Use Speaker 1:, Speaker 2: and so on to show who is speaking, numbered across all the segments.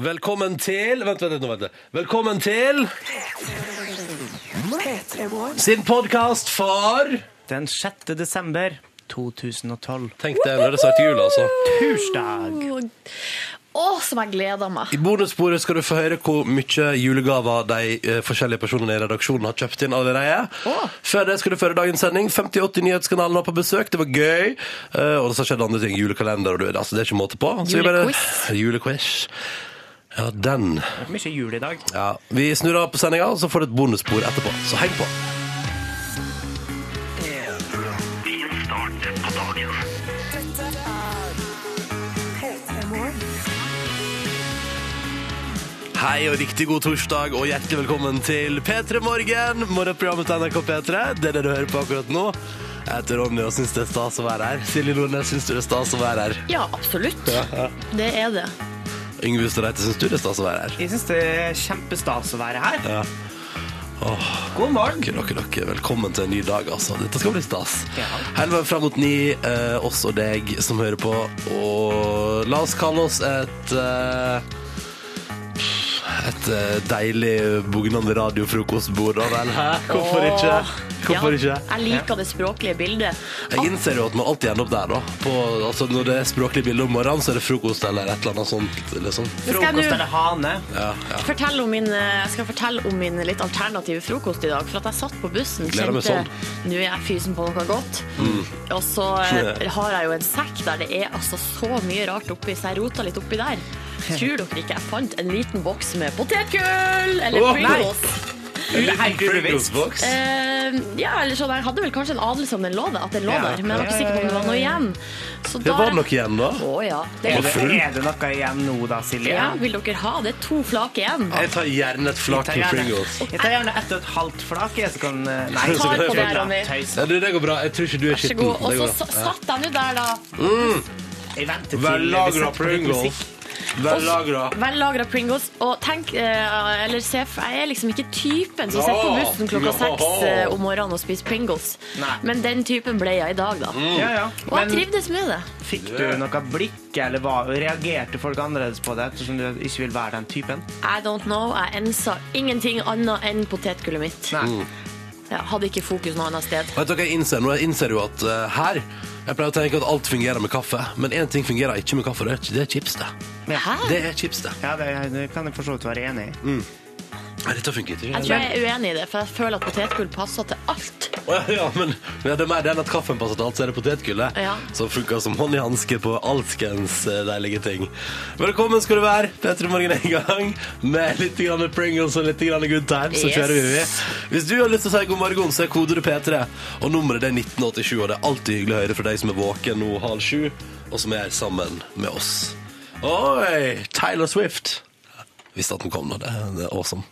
Speaker 1: Velkommen til Vent, vent, vent, nå, vent. litt. Velkommen til sin podkast for
Speaker 2: Den 6. desember 2012.
Speaker 1: Tenk det, nå er det snart jul, altså.
Speaker 2: Bursdag!
Speaker 3: Å, som jeg gleder meg.
Speaker 1: I bonussporet skal du få høre hvor mye julegaver de eh, forskjellige personene i redaksjonen har kjøpt inn allerede. Før det skal du føre dagens sending. 5080 Nyhetskanalen var på besøk, det var gøy. Eh, og så skjedde andre ting. Julekalender og du Altså, det er ikke måte på. Så vi bare- Julequiz. Ja, den.
Speaker 2: Det er Mye jul i dag.
Speaker 1: Ja, Vi snurrer av på sendinga, og så får du et bonusspor etterpå. Så heng på. Hei og riktig god torsdag, og hjertelig velkommen til P3 Morgen. Morgenprogrammet til NRK P3. Det er det du hører på akkurat nå. Jeg heter Ronny og syns det er stas å være her. Silje Nordnes syns du det er stas å være her.
Speaker 3: Ja, absolutt. Det er det.
Speaker 1: Yngve Ustadreite syns du det er stas å være her.
Speaker 2: Jeg syns det er kjempestas å være her.
Speaker 1: Ja.
Speaker 2: God morgen.
Speaker 1: Dere, dere, dere, velkommen til en ny dag, altså. Dette skal bli stas.
Speaker 2: Ja.
Speaker 1: Helven fram mot ni, eh, oss og deg som hører på. Og la oss kalle oss et eh, et eh, deilig bugnende radiofrokostbord, da vel? Hæ? Hvorfor ikke? Hvorfor
Speaker 3: ja.
Speaker 1: ikke?
Speaker 3: Jeg liker det språklige bildet.
Speaker 1: Jeg innser jo at man alltid ender opp der, da. På, altså, når det er språklig bilde om morgenen, så er det frokost eller et eller annet sånt. Liksom.
Speaker 3: Nå skal
Speaker 2: Frokost
Speaker 3: jeg nå
Speaker 2: eller hane.
Speaker 3: fortelle om min, eh, jeg skal fortelle om min litt alternative frokost i dag. For at jeg satt på bussen
Speaker 1: Gleder meg sånn. Mm.
Speaker 3: kjente nå er jeg fysen på noe godt. Og så eh, har jeg jo en sekk der det er altså så mye rart oppi, så jeg rota litt oppi der. Tror dere ikke jeg fant en liten boks med potetgull eller
Speaker 1: Åh, nei!
Speaker 3: Pringles?
Speaker 2: Hei, Pringles.
Speaker 1: Frokostboks.
Speaker 3: Eh, ja, eller sånn, Jeg hadde vel kanskje en anelse om den lå der, at den lå
Speaker 2: Ja.
Speaker 3: der men jeg var
Speaker 2: Ja,
Speaker 3: ikke
Speaker 2: ja,
Speaker 3: sikker på om det var noe igjen. Så
Speaker 1: Det var nok igjen, da.
Speaker 3: Å ja. Det
Speaker 2: Er
Speaker 3: er,
Speaker 2: det, er det noe igjen nå da, Silje?
Speaker 3: ja. Vil dere ha? Det er to flak igjen.
Speaker 1: Jeg tar gjerne et flak
Speaker 2: Jeg tar
Speaker 1: med
Speaker 2: gjerne,
Speaker 1: Pringles.
Speaker 2: jeg tar gjerne ett og et halvt flak. Jeg så kan, eh, nei,
Speaker 1: Jeg tar på
Speaker 3: det, Ronny.
Speaker 2: Tøys.
Speaker 1: Ja, du, det går bra. Jeg tror ikke du er
Speaker 3: Vær så
Speaker 1: skitten.
Speaker 3: god.
Speaker 1: Det
Speaker 3: Og
Speaker 1: går
Speaker 3: så
Speaker 1: bra.
Speaker 3: sa- satt jeg nå der, da.
Speaker 2: Jeg venter til vi
Speaker 1: Vellagra
Speaker 2: setter på litt musikk.
Speaker 1: Pringles. Vellagra.
Speaker 3: Vellagra Pringles. Og tenk, eh, eller se, for jeg er liksom ikke typen som sitter på
Speaker 1: Nå.
Speaker 3: bussen klokka
Speaker 1: Nå.
Speaker 3: seks eh, om morgenen og spiser Pringles.
Speaker 2: Nei.
Speaker 3: Men den typen ble jeg i dag, da.
Speaker 1: Mm.
Speaker 2: Ja, ja.
Speaker 3: Og
Speaker 2: Men
Speaker 3: jeg trivdes med det.
Speaker 2: fikk du noe blikk, eller hva? reagerte folk annerledes på det, ettersom du ikke vil være den typen?
Speaker 3: I don't know. Jeg ensa ingenting annet enn potetgullet mitt.
Speaker 1: Mm.
Speaker 2: Nei.
Speaker 3: Jeg hadde ikke fokus noe annet sted.
Speaker 1: Vet dere, jeg innser, nå, jeg innser jo at eh, her Jeg pleier å tenke at alt fungerer med kaffe, men én ting fungerer ikke med kaffe. Det er, det er chips, det.
Speaker 3: Hæ?
Speaker 1: Det er chips, det.
Speaker 2: Ja, det, det kan jeg for så vidt være enig i.
Speaker 1: Nei, Dette funker ikke.
Speaker 3: Jeg tror jeg er uenig i det, for jeg føler at potetgull passer til alt.
Speaker 1: Å, ja, ja, men men det er mer det enn at kaffen passer til alt, så er det potetgullet.
Speaker 3: Ja.
Speaker 1: Som funker som hånd i hanske på alskens eh, deilige ting. Velkommen skal du være. Petter Morgen er i gang med litt grann Pringles og litt grann Good Times. Så
Speaker 3: Yes.
Speaker 1: kjører vi. vi. Hvis du har lyst til å si god morgen, så er kodet du P3. Og nummeret det er 1987, og det er alltid hyggelig å høre fra deg som er våken nå halv sju, og som er sammen med oss. Oi! Tyler Swift. Visste at den kom nå. Det, det er awesome.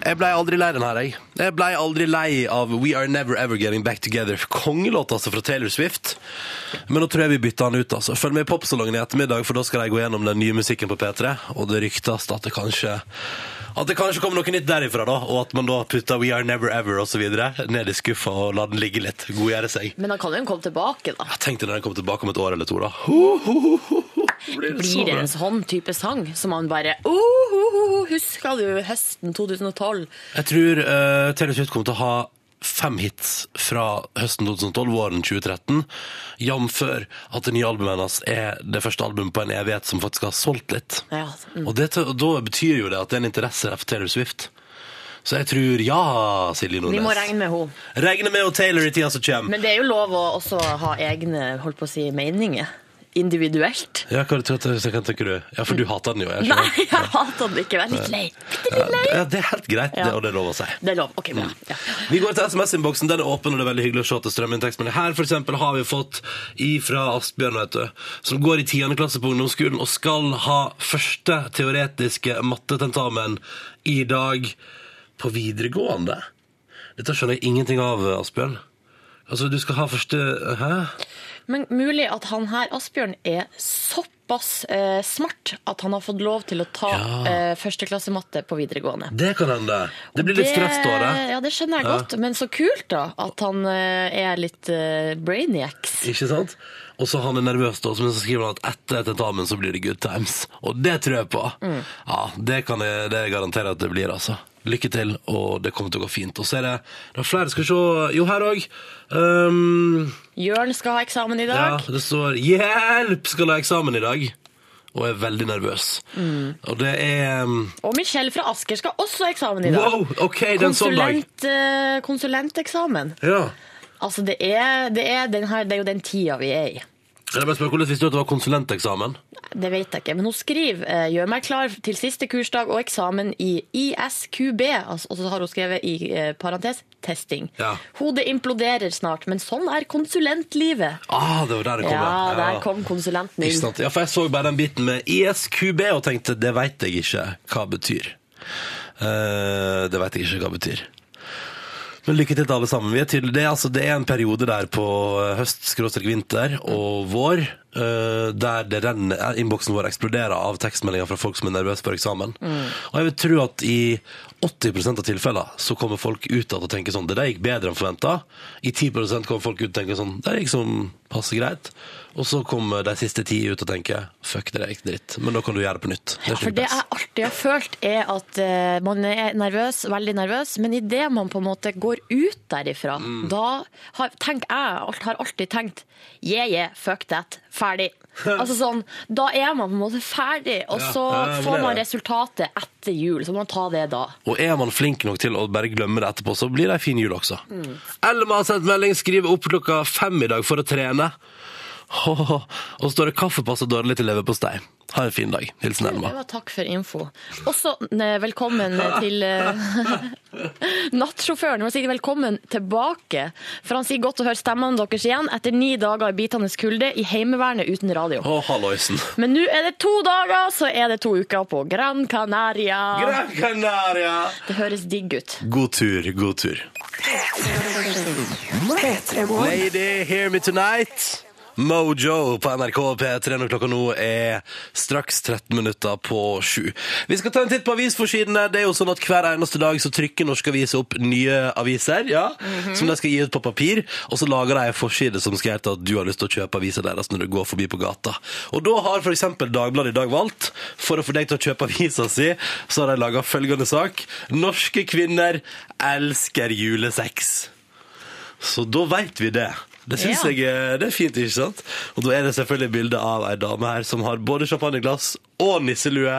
Speaker 1: Jeg blei aldri lei den her, jeg. Jeg blei aldri lei av We Are Never Ever Getting Back Together. Kongelåt, altså, fra Taylor Swift. Men nå tror jeg vi bytter den ut, altså. Følg med i popsalongen i ettermiddag, for da skal de gå gjennom den nye musikken på P3, og det ryktes at det kanskje at det kanskje kommer noe nytt derifra, da, og at man da putter We Are Never Ever og så videre ned i skuffa og lar den ligge litt. Godgjøre seg.
Speaker 3: Men da kan jo hun komme tilbake, da.
Speaker 1: Jeg tenkte når den kom tilbake om et år eller to, da. Ho, ho, ho, ho, ho. Blir det så
Speaker 3: Blir det
Speaker 1: bra?
Speaker 3: en sånn type sang som man bare oh, oh, oh, Husker du høsten 2012?
Speaker 1: Jeg tror eh, Taylor Swift kommer til å ha fem hits fra høsten 2012, våren 2013, jamfør at det nye albumet hennes er det første albumet på en evighet som faktisk har solgt litt.
Speaker 3: Ja. mm.
Speaker 1: Og, det, og da betyr jo det at det er en interesse der for Taylor Swift. Så jeg tror ja, Silje Nordnes.
Speaker 3: Vi må regne med henne.
Speaker 1: Regne med og Taylor i tida som kommer.
Speaker 3: Men det er jo lov å også ha egne holdt på å si, meninger. Individuelt.
Speaker 1: Ja, hva, hva, hva, hva tenker du? Ja, for du hater den jo. Jeg
Speaker 3: Nei,
Speaker 1: skjønner.
Speaker 3: jeg hater den ikke. Vær litt lei. Bitte litt lei.
Speaker 1: Ja, det er helt greit, det,
Speaker 3: Ja.
Speaker 1: og det er lov å si.
Speaker 3: Det er lov. OK, bra. Ja.
Speaker 1: Vi går til SMS-innboksen. Den er åpen, og det er veldig hyggelig å se til strøminntektsmelding. Her for eksempel, har vi fått ifra Asbjørn, vet du, som går i 10. klasse på ungdomsskolen og skal ha første teoretiske mattetentamen i dag på videregående. Dette skjønner jeg ingenting av, Asbjørn. Altså, du skal ha første Hæ?
Speaker 3: Men mulig at han her, Asbjørn, er såpass eh, smart at han har fått lov til å ta
Speaker 1: Ja.
Speaker 3: eh, førsteklassematte på videregående.
Speaker 1: Det kan hende. Det blir litt stress da, det.
Speaker 3: Ja, det skjønner jeg
Speaker 1: Ja.
Speaker 3: godt. Men så kult, da. At han eh, er litt eh, brainiacs.
Speaker 1: Ikke sant? Og så han er nervøs, da, men så skriver han at etter tentamen så blir det good times. Og det tror jeg på!
Speaker 3: Mm.
Speaker 1: Ja, det kan jeg det garantere at det blir, altså. Lykke til, og det kommer til å gå fint. Og så er det, det er flere skal vi se Jo, her òg. Um,
Speaker 3: Jørn skal ha eksamen i
Speaker 1: ja,
Speaker 3: dag.
Speaker 1: det står 'Hjelp! Skal ha eksamen i dag'. Og er veldig nervøs.
Speaker 3: Mm.
Speaker 1: Og det er um,
Speaker 3: Og Michelle fra Asker skal også ha eksamen i dag.
Speaker 1: Wow! OK, det er en sånn dag.
Speaker 3: Konsulent, eh, konsulenteksamen.
Speaker 1: Ja.
Speaker 3: Altså, det er, det, er den her, det er jo den tida vi er i.
Speaker 1: Jeg bare spør, Hvordan visste du at det var konsulenteksamen?
Speaker 3: Det vet jeg ikke, men hun skriver eh, 'gjør meg klar til siste kursdag og eksamen i ISQB'. Altså, og så har hun skrevet i eh, parentes 'testing'.
Speaker 1: Ja.
Speaker 3: Hodet imploderer snart, men sånn er konsulentlivet.
Speaker 1: Ah, det var der det kom,
Speaker 3: Ja, der kom konsulenten
Speaker 1: Ikke
Speaker 3: inn.
Speaker 1: sant? Ja, for jeg så bare den biten med ISQB og tenkte det veit jeg ikke hva betyr. Eh, det veit jeg ikke hva betyr. Men lykke til til alle sammen. Vi er tydelig, det, er, altså, det er en periode der på eh, høst, skråstrek vinter og vår eh, der det renner, eh, innboksen vår eksploderer av tekstmeldinger fra folk som er nervøse for eksamen. Og jeg vil tro at i 80 av tilfellene så kommer folk ut igjen og tenker sånn Det der gikk bedre enn forventa. I 10 kommer folk ut og tenker sånn Det der gikk sånn passe greit. Og så kommer de siste ti ut og tenker Fuck, det der gikk dritt. Men da kan du gjøre det på nytt. Det er
Speaker 3: For det jeg alltid har følt, er at eh, man er nervøs, veldig nervøs, men idet man på en måte går ut derifra, da har, tenk, jeg alt, har alltid tenkt Yeah, yeah, fuck that. Ferdig. Altså sånn, Da er man på en måte ferdig, og
Speaker 1: Ja,
Speaker 3: så
Speaker 1: ja, det er
Speaker 3: får man
Speaker 1: det.
Speaker 3: resultatet etter jul. Så må man ta det da.
Speaker 1: Og er man flink nok til å bare glemme det etterpå, så blir det ei en fin jul også. Elma har sendt melding, skriver opp klokka fem i dag for å trene. Åh, og så står det 'kaffe passer dårlig til leverpostei'. Ha en fin dag. Hilsen
Speaker 3: Det
Speaker 1: Elma.
Speaker 3: var takk for info. Også ne, velkommen til eh, nattsjåføren. Jeg må si velkommen tilbake, for han sier godt å høre stemmene deres igjen etter ni dager i bitende kulde i Heimevernet uten radio.
Speaker 1: Å, halloisen.
Speaker 3: Men nå er det to dager, så er det to uker på Gran Canaria.
Speaker 1: Gran Canaria!
Speaker 3: Det høres digg ut.
Speaker 1: God tur, god tur. Lady, hear me tonight. Mojo på NRK P3 når klokka nå er straks 13 minutter på sju. Vi skal ta en titt på avisforsidene. Det er jo sånn at Hver eneste dag så trykker norske aviser opp nye aviser ja, som de skal gi ut på papir. Og så lager de en forside som skal hete at du har lyst til å kjøpe avisa deres når du går forbi på gata. Og da har f.eks. Dagbladet i dag valgt, for å få deg til å kjøpe avisa si, så har de laga følgende sak. Norske kvinner elsker julesex. Så da veit vi det. Det syns
Speaker 3: Ja.
Speaker 1: jeg eh, det er fint, ikke sant? Og da er det selvfølgelig bilde av ei dame her som har både champagneglass og nisselue,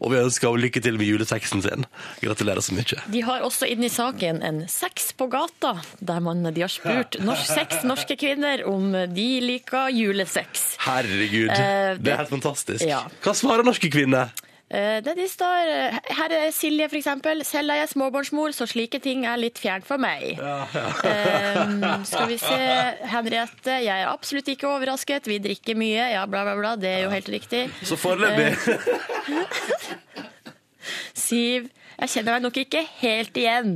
Speaker 1: og vi ønsker henne lykke til med julesexen sin. Gratulerer så mye.
Speaker 3: De har også inni saken en sex på gata, der man, de har spurt norsk seks norske kvinner om de liker julesex.
Speaker 1: Herregud,
Speaker 3: Eh, det-
Speaker 1: det er helt fantastisk.
Speaker 3: Ja.
Speaker 1: Hva svarer norske kvinner?
Speaker 3: Eh, Det de står, eh, her er Silje for eksempel. Selv er jeg småbarnsmor, så slike ting er litt fjernt for meg. Eh, skal vi se, Henriette. Jeg er absolutt ikke overrasket. Vi drikker mye. Ja, bla, bla, bla. Det er jo helt riktig.
Speaker 1: Så
Speaker 3: Eh,
Speaker 1: foreløpig
Speaker 3: Siv. Jeg kjenner meg nok ikke helt igjen,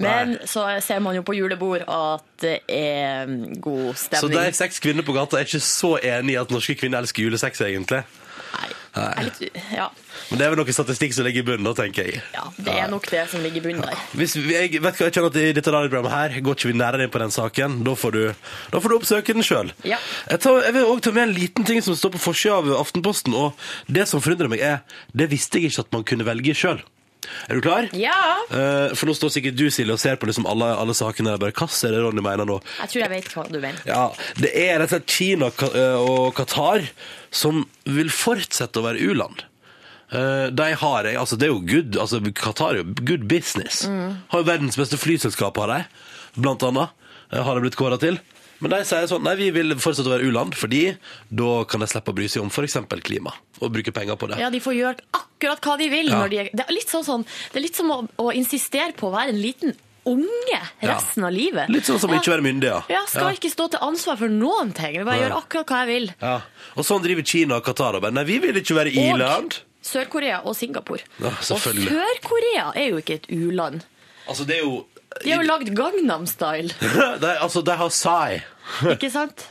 Speaker 3: men
Speaker 1: Nei.
Speaker 3: så ser man jo på julebord at det er god
Speaker 1: Så de
Speaker 3: stemning.
Speaker 1: seks kvinner på gata er ikke så enig i at norske kvinner elsker julesex, egentlig.
Speaker 3: Nei, jeg er litt, ja,
Speaker 1: Men det er vel noe statistikk som ligger i bunnen, da, tenker jeg.
Speaker 3: ja, det er nok det som ligger i bunnen der.
Speaker 1: Hvis vi, jeg vet hva jeg kjenner at I dette radioprogrammet her går ikke vi nærmere inn på den saken. Da får du, da får du oppsøke den sjøl.
Speaker 3: Ja.
Speaker 1: Jeg, tar- jeg vil òg ta med en liten ting som står på forsida av Aftenposten. Og det som forundrer meg, er det visste jeg ikke at man kunne velge sjøl. Er du klar?
Speaker 3: Ja.
Speaker 1: Eh, for nå står sikkert du Silje, og ser på liksom alle, alle sakene. og Bare, hva er det Ronny mener nå?
Speaker 3: Jeg tror jeg vet hva du mener.
Speaker 1: Ja, Det er rett og slett Kina Ka- eh, og Qatar som vil fortsette å være u-land. Eh, De har jeg, altså det er jo good, altså Qatar er jo good business.
Speaker 3: Mm.
Speaker 1: Har jo verdens beste flyselskap, har de, blant annet. eh, Har de blitt kåra til. Men de sier sånn, nei, vi vil fortsette å være u-land, fordi da kan de slippe å bry seg om f.eks. klima, og bruke penger på det.
Speaker 3: Ja, de får gjøre akkurat hva de vil.
Speaker 1: Ja.
Speaker 3: Når de er, det, er litt sånn, sånn, det er litt som å, å insistere på å være en liten unge
Speaker 1: Ja.
Speaker 3: resten av livet.
Speaker 1: Litt sånn som å
Speaker 3: ja.
Speaker 1: ikke være myndig, ja.
Speaker 3: Ja, skal ikke stå til ansvar for noen ting. Jeg vil Bare
Speaker 1: Nei.
Speaker 3: gjøre akkurat hva jeg vil.
Speaker 1: ja. Og sånn driver Kina og Qatar og bare, nei, vi vil ikke være
Speaker 3: Og
Speaker 1: i-land.
Speaker 3: Sør-Korea og Singapore.
Speaker 1: Ja,
Speaker 3: og
Speaker 1: selvfølgelig.
Speaker 3: Sør-Korea er jo ikke et u-land.
Speaker 1: Altså, det er jo
Speaker 3: De har jo lagd Gangnam Style,
Speaker 1: de, altså, de har Psy.
Speaker 3: ikke sant?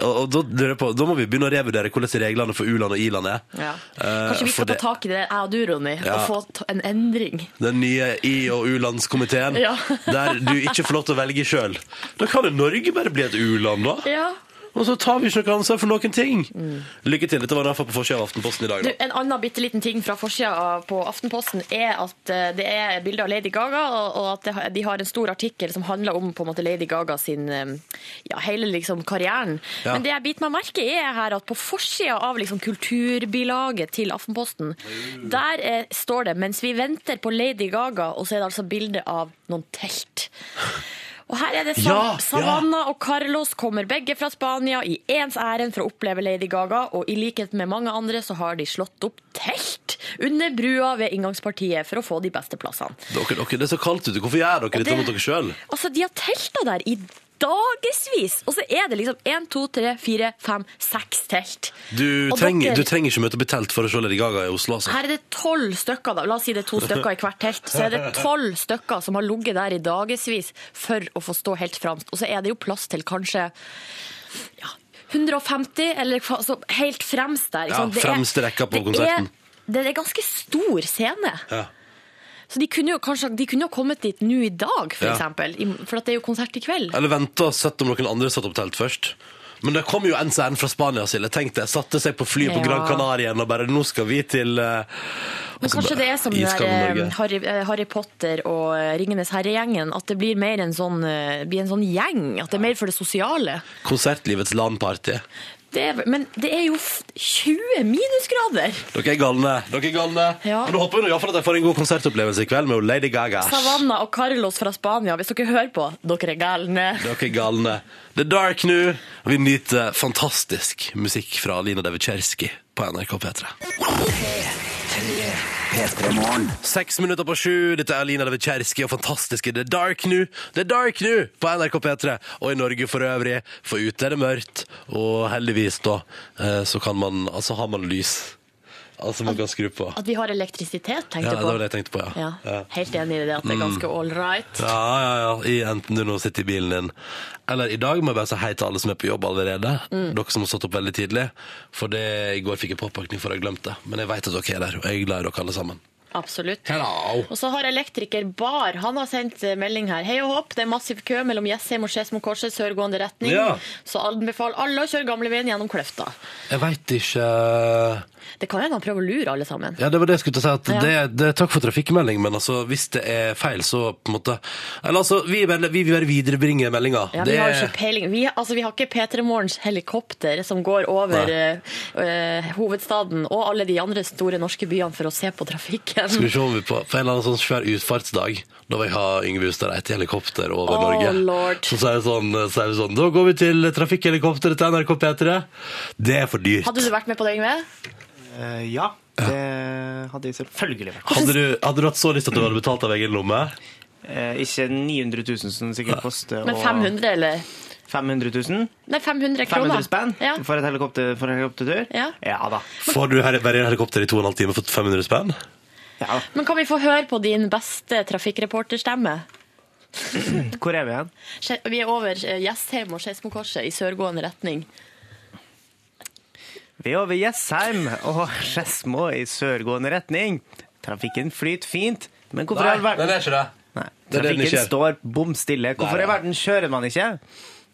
Speaker 1: Og, og da, lurer jeg på, da må vi begynne å revurdere hvordan reglene for u-land og i-land er.
Speaker 3: Ja.
Speaker 1: Eh,
Speaker 3: Kanskje
Speaker 1: for
Speaker 3: vi skal ta
Speaker 1: det-
Speaker 3: tak i det, jeg og du, Ronny,
Speaker 1: Ja.
Speaker 3: og få t- en endring.
Speaker 1: Den nye i- og u-landskomiteen,
Speaker 3: Ja.
Speaker 1: der du ikke får lov til å velge sjøl. Da kan jo Norge bare bli et u-land, da.
Speaker 3: Ja. Mm.
Speaker 1: Og så tar vi ikke noe ansvar for noen ting. Lykke til. Dette var derfor på forsida av Aftenposten i dag.
Speaker 3: Du,
Speaker 1: Da.
Speaker 3: en annen bitte liten ting fra forsida av- på Aftenposten er at eh, det er bilde av Lady Gaga, og- og at det har- de har en stor artikkel som handler om på en måte Lady Gaga sin eh, ja, hele liksom karrieren.
Speaker 1: Ja.
Speaker 3: Men det jeg biter meg merke i, er her at på forsida av liksom kulturbilaget til Aftenposten, der eh, står det 'Mens vi venter på Lady Gaga', og så er det altså bilde av noen telt. Og her er det sa
Speaker 1: Ja, ja.
Speaker 3: Savanna og Carlos kommer begge fra Spania i ens ærend for å oppleve Lady Gaga, og i likhet med mange andre så har de slått opp telt under brua ved inngangspartiet for å få de beste plassene.
Speaker 1: Dere, dere, det er så kaldt ute. Hvorfor gjør dere dette
Speaker 3: det-
Speaker 1: mot dere sjøl?
Speaker 3: Altså, de har telta der i dagevis, og så er det liksom én, to, tre, fire, fem, seks telt.
Speaker 1: Du,
Speaker 3: Og
Speaker 1: trenger-
Speaker 3: dere-
Speaker 1: du trenger ikke møte opp i telt for å se Lady Gaga i Oslo, altså.
Speaker 3: Her er det tolv stykker, da. La oss si det er to stykker i hvert telt. Så er det tolv stykker som har ligget der i dagevis for å få stå helt fremst. Og så er det jo plass til kanskje ja, 150, eller hva- altså, helt fremst der. ikke
Speaker 1: Ja,
Speaker 3: sant? Det er-
Speaker 1: fremste rekka på
Speaker 3: det er-
Speaker 1: konserten.
Speaker 3: Det er ganske stor scene.
Speaker 1: Ja.
Speaker 3: Så de kunne jo kanskje de kunne jo kommet dit nå i dag, for
Speaker 1: Ja.
Speaker 3: eksempel. i- For at det er jo konsert i kveld.
Speaker 1: Eller venta og sett om noen andre satte opp telt først. Men det kom jo ens ærend fra Spania, Silje. Tenk det. Satte seg på flyet på
Speaker 3: Ja.
Speaker 1: Gran Canaria igjen og bare Nå skal vi til eh,
Speaker 3: Men
Speaker 1: altså,
Speaker 3: kanskje det er som den der
Speaker 1: iskalde
Speaker 3: eh,
Speaker 1: Norge.
Speaker 3: Harry, eh, Harry Potter og eh, Ringenes herre-gjengen, at det blir mer en sånn, eh, blir en sånn gjeng. At det er mer for det sosiale.
Speaker 1: Konsertlivets LAN-party.
Speaker 3: Det er, men det er jo f- 20 minusgrader!
Speaker 1: Dere er galne. Dere er galne.
Speaker 3: Ja.
Speaker 1: Men nå håper vi nå i hvert fall at jeg får en god konsertopplevelse i kveld med Lady Gaga.
Speaker 3: Savanna og Carlos fra Spania, hvis dere hører på, dere er galne.
Speaker 1: Dere er galne. The Dark nå. Og vi nyter fantastisk musikk fra Lina Devicherski på NRK P3. Seks minutter på sju. Dette er Lina Devicherski og fantastiske The Dark nå. The Dark nå på NRK P3 og i Norge for øvrig. For ute er det mørkt, og heldigvis da eh, så kan man Altså har man lys. Altså man kan skru på.
Speaker 3: At vi har elektrisitet,
Speaker 1: Ja,
Speaker 3: tenkte
Speaker 1: det
Speaker 3: jeg
Speaker 1: var det
Speaker 3: på.
Speaker 1: jeg tenkte på, ja. Mm.
Speaker 3: Ja, helt enig i det at det er ganske all right.
Speaker 1: Ja, ja, ja. I, enten du nå sitter i bilen din. Eller i dag må jeg bare si hei til alle som er på jobb allerede.
Speaker 3: Mm.
Speaker 1: Dere som har stått opp veldig tidlig. For det, i går fikk jeg påpakning for at jeg glemte det. Men jeg vet at dere er der, og jeg er glad i dere alle sammen.
Speaker 3: Absolutt.
Speaker 1: Hello!
Speaker 3: Og så har elektriker Bar han har sendt eh, melding her. Hei og hopp, det er massiv kø mellom Jessheim og Skedsmokorset, sørgående retning.
Speaker 1: Ja.
Speaker 3: Så anbefaler alle å kjøre gamleveien gjennom Kløfta.
Speaker 1: Jeg veit ikke
Speaker 3: Det kan hende han prøver å lure alle sammen.
Speaker 1: Ja, det var det jeg skulle til å si. At
Speaker 3: Ja.
Speaker 1: det, det er takk for trafikkmelding, men altså, hvis det er feil, så på en måte Eller altså, vi, vil- vi vil bare viderebringe meldinga.
Speaker 3: Ja,
Speaker 1: Det
Speaker 3: vi har jo
Speaker 1: er-
Speaker 3: ikke peiling. Vi, altså, vi har ikke P3 Morgens helikopter som går over
Speaker 1: Nei.
Speaker 3: eh, eh, hovedstaden og alle de andre store norske byene for å se på
Speaker 1: Skal
Speaker 3: trafikken.
Speaker 1: vi se om vi på, på en eller annen sånn svær utfartsdag, da vil jeg ha Yngve Hustad Reite i helikopter over
Speaker 3: Åh,
Speaker 1: Norge.
Speaker 3: lord.
Speaker 1: Så sier jeg sånn, så er det sånn Da går vi til trafikkhelikopteret til NRK P3. Det er for dyrt.
Speaker 3: Hadde du vært med på det, Yngve?
Speaker 2: Eh, ja, det hadde jeg selvfølgelig vært.
Speaker 1: Hadde du, hadde du hatt så lyst at du hadde betalt av egen lomme?
Speaker 2: Eh, ikke 900 000 som sikkert koster.
Speaker 3: Men
Speaker 2: og-
Speaker 3: 500, eller?
Speaker 2: 500 000?
Speaker 3: Nei, 500 kroner.
Speaker 2: 500 spenn
Speaker 3: Ja.
Speaker 2: for, et helikopter, for en helikoptertur?
Speaker 3: Ja.
Speaker 2: da.
Speaker 1: Får du her, være i helikopter i 2 12 timer for 500 spenn?
Speaker 2: ja da.
Speaker 3: Men kan vi få høre på din beste trafikkreporterstemme?
Speaker 2: Hvor er vi igjen?
Speaker 3: Skje- Vi er over eh, Jessheim og Skedsmokorset i sørgående retning.
Speaker 2: Vi er over Jessheim og Skedsmo i sørgående retning. Trafikken flyter fint, men hvorfor i all verden
Speaker 1: er ikke det. det
Speaker 2: Nei,
Speaker 1: er det den
Speaker 2: Trafikken
Speaker 1: ikke er.
Speaker 2: står bom stille. Hvorfor
Speaker 1: Nei,
Speaker 2: i
Speaker 1: nei.
Speaker 2: verden kjører man ikke?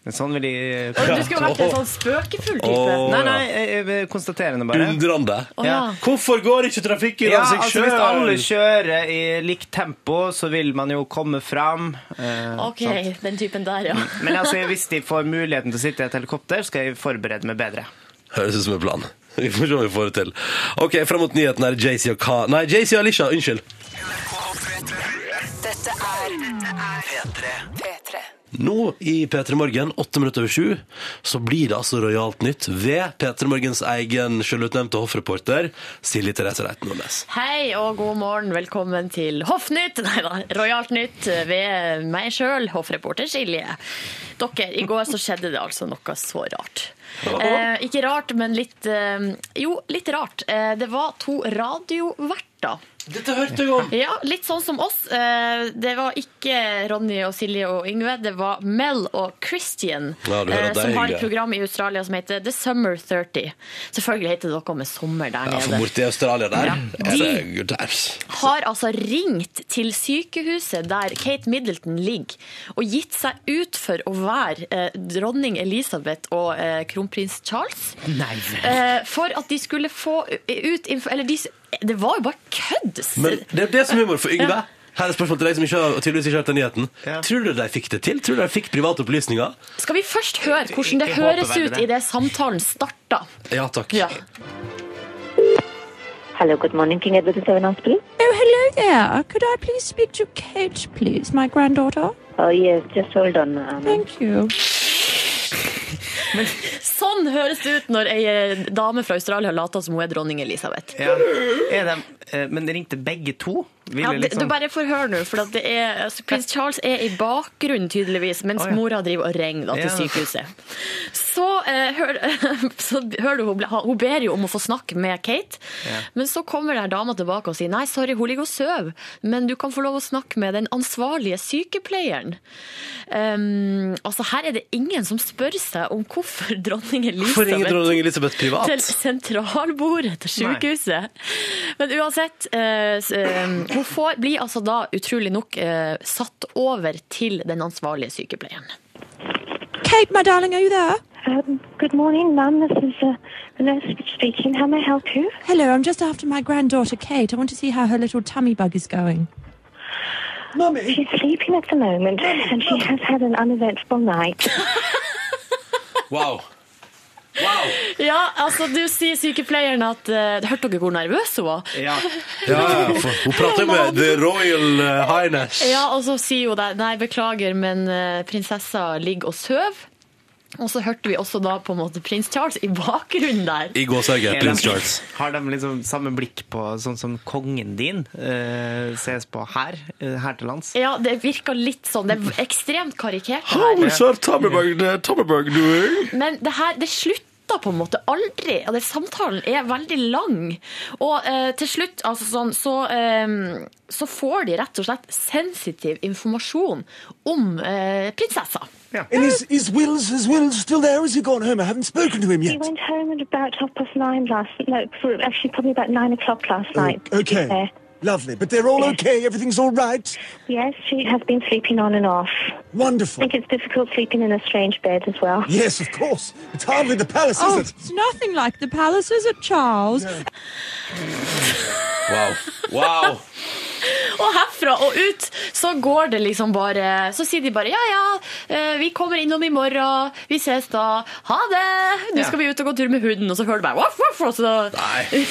Speaker 2: Men Sånn vil jeg
Speaker 3: Å, Du skulle vært en sånn spøkefull type.
Speaker 1: Åh.
Speaker 2: Nei, nei, jeg- jeg- konstaterende bare.
Speaker 1: Undrande.
Speaker 3: Å ja.
Speaker 2: Ja.
Speaker 1: Hvorfor går ikke trafikken
Speaker 2: Ja,
Speaker 1: av seg
Speaker 2: altså Hvis alle
Speaker 1: sjøl?
Speaker 2: kjører i likt tempo, så vil man jo komme fram. eh,
Speaker 3: OK,
Speaker 2: sant?
Speaker 3: den typen der, ja.
Speaker 2: Men altså, hvis de får muligheten til å sitte i et helikopter, skal jeg forberede meg bedre.
Speaker 1: Høres ut som en plan. Vi får se om vi får det til. OK, frem mot nyheten er det JC og Ka... Nei, JC og Alisha. Unnskyld.
Speaker 4: Dette er P3. P3.
Speaker 1: Nå i P3 Morgen, åtte minutter over sju, så blir det altså rojalt nytt ved P3 Morgens egen selvutnevnte hoffreporter, Silje Therese Reiten Nordnes.
Speaker 3: Hei og god morgen. Velkommen til Hoffnytt, nei da, Rojalt Nytt ved meg sjøl, hoffreporter Silje. Dere, i går så skjedde det altså noe så rart. Eh, ikke rart, men litt eh, Jo, litt rart. Eh, det var to radioverter skjorta.
Speaker 1: Dette hørte jeg om!
Speaker 3: Ja, litt sånn som oss. Eh, Det var ikke Ronny og Silje og Yngve, det var Mel og Christian.
Speaker 1: Ja, du hører
Speaker 3: eh,
Speaker 1: at det er
Speaker 3: som har
Speaker 1: hyggelig.
Speaker 3: et program i Australia som heter The Summer 30. Selvfølgelig heter det noe med sommer der
Speaker 1: Ja, for
Speaker 3: nede.
Speaker 1: borti Australia der
Speaker 3: Ja.
Speaker 1: er det good times.
Speaker 3: Har altså ringt til sykehuset der Kate Middleton ligger, og gitt seg ut for å være eh, dronning Elisabeth og eh, kronprins Charles.
Speaker 2: Nei vel.
Speaker 3: Eh, for at de skulle få ut info Eller de, det var jo bare kødd!
Speaker 1: Men det er det som er humor for Yngve.
Speaker 3: Ja.
Speaker 1: Her er spørsmålet til deg som ikke har, tydeligvis ikke har hørt den nyheten.
Speaker 2: Ja.
Speaker 1: Tror du de fikk det til? Tror du de fikk private opplysninger?
Speaker 3: Skal vi først høre hvordan det
Speaker 2: Jeg håper
Speaker 3: høres
Speaker 2: veldig
Speaker 3: ut
Speaker 2: det.
Speaker 3: i det samtalen starta?
Speaker 1: Ja takk.
Speaker 3: Ja.
Speaker 5: Hello, good morning, King Edward VII Hospital.
Speaker 6: Oh, hello there. Could I please speak to Kate, please, my granddaughter?
Speaker 5: Oh, yes, just hold on, ma'am.
Speaker 6: Thank you.
Speaker 3: Sånn høres det ut når ei eh, dame fra Australia later som hun er dronning Elisabeth.
Speaker 2: Ja. Er de, eh, men ringte begge to? Ville
Speaker 3: Ja, det,
Speaker 2: liksom-
Speaker 3: du bare får høre nå, for at det er, altså, prins Charles er i bakgrunnen tydeligvis, mens
Speaker 2: Å, ja.
Speaker 3: mora driver og ringer da, til
Speaker 2: Ja.
Speaker 3: sykehuset. Så, eh, hør, så hører du, hun, ble- hun ber jo om å få snakke med Kate, men så kommer der dama tilbake og sier nei, sorry, hun ligger og sover, men du kan få lov å snakke med den ansvarlige sykepleieren. Um, altså Her er det ingen som spør seg om hvorfor dronning
Speaker 1: Hvorfor ringer
Speaker 3: Elisabeth
Speaker 1: dronning Elisabeth privat?
Speaker 3: til sentralbordet til sykehuset. Men uansett, eh, s- eh, hun får, blir altså da utrolig nok eh, satt over til den ansvarlige sykepleieren.
Speaker 6: Kate, my darling, are you there?
Speaker 5: Um, good morning, ma'am. This is uh, the nurse speaking. How may I help you?
Speaker 6: Hello, I'm just after my granddaughter, Kate. I want to see how her little tummy bug is going.
Speaker 5: She's sleeping at the moment, and she has had an uneventful night.
Speaker 1: Wow. Wow!
Speaker 3: Ja, altså du sier sykepleieren at eh, Hørte dere hvor nervøs hun var?
Speaker 2: Ja.
Speaker 1: Ja, ja, for, hun prater jo med The Royal eh, Highness.
Speaker 3: Ja, og så sier hun der Nei, beklager, men eh, prinsessa ligger og sover. Og så hørte vi også da på en måte prins Charles i bakgrunnen der.
Speaker 1: I gåseøyne,
Speaker 2: Er
Speaker 1: prins
Speaker 2: de-
Speaker 1: Charles.
Speaker 2: Har de liksom samme blikk på sånn som kongen din eh, ses på her, eh, her til lands?
Speaker 3: Ja, det virka litt sånn. Det er ekstremt karikert. det her.
Speaker 1: How is our tummy bug, uh, tummy bug doing?
Speaker 3: Men det her, det slutter på en måte aldri. Og det, samtalen er veldig lang. Og eh, til slutt altså sånn, så, eh, så får de rett og slett sensitiv informasjon om eh, prinsessa.
Speaker 7: And is, is Wills is Wills still there? Is he gone home? I haven't spoken to him
Speaker 5: She
Speaker 7: yet.
Speaker 5: went home at about half past nine last No, for- actually, probably about nine o'clock last night.
Speaker 7: Oh, okay.
Speaker 5: Yeah.
Speaker 7: Lovely. But they're all okay. Everything's all right.
Speaker 5: Yes, she has been sleeping on and off. I
Speaker 7: Wonderful.
Speaker 5: think it's difficult sleeping in a strange bed as well.
Speaker 7: Yes, of course. It's hardly the palace,
Speaker 6: oh,
Speaker 7: is it?
Speaker 6: it's nothing like the palace, is it, Charles?
Speaker 1: Wow. Wow.
Speaker 3: Og herfra og ut så går det liksom bare Så sier de bare ja, ja, eh, vi kommer innom i morgen, vi ses da, ha det! Nå skal vi ut og gå tur med hunden, og så hører du bare voff, voff, og så
Speaker 1: Nei.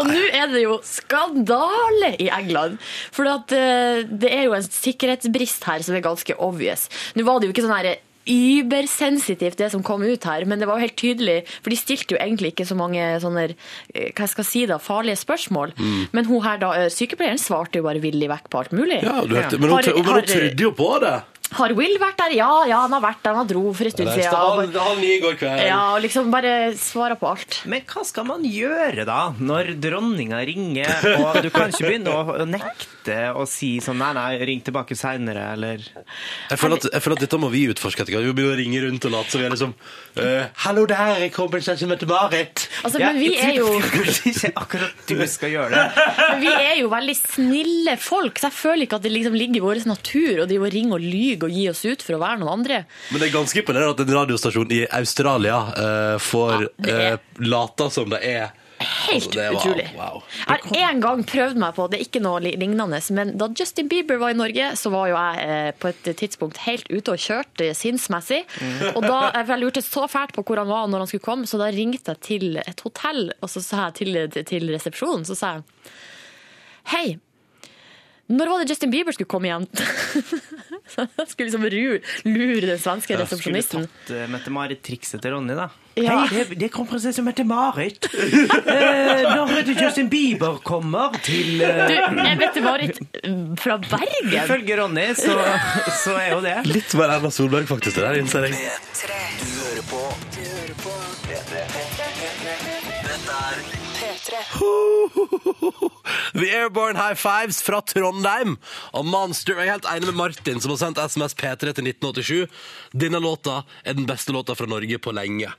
Speaker 3: Og nå er det jo skandale i England. For at, eh, det er jo en sikkerhetsbrist her som er ganske obvious. Nå var det jo ikke sånn her Übersensitivt, det som kom ut her. Men det var jo helt tydelig, for de stilte jo egentlig ikke så mange sånne eh, hva jeg skal si da, farlige spørsmål. Men hun her da, eh, sykepleieren svarte jo bare villig vekk på alt mulig.
Speaker 1: Ja, du hørte, men hun,
Speaker 3: Har-
Speaker 1: tro- men
Speaker 3: har-
Speaker 1: hun trodde jo på det.
Speaker 3: Har Will vært der? Ja, ja, han har vært der. Han dro for en stund siden. Ja, og
Speaker 1: Halv
Speaker 3: bare-
Speaker 1: halv ni i går kveld.
Speaker 3: ja, og liksom bare svara på alt.
Speaker 2: Men hva skal man gjøre da, når dronninga ringer, og du kan ikke begynne å, å nekte å si sånn nei, nei, ring tilbake seinere, eller
Speaker 1: Jeg føler, at, jeg føler at dette må vi utforske etter hvert. Vi begynner å ringe rundt og late som vi er liksom eh, Hallo der, jeg kom en kjæreste som heter Marit.
Speaker 3: Altså, men vi er jo
Speaker 2: Kanskje ikke akkurat du skal gjøre det.
Speaker 3: Men vi er jo veldig snille folk, så jeg føler ikke at det liksom ligger i vår natur å drive og ringe og lyge og gi oss ut for å være noen andre.
Speaker 1: Men det er ganske imponerende at en radiostasjon i Australia eh, får
Speaker 3: Ja, det er-
Speaker 1: eh, late som det er
Speaker 3: Helt
Speaker 1: Altså, det var-
Speaker 3: utrolig.
Speaker 1: wow.
Speaker 3: Jeg har én gang prøvd meg på det, er ikke noe li- lignende, men da Justin Bieber var i Norge, så var jo jeg eh, på et tidspunkt helt ute og kjørte sinnsmessig. Og da jeg vel lurte så fælt på hvor han var når han skulle komme, så da ringte jeg til et hotell, og så sa jeg til, til resepsjonen, så sa jeg hei. Når var det Justin Bieber skulle komme igjen? Så jeg skulle liksom ru- lure den svenske
Speaker 2: Jeg skulle
Speaker 3: resepsjonisten.
Speaker 2: tatt eh, Mette-Marit-trikset til Ronny, da.
Speaker 3: Ja.
Speaker 2: Hei, det, det kom prinsesse Mette-Marit! Eh, når er det Justin Bieber kommer til eh,
Speaker 3: Du, jeg vet det var litt fra Bergen.
Speaker 2: Ifølge Ronny, så, så er jo det.
Speaker 1: Litt mer Erna Solberg, faktisk. det der, innser jeg.
Speaker 4: P3. Du hører på. Du hører på. P3. Dette er P3.
Speaker 8: P3.
Speaker 1: The Airborne High Fives fra Trondheim av Monster. Jeg er helt enig med Martin, som har sendt SMS P3 til 1987. Denne låta er den beste låta fra Norge på lenge.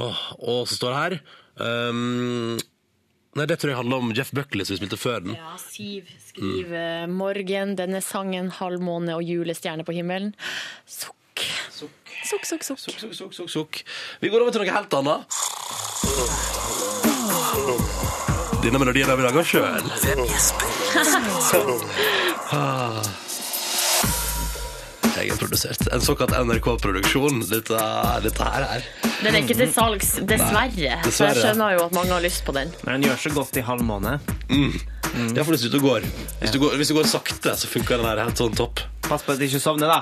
Speaker 1: Åh, og så står det her ehm, Nei, det tror jeg handler om Jeff Buckley, som vi spilte før den.
Speaker 3: Ja, Siv skriver eh, morgen, denne sangen, halvmåne og julestjerne på himmelen. Sukk. Sukk, sukk, sukk.
Speaker 1: Sukk, sukk, sukk, sukk. Vi går over til noe helt annet. Denne melodien har vi laga sjøl. Egenprodusert. En såkalt NRK-produksjon. Dette, dette her er
Speaker 3: Den er ikke til salgs, Mm. dessverre. Så
Speaker 1: dessverre.
Speaker 3: jeg skjønner jo at mange har lyst på den.
Speaker 2: Men den gjør så godt i halvmåned.
Speaker 1: Det er fordi hvis du går, hvis du går, hvis du går sakte, så funker den her helt sånn topp.
Speaker 2: Pass på at du ikke sovner, da.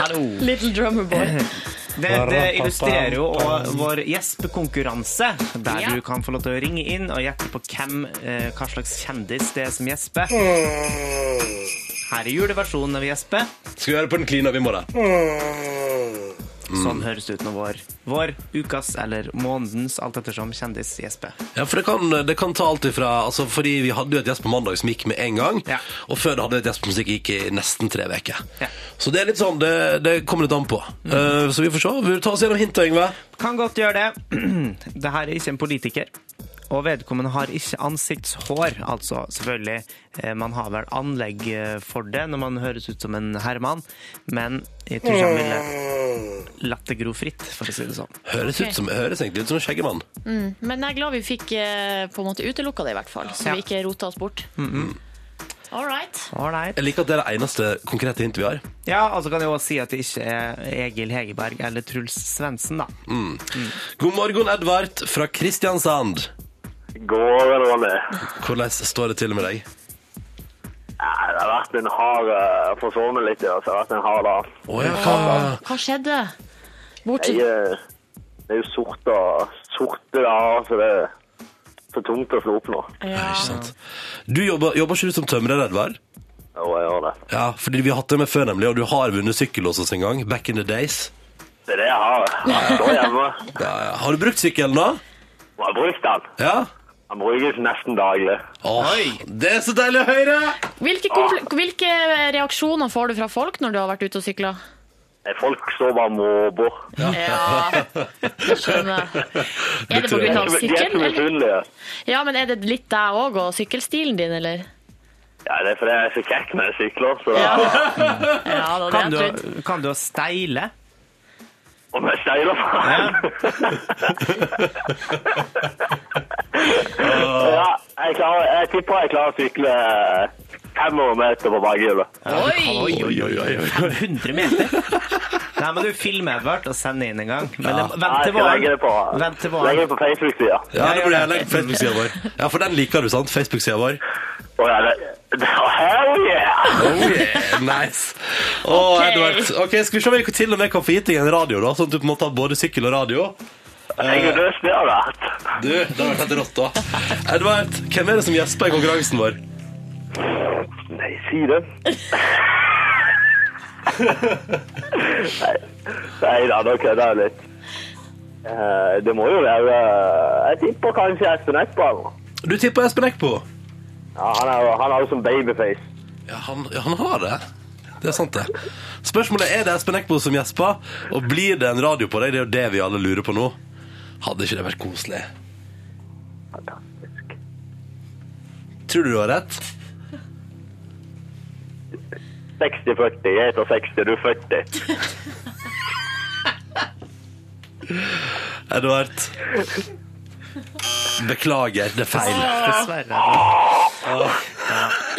Speaker 2: Hallo.
Speaker 3: Little Drummer Boy.
Speaker 2: Det, det illustrerer jo også vår gjespekonkurranse, der
Speaker 3: Ja.
Speaker 2: du kan få lov til å ringe inn og gjette på hvem, eh, hva slags kjendis det er som gjesper. Her er juleversjonen av gjespe.
Speaker 1: Skal vi høre på den klina vi må da?
Speaker 2: Sånn høres det ut når vår, vår ukas eller månedens, alt ettersom, kjendis gjesper.
Speaker 1: Ja, for det kan, det kan ta alt ifra altså, Fordi vi hadde jo et gjest på mandag som gikk med en gang.
Speaker 2: Ja.
Speaker 1: Og før det hadde vi et gjest på musikk gikk i nesten tre uker.
Speaker 2: Ja.
Speaker 1: Så det er litt sånn, det, det kommer litt an på. Eh, så vi får se. Vil du ta oss gjennom hintet, Yngve?
Speaker 2: Kan godt gjøre det. Det her er ikke en politiker. Og vedkommende har ikke ansiktshår, altså selvfølgelig. eh, Man har vel anlegg eh, for det når man høres ut som en herremann, men jeg tror ikke han ville
Speaker 9: Mm.
Speaker 2: latt det gro fritt, for å si det sånn.
Speaker 1: Høres, ut som, høres egentlig ut som en skjeggemann.
Speaker 3: Men jeg er glad vi fikk eh, på en måte utelukka det, i hvert fall. Så
Speaker 2: Ja.
Speaker 3: vi ikke rota oss bort. All right.
Speaker 2: Ålreit.
Speaker 1: Jeg liker at det er det eneste konkrete hintet vi har.
Speaker 2: Ja, og så kan jeg også si at det ikke er Egil Hegerberg eller Truls Svendsen, da.
Speaker 1: God morgen, Edvard fra Kristiansand.
Speaker 9: Går det rolig?
Speaker 1: Hvordan står det til med deg?
Speaker 9: Ja, det har vært en hard eh, For å sovne litt, ja. Så det har vært en hard dag.
Speaker 1: Å ja, hva-
Speaker 3: Hva skjedde? Bortsett
Speaker 9: Jeg, eh, det er jo sorte, sorte dager, så det er for tungt å slå opp nå.
Speaker 3: ja.
Speaker 1: ikke sant. Du jobber, jobber ikke du som tømrer, Edvard?
Speaker 9: Og jeg gjør det.
Speaker 1: Ja, fordi vi har hatt det med før, nemlig. Og du har vunnet sykkel hos oss en gang. Back in the days.
Speaker 9: Det er det jeg har. Jeg står hjemme.
Speaker 1: Ja, ja. Har du brukt sykkelen da?
Speaker 9: Og jeg har brukt den.
Speaker 1: Ja?
Speaker 9: Den brukes nesten daglig.
Speaker 1: Åh, det er så deilig å høre!
Speaker 3: Hvilke, kompl- hvilke eh, reaksjoner får du fra folk når du har vært ute og sykla?
Speaker 9: Eh, Folk står bare og måper.
Speaker 3: Ja, det skjønner jeg. Er det
Speaker 1: tror jeg.
Speaker 3: pga.
Speaker 9: De er så
Speaker 3: sykkelen? eller?
Speaker 9: misunnelige.
Speaker 3: Ja, men er det litt deg òg, og sykkelstilen din, eller?
Speaker 9: Ja, det er fordi jeg er så kjekk når jeg sykler. Så da,
Speaker 3: Ja, ja da, det
Speaker 2: Kan
Speaker 3: er
Speaker 2: du,
Speaker 3: jeg trodd.
Speaker 2: kan du å steile?
Speaker 9: Om jeg steiler fra Ja, jeg, klarer, jeg tipper jeg klarer å sykle 500 meter på bakhjulet.
Speaker 3: Oi!
Speaker 1: Oi, oi, oi, oi.
Speaker 2: 100 meter? Nei, men du filmer Edvard og sender inn en gang. Men det- vent
Speaker 9: Jeg
Speaker 2: til
Speaker 9: skal legge det på,
Speaker 2: våren. Vent til
Speaker 9: legge
Speaker 2: våren.
Speaker 9: det på Facebook-sida.
Speaker 1: Ja, det blir jeg legge på Facebook-sida vår. Ja, for den liker du, sant? Facebook-sida vår.
Speaker 9: Å, ja, det- det- Hell yeah!
Speaker 1: Oh, yeah, nice. Åh,
Speaker 3: Ok.
Speaker 1: Edvard. Ok, Skal vi se om vi til og med kan få gitt deg en radio, da? Sånn at du på en måte har både sykkel og radio. Eh,
Speaker 9: Jeg er døst det har vært.
Speaker 1: Du, det har vært helt rått, da. Edvard, hvem er det som gjesper i konkurransen vår?
Speaker 9: Nei, si det. Nei da, nå kødder jeg litt. Eh, Det må jo være eh, Jeg tipper kanskje Espen Eckball.
Speaker 1: Du tipper Espen Eckbo.
Speaker 9: Ja, han er jo- han er jo som babyface.
Speaker 1: Ja, han, ja, han har det. Det er sant, det. Spørsmålet er det Espen Eckbo som gjesper, og blir det en radio på deg? Det er jo det vi alle lurer på nå. Hadde ikke det vært koselig?
Speaker 9: Fantastisk.
Speaker 1: Tror du du har rett?
Speaker 9: 60-40. Jeg heter 60, du er 40.
Speaker 1: Edvard. Beklager, det er feil.
Speaker 2: Dessverre.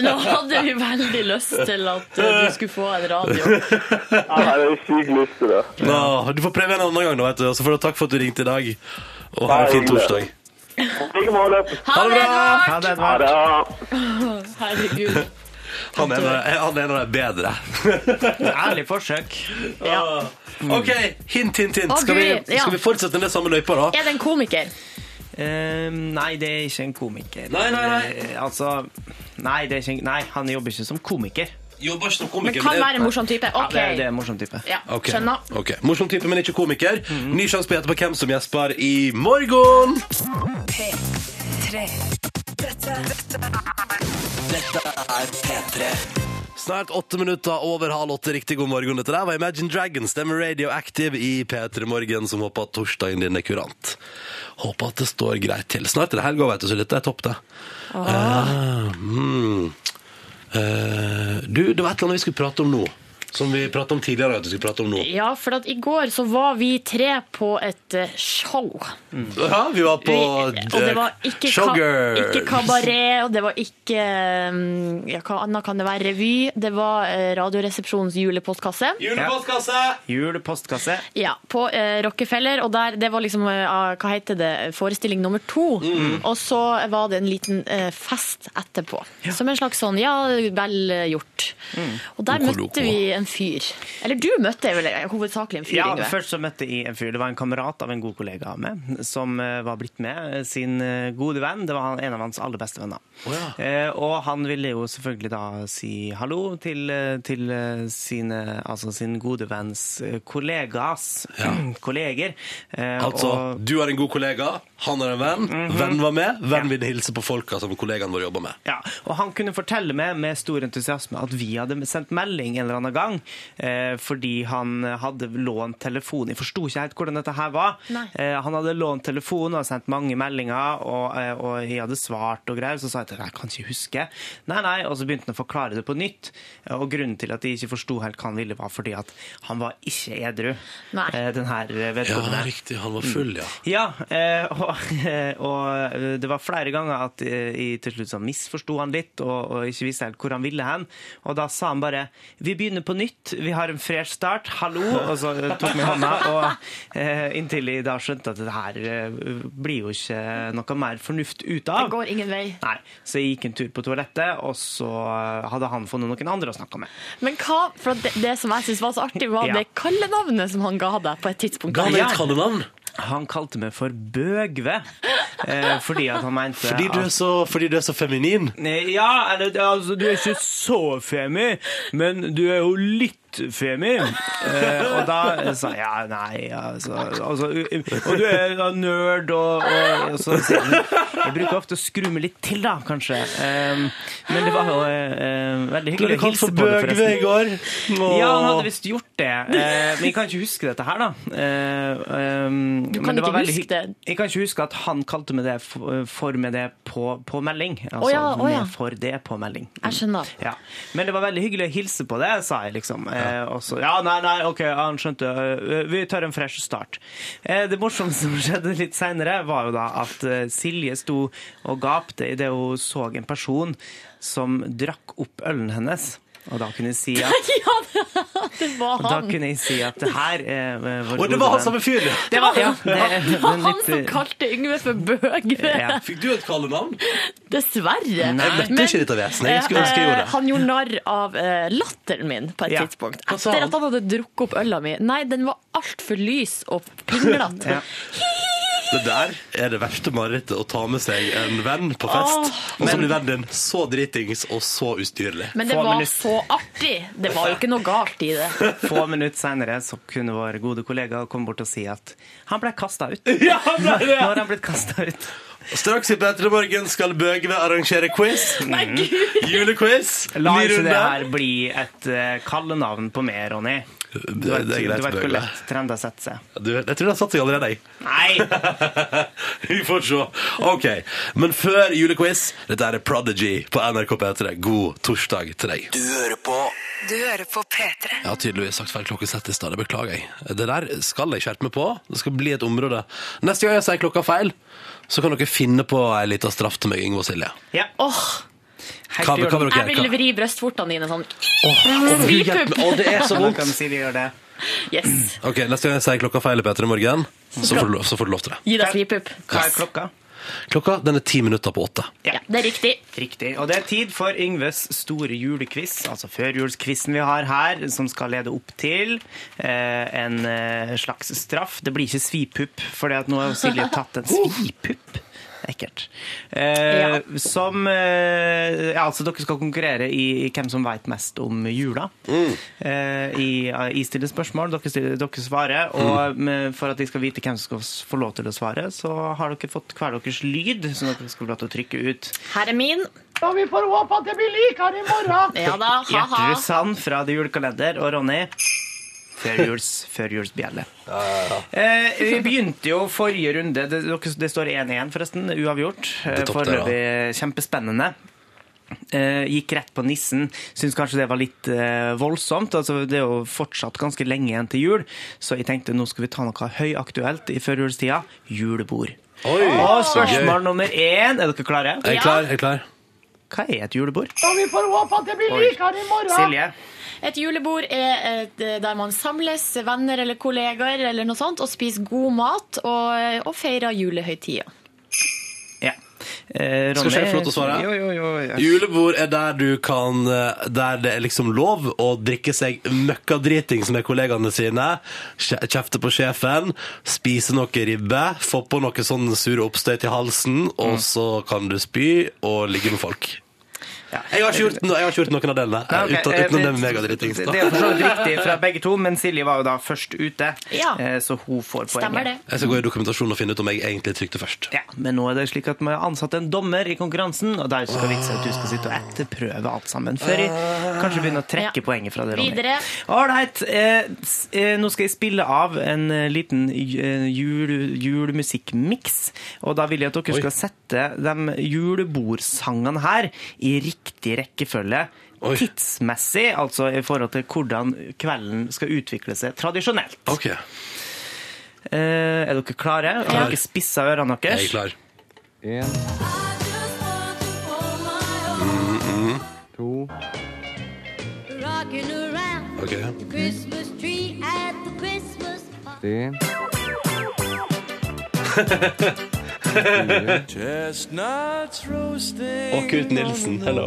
Speaker 3: Nå hadde vi veldig lyst til at eh, du skulle få en radio.
Speaker 9: Ja, jeg har jo sykt lyst til det.
Speaker 1: Nå, du får prøve en annen gang, da, vet du. Og så får du takk for at du ringte i dag. Og ha en fin torsdag.
Speaker 9: I like måte.
Speaker 3: Ha det bra!
Speaker 2: Ha det,
Speaker 9: Ha
Speaker 2: Edvard.
Speaker 9: det.
Speaker 3: Herregud.
Speaker 1: Han er en av- han er en av de bedre.
Speaker 2: Ærlig forsøk.
Speaker 3: Ja.
Speaker 1: OK, hint, hint, hint.
Speaker 3: Mm. Å,
Speaker 1: Skal vi,
Speaker 3: Gud, ja.
Speaker 1: skal vi fortsette med samme løypa, da?
Speaker 3: Er det en komiker?
Speaker 2: Eh, nei, det er ikke en komiker.
Speaker 1: Nei, nei, nei.
Speaker 2: Eh, altså, nei, det er ikke en, nei, han jobber ikke som komiker.
Speaker 1: Jobber ikke som
Speaker 3: Men
Speaker 1: komiker.
Speaker 3: kan
Speaker 1: er-
Speaker 3: være en morsom type.
Speaker 2: Ja,
Speaker 3: OK.
Speaker 2: det, er- det er en morsom type.
Speaker 3: Ja,
Speaker 1: Ok,
Speaker 3: Skjønner.
Speaker 1: ok. Morsom type, men ikke komiker. Ny sjanse på etterpå hvem som gjesper i morgen!
Speaker 4: P3. Dette, dette
Speaker 1: Snart åtte minutter over halv åtte. Riktig god morgen. Dette der var Imagine Dragons. Det er med Radioactive i P3 Morgen, som håper at torsdagen din er kurant. Håper at det står greit til. Snart er det helga, vet du, så dette er topp, det. Ah, mm. Eh, du, det var et eller annet vi skulle prate om nå. Som vi pratet om tidligere. At vi skulle prate om nå.
Speaker 3: Ja, for at i går så var vi tre på et eh, show.
Speaker 1: Ja, vi var
Speaker 3: Vi,
Speaker 1: på eh,
Speaker 3: og det var ikke, ka
Speaker 1: Showgirls.
Speaker 3: ikke kabaret, og det var ikke um, ja, Hva annet kan det være? Revy. Det var eh, Radioresepsjonens julepostkasse.
Speaker 1: Julepostkasse!
Speaker 2: Julepostkasse.
Speaker 3: Ja, på eh, Rockefeller, og der, det var liksom, eh, ah, hva heter det, forestilling nummer to.
Speaker 2: Mm.
Speaker 3: Og så var det en liten eh, fest etterpå. Som en slags sånn, ja, vel eh, gjort.
Speaker 2: Mm.
Speaker 3: Og der
Speaker 1: Loco, loco.
Speaker 3: møtte vi en fyr. Eller du møtte vel eh, hovedsakelig en fyr,
Speaker 2: Ja,
Speaker 3: Yngve.
Speaker 2: først så møtte jeg en fyr. Det var en kamerat av en god kollega av meg som eh, var blitt med. eh, Sin eh, gode venn. Det var han, en av hans aller beste venner.
Speaker 1: Å
Speaker 2: Eh, og han ville jo selvfølgelig da si hallo til, eh, til eh, sine, altså sin gode venns eh, kollegas kolleger. Eh,
Speaker 1: Altså,
Speaker 2: og-
Speaker 1: du har en god kollega, han har en venn, venn var med, venn vil hilse på folka som kollegaen vår jobber med.
Speaker 2: Ja, og han kunne fortelle meg med stor entusiasme at vi hadde sendt melding en eller annen gang, eh, fordi han hadde lånt telefon. Jeg forsto ikke helt hvordan dette her var.
Speaker 3: Nei.
Speaker 2: Eh, han hadde lånt telefon og sendt mange meldinger, og, eh, og jeg hadde svart og greier. Så sa jeg til ham jeg kan ikke huske. Nei, nei, og så begynte han å forklare det på nytt. Eh, Og grunnen til at jeg ikke forsto helt hva han ville, var fordi at han var ikke edru.
Speaker 3: Nei.
Speaker 2: Eh, den her
Speaker 1: Ja,
Speaker 2: vedkommende.
Speaker 1: riktig. Han var full, ja.
Speaker 2: Ja, eh, og, og eh, det var flere ganger at eh, jeg til slutt sånn misforsto han litt og, og ikke visste helt hvor han ville hen. Og da sa han bare 'Vi begynner på nytt. Vi har en fresh start. Hallo.' Og så eh, tok vi hånda, og eh, inntil jeg da skjønte at det her eh, blir jo ikke noe mer fornuft ut
Speaker 3: Det
Speaker 2: av.
Speaker 3: går ingen vei.
Speaker 2: Nei, Så jeg gikk en tur på toalettet, og så eh, hadde han funnet noen andre å snakke med.
Speaker 3: Men hva, for det, det som jeg synes var så artig, var
Speaker 2: Ja.
Speaker 3: det kallenavnet som han ga deg på et tidspunkt.
Speaker 1: Ga han deg et
Speaker 2: Ja.
Speaker 1: kallenavn?
Speaker 2: Han kalte meg for Bøgve, eh, fordi at han mente
Speaker 1: Fordi du,
Speaker 2: at-
Speaker 1: er så, fordi du er så feminin?
Speaker 2: Nei, Ja, eller det- altså, du er ikke så femi, men du er jo litt femi. Eh, og da sa jeg ja, nei, altså, altså u- Og du er da nerd og, og, og så, sier han, Jeg bruker ofte å skru meg litt til, da, kanskje. Eh, men det var jo eh, veldig
Speaker 1: Ble du
Speaker 2: hyggelig å
Speaker 1: kalt
Speaker 2: hilse
Speaker 1: for
Speaker 2: på det,
Speaker 1: Bøgve
Speaker 2: forresten.
Speaker 1: i går? Åh.
Speaker 2: Ja, han hadde visst gjort det, eh, men jeg kan ikke huske dette her, da. Eh, ehm, du
Speaker 3: kan ikke huske det?
Speaker 2: Jeg kan ikke huske at han kalte meg det for, for meg det på, på melding. Altså
Speaker 3: ja, å ja.
Speaker 2: med for det på melding.
Speaker 3: Jeg skjønner.
Speaker 2: Ja. Men det var veldig hyggelig å hilse på det, sa jeg liksom. Eh, og så, ja, nei, nei, ok, han skjønte. Eh, Vi tar en fresh start. Eh, det morsomme som skjedde litt seinere, var jo da at eh, Silje sto og gapte idet hun så en person som drakk opp ølen hennes. Og da kunne jeg si at,
Speaker 3: Ja, det, det var
Speaker 2: og da
Speaker 3: han.
Speaker 2: kunne jeg si at det her eh, var
Speaker 1: Og det var han samme fyr, ja!
Speaker 2: Det var, ja, det,
Speaker 3: Det var
Speaker 2: den
Speaker 3: han
Speaker 2: litt, eh,
Speaker 3: som kalte Yngve for Bøgve.
Speaker 2: ja.
Speaker 1: Fikk du et kallenavn?
Speaker 3: Dessverre.
Speaker 1: Jeg møtte
Speaker 3: Men-
Speaker 1: ikke dette vesenet. Jeg skulle ønske jeg gjorde
Speaker 3: Eh,
Speaker 1: det.
Speaker 3: Han gjorde narr av eh, latteren min på et
Speaker 2: Ja.
Speaker 3: tidspunkt.
Speaker 1: Hva sa
Speaker 3: Etter
Speaker 1: han?
Speaker 3: at han hadde drukket opp øla mi. Nei, den var altfor lys og pinglete.
Speaker 2: Ja.
Speaker 1: Det der er det verste marerittet, å ta med seg en venn på fest, og så blir vennen din så dritings og så ustyrlig.
Speaker 3: Men det
Speaker 2: Få
Speaker 3: var
Speaker 2: minutt.
Speaker 3: så artig! Det var jo ikke noe galt i det.
Speaker 2: Få minutter seinere kunne vår gode kollega komme bort og si at han ble kasta ut.
Speaker 1: Ja, han ble det.
Speaker 2: Nå har han blitt kasta ut.
Speaker 1: Straks i P3 Morgen skal Bøgve arrangere quiz.
Speaker 3: Nei, gud!
Speaker 1: Julequiz.
Speaker 2: La
Speaker 1: Ny
Speaker 2: ikke det
Speaker 1: runde.
Speaker 2: her bli et eh, kallenavn på meg, Ronny. Du
Speaker 1: Det
Speaker 2: vet,
Speaker 1: det er
Speaker 2: du
Speaker 1: greit,
Speaker 2: vet hvor
Speaker 1: Bøgve.
Speaker 2: lett trender setter seg.
Speaker 1: Du, Jeg tror det har satt seg allerede, jeg.
Speaker 2: Nei!
Speaker 1: Vi får se. Ok, men før julequiz, dette er Prodigy på NRK P3. God torsdag til deg.
Speaker 4: Du hører på P3.
Speaker 1: Jeg har tydeligvis sagt feil klokkesett i stad, det beklager jeg. Det der skal jeg skjerpe meg på. Det skal bli et område. Neste gang jeg sier klokka feil, så kan dere finne på ei lita straff til meg, Yngve og Silje.
Speaker 2: Ja,
Speaker 3: Åh,
Speaker 2: helt
Speaker 1: Hva,
Speaker 2: i
Speaker 1: hva vil
Speaker 2: orden.
Speaker 1: dere
Speaker 3: jeg ville
Speaker 1: gjøre?
Speaker 3: vri brystvortene dine sånn.
Speaker 1: Åh, åh, Gud hjelpe meg. Åh, det er så
Speaker 2: Nå
Speaker 1: vondt!
Speaker 2: kan Silje gjøre det.
Speaker 3: Yes!
Speaker 1: Ok, Neste gang jeg sier klokka feil i P3 Morgen, så får, du, lov- så får du lov til det.
Speaker 3: Gi deg svipupp.
Speaker 2: Hva er klokka?
Speaker 1: Klokka den er ti minutter på åtte.
Speaker 3: Ja, det er riktig.
Speaker 2: Riktig. Og det er tid for Yngves store julequiz, altså førjulsquizen vi har her, som skal lede opp til eh, en eh, slags straff. Det blir ikke svipupp, for nå har Silje tatt en svipupp. Ekkelt. Eh,
Speaker 3: Ja.
Speaker 2: Som eh, ja, Altså, dere skal konkurrere i, i hvem som vet mest om jula. Eh, i, jeg stiller spørsmål, dere, stiller, dere svarer. Og med- for at de skal vite hvem som skal s- få lov til å svare, så har dere fått hver deres lyd, som dere skal få lov til å trykke ut.
Speaker 3: Her er min. Ja, vi får håpe at det blir likere i morgen. Ja da, ha-ha.
Speaker 2: Gjertrud Sand fra The Julekalender og Ronny førjuls- Førjulsbjelle. Eh, vi begynte jo forrige runde. Det, dere- det står 1-1, forresten. Uavgjort.
Speaker 1: Det
Speaker 2: Eh,
Speaker 1: toppte det, da.
Speaker 2: Foreløpig kjempespennende. Eh, gikk rett på nissen. Syns kanskje det var litt eh, voldsomt. Altså, det er jo fortsatt ganske lenge igjen til jul, så jeg tenkte nå skal vi ta noe høyaktuelt i førjulstida. Julebord.
Speaker 1: Oi,
Speaker 2: Og
Speaker 1: så gøy.
Speaker 2: spørsmål nummer én. Er dere klare?
Speaker 1: Jeg er klar. jeg er klar
Speaker 2: Hva er et julebord? vi får håpe at det blir likere i morgen! Silje?
Speaker 3: Et julebord er et, eh, der man samles, venner eller kollegaer eller noe sånt, og spiser god mat og, og feirer julehøytida.
Speaker 2: Ja. Eh,
Speaker 1: Skal ikke jeg få lov til å svare?
Speaker 2: Jo, jo, jo, ja.
Speaker 1: Julebord er der du kan eh, Der det er liksom lov å drikke seg møkkadritings med kollegaene sine, kje- kjefte på sjefen, spise noe ribbe, få på noe sånn sure oppstøy til halsen, og
Speaker 2: Mm.
Speaker 1: så kan du spy og ligge med folk. Jeg har ikke gjort, no, jeg har ikke gjort noen av delene. eh,
Speaker 2: Nei, ok,
Speaker 1: Uten,
Speaker 2: eh,
Speaker 1: utenom det
Speaker 2: men-
Speaker 1: med megadritings.
Speaker 2: Det er
Speaker 1: da.
Speaker 2: for så vidt riktig fra begge to, men Silje var jo da først ute,
Speaker 3: Ja.
Speaker 2: eh, så hun får poenget.
Speaker 3: Stemmer det.
Speaker 1: Jeg skal gå i dokumentasjonen og finne ut om jeg egentlig trykte først.
Speaker 2: Ja, men nå er det slik at vi har ansatt en dommer i konkurransen, og der skal vitsen at du skal sitte og etterprøve alt sammen før jeg kanskje begynner å trekke
Speaker 3: Ah. Ja.
Speaker 2: poenget fra det, Ronny.
Speaker 3: Videre.
Speaker 2: Ålreit. Eh, s- eh, nå skal jeg spille av en eh, liten j- eh, jul, julemusikkmiks, og da vil jeg at dere
Speaker 1: Oi.
Speaker 2: skal sette de julebordsangene her i riktig rekkefølge.
Speaker 1: Oi.
Speaker 2: Tidsmessig, altså i forhold til hvordan kvelden skal utvikle seg tradisjonelt.
Speaker 1: OK.
Speaker 2: Eh, er dere klare? Har dere spissa ørene deres?
Speaker 1: Jeg er klar.
Speaker 10: Rocking around
Speaker 1: Ok.
Speaker 10: the Christmas tree at the Christmas party.
Speaker 7: Chestnuts roasting.
Speaker 1: Og Knut Nilsen, hello.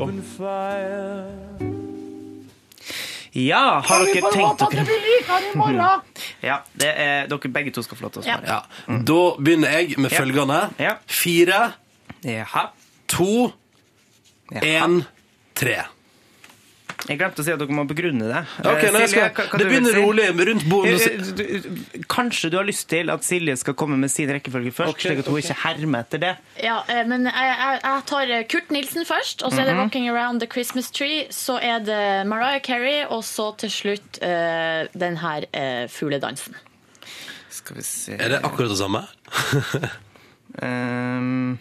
Speaker 2: Ja, har dere tenkt dere Ja, det er, dere begge to skal få lov til å
Speaker 3: Ja.
Speaker 2: svare.
Speaker 1: Ja. Da begynner jeg med
Speaker 2: Mm. Ja.
Speaker 1: følgende.
Speaker 2: Ja.
Speaker 1: Fire,
Speaker 2: Jaha.
Speaker 1: to,
Speaker 2: Jaha.
Speaker 1: én, tre.
Speaker 2: Jeg glemte å si at dere må begrunne det.
Speaker 1: Ok,
Speaker 2: Eh,
Speaker 1: nei, jeg skal,
Speaker 2: hva-
Speaker 1: Det
Speaker 2: hva du vil
Speaker 1: begynner
Speaker 2: si?
Speaker 1: rolig rundt bordet.
Speaker 2: Eh, eh, du- du- Kanskje du har lyst til at Silje skal komme med sin rekkefølge først,
Speaker 1: Ok,
Speaker 2: slik at hun ikke hermer etter det.
Speaker 3: Ja, eh, men jeg, jeg, jeg tar eh, Kurt Nilsen først, og så er det
Speaker 2: Mhm.
Speaker 3: 'Walking Around the Christmas Tree'. Så er det Mariah Carey, og så til slutt eh, den her eh, fugledansen.
Speaker 2: Skal vi se
Speaker 1: Er det akkurat det samme?
Speaker 2: Ehm,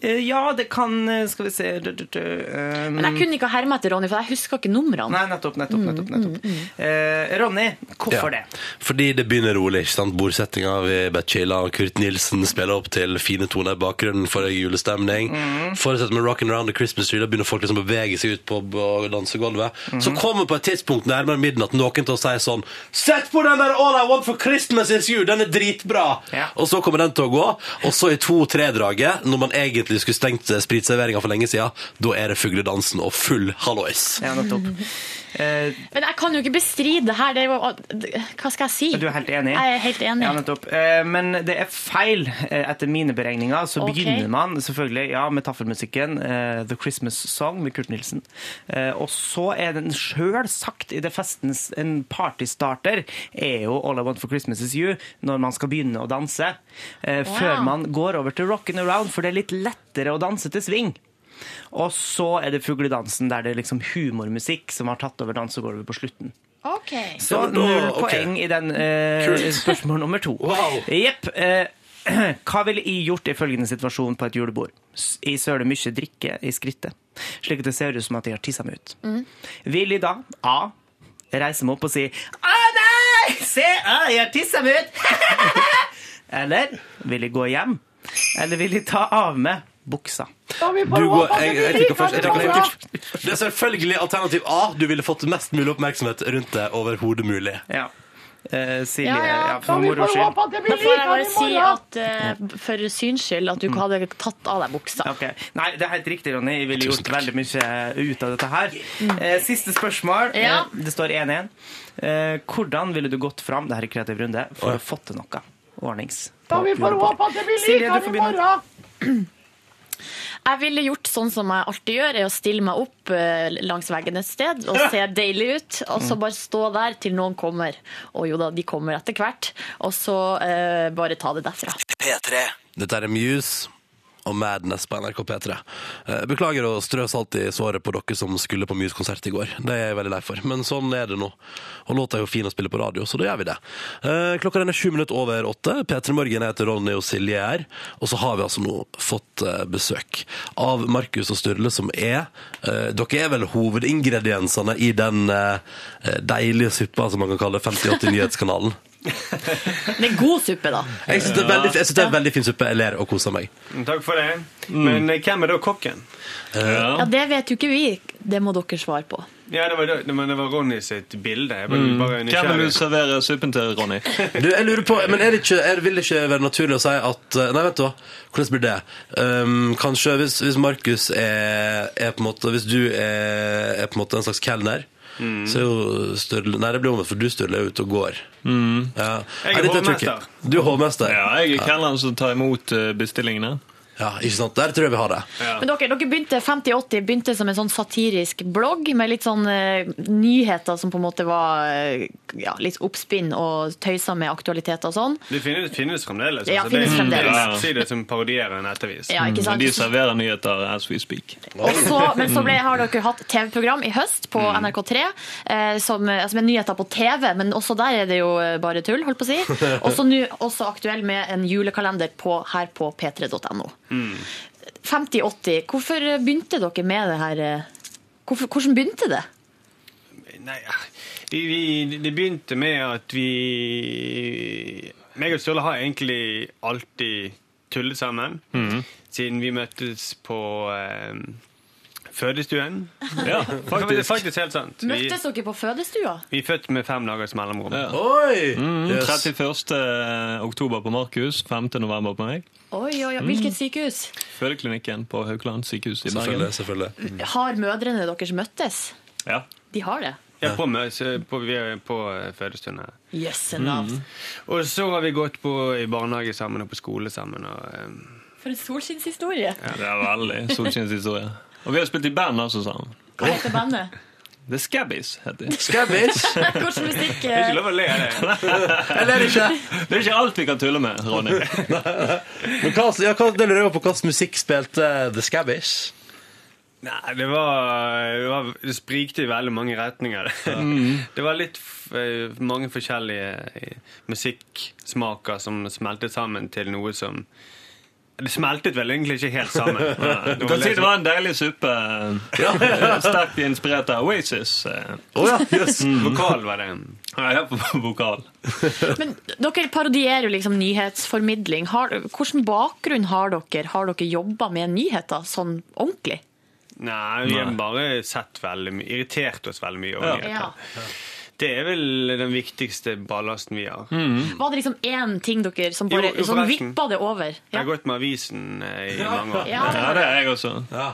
Speaker 2: eh, Ja, det kan eh, Skal vi se Du, du, du, ehm,
Speaker 3: Men jeg kunne ikke ha hermet etter Ronny, for jeg husker ikke numrene.
Speaker 2: Nei, nettopp, nettopp. nettopp, nettopp. Eh, Ronny, hvorfor det?
Speaker 1: Fordi det begynner rolig. ikke sant? Bordsettinga vi bare chiller, og Kurt Nilsen spiller opp til fine toner i bakgrunnen for en julestemning.
Speaker 2: Mhm.
Speaker 1: Forutsatt med Rockin' Around the Christmas Tree, da begynner folk liksom å bevege seg ut på på dansegulvet.
Speaker 2: Mhm.
Speaker 1: Så kommer på et tidspunkt nærmere midnatt noen til å si sånn Sett på den der All I Want for Christmas Is You! Den er dritbra!
Speaker 2: Ja.
Speaker 1: Og så kommer den til å gå. Og så i to-tre-draget, når man egentlig skulle stengt spritserveringa for lenge siden, da er det fugledansen og full hallois.
Speaker 2: Ja, nettopp. Eh,
Speaker 3: Men jeg kan jo ikke bestride det her. Det er jo, hva skal jeg si?
Speaker 2: Du er helt enig?
Speaker 3: Jeg er helt enig.
Speaker 2: Ja, nettopp. Eh, Men det er feil. Eh, Etter mine beregninger så
Speaker 3: Ok.
Speaker 2: begynner man selvfølgelig ja, med taffelmusikken eh, The Christmas Song med Kurt Nilsen. Eh, Og så er den sjølsagt i det festens en partystarter er jo All I Want for Christmas Is You når man skal begynne å danse. eh, Før man går over til rockin' around, for det er litt lettere å danse til swing. Og så er det fugledansen, der det er liksom humormusikk som har tatt over dansegulvet på slutten.
Speaker 3: Ok.
Speaker 2: Så
Speaker 1: Ja, men da-
Speaker 2: null
Speaker 1: ok.
Speaker 2: poeng i den eh,
Speaker 1: Kult.
Speaker 2: spørsmål nummer to.
Speaker 1: Wow.
Speaker 2: Jepp. eh, hva ville I gjort i følgende situasjon på et julebord? S- I søler mye drikke i skrittet, slik at det ser ut som at jeg har tissa meg ut.
Speaker 3: Mm.
Speaker 2: Vil I da A. reise meg opp og si Å nei! Se, å, jeg har tissa meg ut! Eller vil I gå hjem? Eller vil I ta av meg buksa?
Speaker 1: Du går, jeg, jeg trykker først. Jeg trykker først. Det er selvfølgelig alternativ A. Du ville fått mest mulig oppmerksomhet rundt det overhodet mulig.
Speaker 2: Ja. Eh, Silje,
Speaker 3: Ja, ja.
Speaker 2: ja, for moro skyld.
Speaker 3: Da får jeg bare si at eh, for syns skyld at du ikke hadde tatt av deg buksa.
Speaker 2: Ok. Nei, det er helt riktig, Ronny. Jeg ville
Speaker 1: Tusen
Speaker 2: gjort
Speaker 1: takk.
Speaker 2: veldig mye ut av dette her. Eh, siste spørsmål.
Speaker 3: Ja.
Speaker 2: Eh, det står 1-1. Eh, hvordan ville du gått fram det her i kreativ runde for
Speaker 1: Oi.
Speaker 2: å få til noe ordnings? Da vi får håpe at det blir likere i morgen!
Speaker 3: Jeg ville gjort sånn som jeg alltid gjør, er å stille meg opp eh, langs veggen et sted og se deilig ut, og så bare stå der til noen kommer. Og jo da, de kommer etter hvert, og så eh, bare ta det derfra.
Speaker 4: P3.
Speaker 1: Dette er Muse og Madness på NRK P3. Eh, Beklager å strø salt i såret på dere som skulle på Muse-konsert i går. Det er jeg veldig lei for, men sånn er det nå. Og låta er jo fin å spille på radio, så da gjør vi det. Eh, Klokka den er sju minutter over åtte. P3 Morgen heter Ronny og Silje her. Og så har vi altså nå fått eh, besøk av Markus og Sturle, som er eh, Dere er vel hovedingrediensene i den eh, deilige suppa som man kan kalle 5080 Nyhetskanalen?
Speaker 3: Det er god suppe, da.
Speaker 1: Jeg syns det, er veldig- jeg synes det er en veldig fin suppe. Jeg ler og koser meg.
Speaker 2: Takk for det. Men eh, hvem er da kokken?
Speaker 3: Ja, Det vet jo ikke vi. Det må dere svare på.
Speaker 2: Ja, det var, det- men det var Ronny sitt bilde. Jeg ble bare
Speaker 9: Hvem vil
Speaker 2: nysgjerrig.
Speaker 9: du servere suppen til, Ronny?
Speaker 1: Du, jeg lurer på, men er det ikke, er, vil det ikke være naturlig å si at eh, Nei, vent da, hvordan blir det? Um, kanskje hvis, hvis Markus er, er på en måte Hvis du er, er på en måte en slags kelner
Speaker 9: Mm.
Speaker 1: Så er jo Sturle Nei, det blir omvendt, for du Sturle er ute og går
Speaker 9: Mm.
Speaker 1: ja.
Speaker 2: Jeg er
Speaker 1: Nei, dette
Speaker 2: hovmester.
Speaker 1: tricky. Du er hovmester
Speaker 9: Ja, jeg er kelneren som tar imot eh, bestillingene.
Speaker 1: Ja, ikke sant? Der tror jeg vi har det
Speaker 3: Men dere, dere begynte 5080 begynte som en sånn satirisk blogg med litt sånn eh, nyheter som på en måte var eh, ja, litt oppspinn og tøysa med aktualiteter og sånn.
Speaker 2: Det finnes, finnes fremdeles. altså,
Speaker 3: Ja,
Speaker 2: det
Speaker 3: finnes
Speaker 2: er en
Speaker 3: fremdeles.
Speaker 2: nettside som parodierer en nettavis.
Speaker 3: Ja, ikke sant?
Speaker 9: De serverer nyheter as we speak.
Speaker 3: Og så, men så ble, har dere hatt TV-program i høst på NRK3, eh, som, altså med nyheter på TV, men også der er det jo eh, bare tull, holdt på å si. Og så nå også aktuell med en julekalender på, her på p3.no. 5080, hvorfor begynte dere med det her? eh, Hvorfor, hvordan begynte det?
Speaker 2: Nei, ja. vi, vi, det begynte med at vi Meg og Sturle har egentlig alltid tullet sammen. Hmm? Siden vi møttes på eh, fødestuen.
Speaker 9: Ja,
Speaker 2: Det er
Speaker 9: faktisk.
Speaker 2: faktisk helt sant. Vi,
Speaker 3: Møttes dere på fødestua?
Speaker 2: vi er født med fem dagers mellomrom.
Speaker 9: Ja.
Speaker 1: Oi!
Speaker 9: Mm,
Speaker 1: Yes.
Speaker 9: 31. oktober på Markus, 5. november på meg.
Speaker 3: Oi, oi, oi. Hvilket sykehus?
Speaker 9: Fødeklinikken på Haukeland sykehus i Bergen.
Speaker 1: Selvfølgelig, selvfølgelig
Speaker 3: Har mødrene deres møttes?
Speaker 9: Ja.
Speaker 3: De har det.
Speaker 2: Ja, på, mø- på, vi er på eh, fødestuen her.
Speaker 3: Jøsse navn.
Speaker 2: Og så har vi gått på, i barnehage sammen og på skole sammen. Og, eh,
Speaker 3: For en solskinnshistorie.
Speaker 9: ja, det er veldig solskinnshistorie. Og vi har spilt i band også sammen.
Speaker 3: Hva heter bandet?
Speaker 9: The Scabbies heter de.
Speaker 1: Skabbies,
Speaker 3: Hvordan musikk eh,
Speaker 2: ikke lov å le av det.
Speaker 1: eller ikke?
Speaker 9: Det er ikke alt vi kan tulle med, Ronny.
Speaker 1: Men hva, ja, hva, det lurer jeg på hva slags musikk spilte The Skabbies
Speaker 2: Nei, det var, det var Det sprikte i veldig mange retninger. Det var litt f eh, mange forskjellige eh, musikksmaker som smeltet sammen til noe som Det smeltet vel egentlig ikke helt sammen. Nei,
Speaker 9: Du
Speaker 2: det var liksom-
Speaker 9: kan si
Speaker 2: litt-
Speaker 9: det var en deilig suppe. Sterkt inspirert av Oasis. Eh,
Speaker 1: Åja, yes
Speaker 2: Mm. Vokal var det.
Speaker 9: Jeg er på vokal.
Speaker 3: eh, Men dere parodierer jo liksom nyhetsformidling. Har, hvilken bakgrunn har dere? Har dere jobba med nyheter sånn ordentlig?
Speaker 2: Nei, vi har bare sett veldig mye Irritert oss veldig mye over
Speaker 9: Ja.
Speaker 2: nyheter. Det er vel den viktigste ballasten vi har.
Speaker 3: Var det liksom én ting dere som
Speaker 2: Jo,
Speaker 3: bare
Speaker 2: jo,
Speaker 3: som
Speaker 2: forresten.
Speaker 3: vippa det over?
Speaker 2: Jeg
Speaker 3: Ja.
Speaker 2: har gått med avisen eh, i mange år.
Speaker 3: Ja,
Speaker 9: Ja, det er jeg også.
Speaker 1: ja.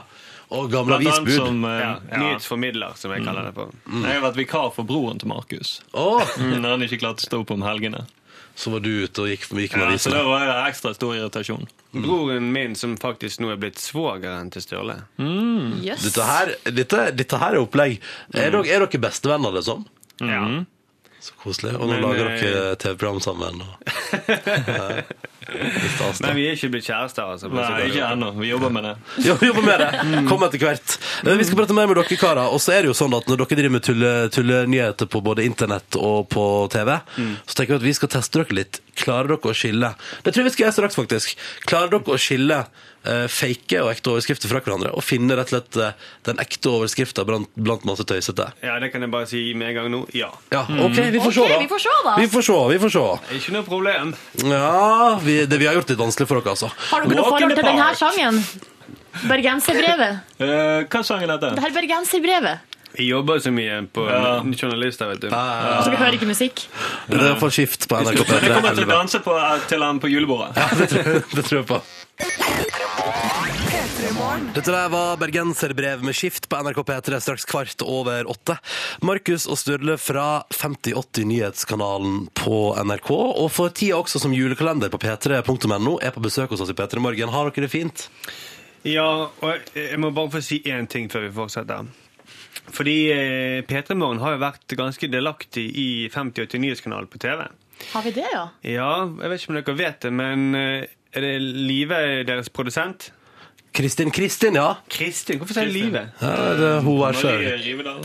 Speaker 1: Og gamle
Speaker 9: Blant annet
Speaker 1: avisbud
Speaker 9: som eh,
Speaker 2: Ja, Mm.
Speaker 9: ja,
Speaker 2: Nyhetsformidler, som jeg kaller det på.
Speaker 9: Jeg har vært vikar for broren til Markus.
Speaker 1: Åh,
Speaker 9: Mm, Når han ikke klarte å stå opp om helgene.
Speaker 1: så var du ute og gikk, gikk med
Speaker 9: Ja, så
Speaker 1: avisene
Speaker 9: det var jo ekstra stor irritasjon.
Speaker 2: Broren min, som faktisk nå er blitt svogeren til Sturle.
Speaker 9: Mm.
Speaker 3: jøss.
Speaker 1: Dette her, dette, dette her er opplegg. Er, dere, er dere bestevenner, liksom?
Speaker 2: Ja.
Speaker 9: Mm.
Speaker 1: Så koselig. Og nå
Speaker 2: Men,
Speaker 1: lager
Speaker 2: eh,
Speaker 1: dere TV-program sammen. Og... Ja, det er stas,
Speaker 2: Nei,
Speaker 1: da.
Speaker 2: vi er ikke blitt kjærester, altså.
Speaker 9: Nei, ikke ennå. Vi jobber med det.
Speaker 1: Jo, Jobber med det. Kom etter hvert. Eh, Vi skal prate mer med dere karer. Og så er det jo sånn at når dere driver med tulle- tullenyheter på både internett og på TV, så tenker vi at vi skal teste dere litt. Klarer dere å skille Det tror jeg vi skal gjøre straks, faktisk. Klarer dere å skille eh, fake og ekte overskrifter fra hverandre? Og finne rett og slett eh, den ekte overskrifta blant, blant masse tøysete?
Speaker 2: Ja, det kan jeg bare si med en gang nå. Ja.
Speaker 1: Ja, OK, vi får se,
Speaker 3: Mm. Ok,
Speaker 1: da.
Speaker 3: vi får se, da.
Speaker 1: Vi får se, vi får se.
Speaker 2: Ikke noe problem.
Speaker 1: Ja, vi, det, vi har gjort det litt vanskelig for dere, altså.
Speaker 3: Har dere noe
Speaker 9: Walk in
Speaker 3: forhold
Speaker 9: the
Speaker 3: til denne
Speaker 9: park.
Speaker 3: sangen? Bergenserbrevet.
Speaker 9: Eh, hva sang er dette?
Speaker 3: Det her bergenserbrevet.
Speaker 2: Jeg jobber så mye på
Speaker 9: Ja.
Speaker 2: journalister, vet du.
Speaker 3: Og dere Altså, hører ikke musikk.
Speaker 1: Det er for skift på NRK
Speaker 9: Vi kommer til å
Speaker 1: P3.
Speaker 9: danse på, eh, til han på julebordet.
Speaker 1: Det tror jeg på. Dette der var Bergenserbrev med skift på NRK P3 straks kvart over åtte. Markus og Sturle fra 5080 Nyhetskanalen på NRK, og for tida også som julekalender på p3.no, er på besøk hos oss i P3 Morgen. Har dere det fint?
Speaker 2: Ja, og jeg jeg må bare få si én ting før vi fortsetter. Fordi eh, P3 Morgen har jo vært ganske delaktig i 5080 Nyhetskanalen på TV.
Speaker 3: Har vi det, ja?
Speaker 2: Ja, jeg vet ikke om dere vet det, men eh, er det Live deres produsent?
Speaker 1: Kristin Kristin, ja.
Speaker 2: Kristin, Hvorfor sier jeg Live?
Speaker 1: Ja, det er hun her sjøl.
Speaker 9: Marie Rivedal.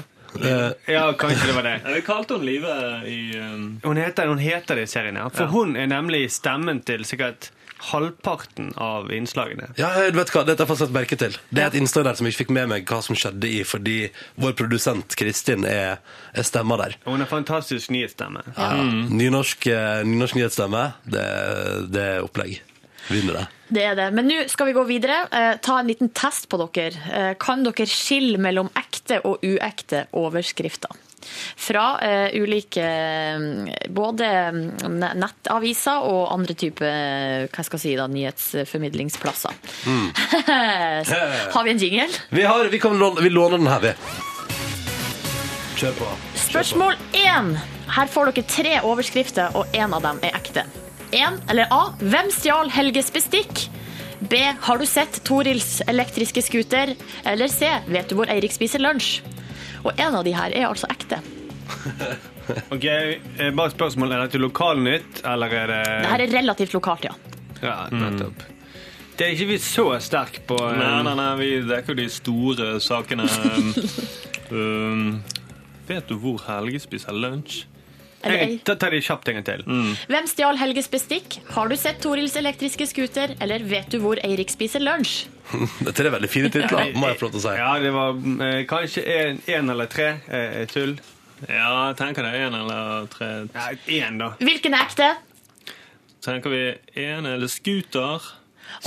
Speaker 2: Ja, kanskje det var det.
Speaker 9: Vi kalte hun Live i um,
Speaker 2: Hun heter, hun heter det i serien her, for
Speaker 9: Ja.
Speaker 2: hun er nemlig stemmen til sikkert halvparten av innslagene.
Speaker 1: Ja, jeg vet hva, Dette har jeg fast lagt merke til. Det er et innslag der som jeg ikke fikk med meg hva som skjedde i, fordi vår produsent Kristin er, er stemma der.
Speaker 2: Og hun har fantastisk nyhetsstemme.
Speaker 1: Ja. Nynorsk, eh, nynorsk nyhetsstemme, det, det er opplegg. Vinner det.
Speaker 3: Det er det. Men nå skal vi gå videre. Eh, ta en liten test på dere. Eh, kan dere skille mellom ekte og uekte overskrifter? Fra eh, ulike eh, både mm, ne- nettaviser og andre typer hva skal jeg si da, nyhetsformidlingsplasser. Har vi en jingle?
Speaker 1: Vi, har, vi, kan låne, vi låner den her, vi. Kjør på.
Speaker 3: Spørsmål én. Her får dere tre overskrifter, og én av dem er ekte. En, eller A. Hvem stjal Helges bestikk? B. Har du sett Torils elektriske scooter? Eller C. Vet du hvor Eirik spiser lunsj? Og en av de her er altså ekte.
Speaker 2: Ok, eh, Bare et spørsmål. Er dette lokalnytt, eller er det
Speaker 3: Det her er relativt lokalt, ja.
Speaker 2: Ja, nettopp. Det er ikke vi så sterke på eh,
Speaker 9: Nei, nei, nei, vi dekker jo de store sakene. um, vet du hvor Helge spiser lunsj?
Speaker 3: Eller ei.
Speaker 2: Da tar de kjapt en gang til.
Speaker 3: Hvem stjal Helges bestikk? Har du sett Torils elektriske scooter? Eller vet du hvor Eirik spiser lunsj?
Speaker 1: Dette er veldig fine titler, må jeg få lov til å si.
Speaker 2: Ja, det var eh, kanskje en, en eller tre eh, tull.
Speaker 9: Ja, jeg tenker det er en eller tre.
Speaker 2: Nei, én, da.
Speaker 3: Hvilken er ekte?
Speaker 9: Tenker vi en eller scooter?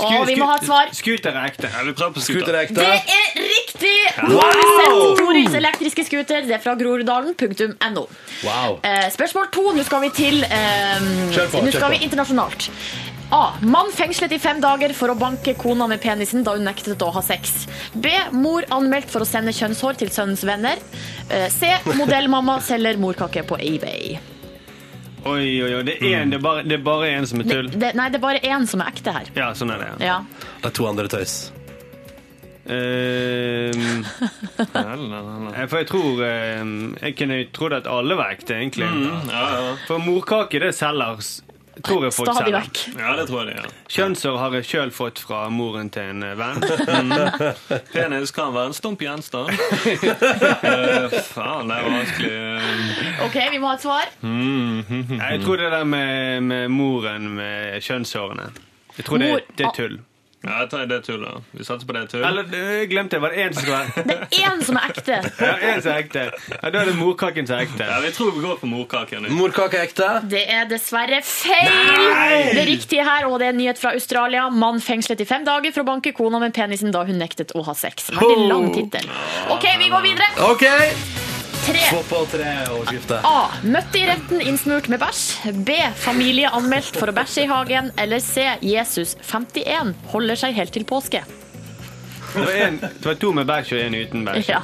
Speaker 3: Å, vi må ha et svar.
Speaker 2: Scooter er ekte.
Speaker 9: Ja, vi prøver på
Speaker 1: Scooter
Speaker 9: scooter.
Speaker 1: er ekte.
Speaker 3: Det er riktig! Har du sett Torils elektriske scooter? Det er fra groruddalen.no.
Speaker 1: Wow.
Speaker 3: Eh, spørsmål to. Nå skal vi til eh,
Speaker 1: Kjør på, kjør
Speaker 3: Nå
Speaker 1: på.
Speaker 3: skal vi internasjonalt. A. Mann fengslet i fem dager for å banke kona med penisen da hun nektet å ha sex. B. Mor anmeldt for å sende kjønnshår til sønnens venner. Eh, C. Modellmamma selger morkake på eBay.
Speaker 2: Oi, oi, oi. Det er, en, det, er bare, det er bare en som er
Speaker 3: Det,
Speaker 2: tull.
Speaker 3: det, nei, det er bare én som er ekte her.
Speaker 2: Ja, sånn er det. ja.
Speaker 3: Ja.
Speaker 1: Det er to andre tøys.
Speaker 2: Ehm,
Speaker 9: Mm.
Speaker 2: eh, for jeg tror ehm, Jeg kunne trodd at alle var ekte, egentlig.
Speaker 9: Ja, ja.
Speaker 2: For morkake, det selger. s- Tror jeg folk
Speaker 3: Stadig
Speaker 2: selger.
Speaker 3: vekk.
Speaker 9: ja, det tror jeg det er.
Speaker 2: Kjønnsår har jeg sjøl fått fra moren til en eh, venn.
Speaker 9: Penis kan være en stump gjenstand. Eh, faen, det er vanskelig.
Speaker 3: OK, vi må ha et svar.
Speaker 2: Jeg tror det der med, med moren med kjønnshårene Jeg tror det,
Speaker 3: Mor- Ah.
Speaker 2: det er tull.
Speaker 9: Ja, jeg tar det tullet. Vi satser på det tullet.
Speaker 2: Eller jeg glemte jeg. Var det én som skulle være
Speaker 3: Det er én som er ekte.
Speaker 2: Ja, én som er ekte. Ja, da er det morkaken som er ekte.
Speaker 9: Ja, vi tror vi går for morkaken.
Speaker 1: Morkake er ekte.
Speaker 3: Det er dessverre feil! Det riktige her, og det er en nyhet fra Australia. Mann fengslet i fem dager for å banke kona med penisen da hun nektet å ha sex. Veldig lang tittel. OK, vi går videre.
Speaker 1: OK!
Speaker 3: Tre.
Speaker 1: Få på tre overskrifter.
Speaker 3: A. Møtte i retten innsmurt med bæsj. B. Familie anmeldt for å bæsje i hagen. Eller C. Jesus 51 holder seg helt til påske.
Speaker 2: Det var, en, det var to med bæsj og én uten bæsj.
Speaker 3: Ja.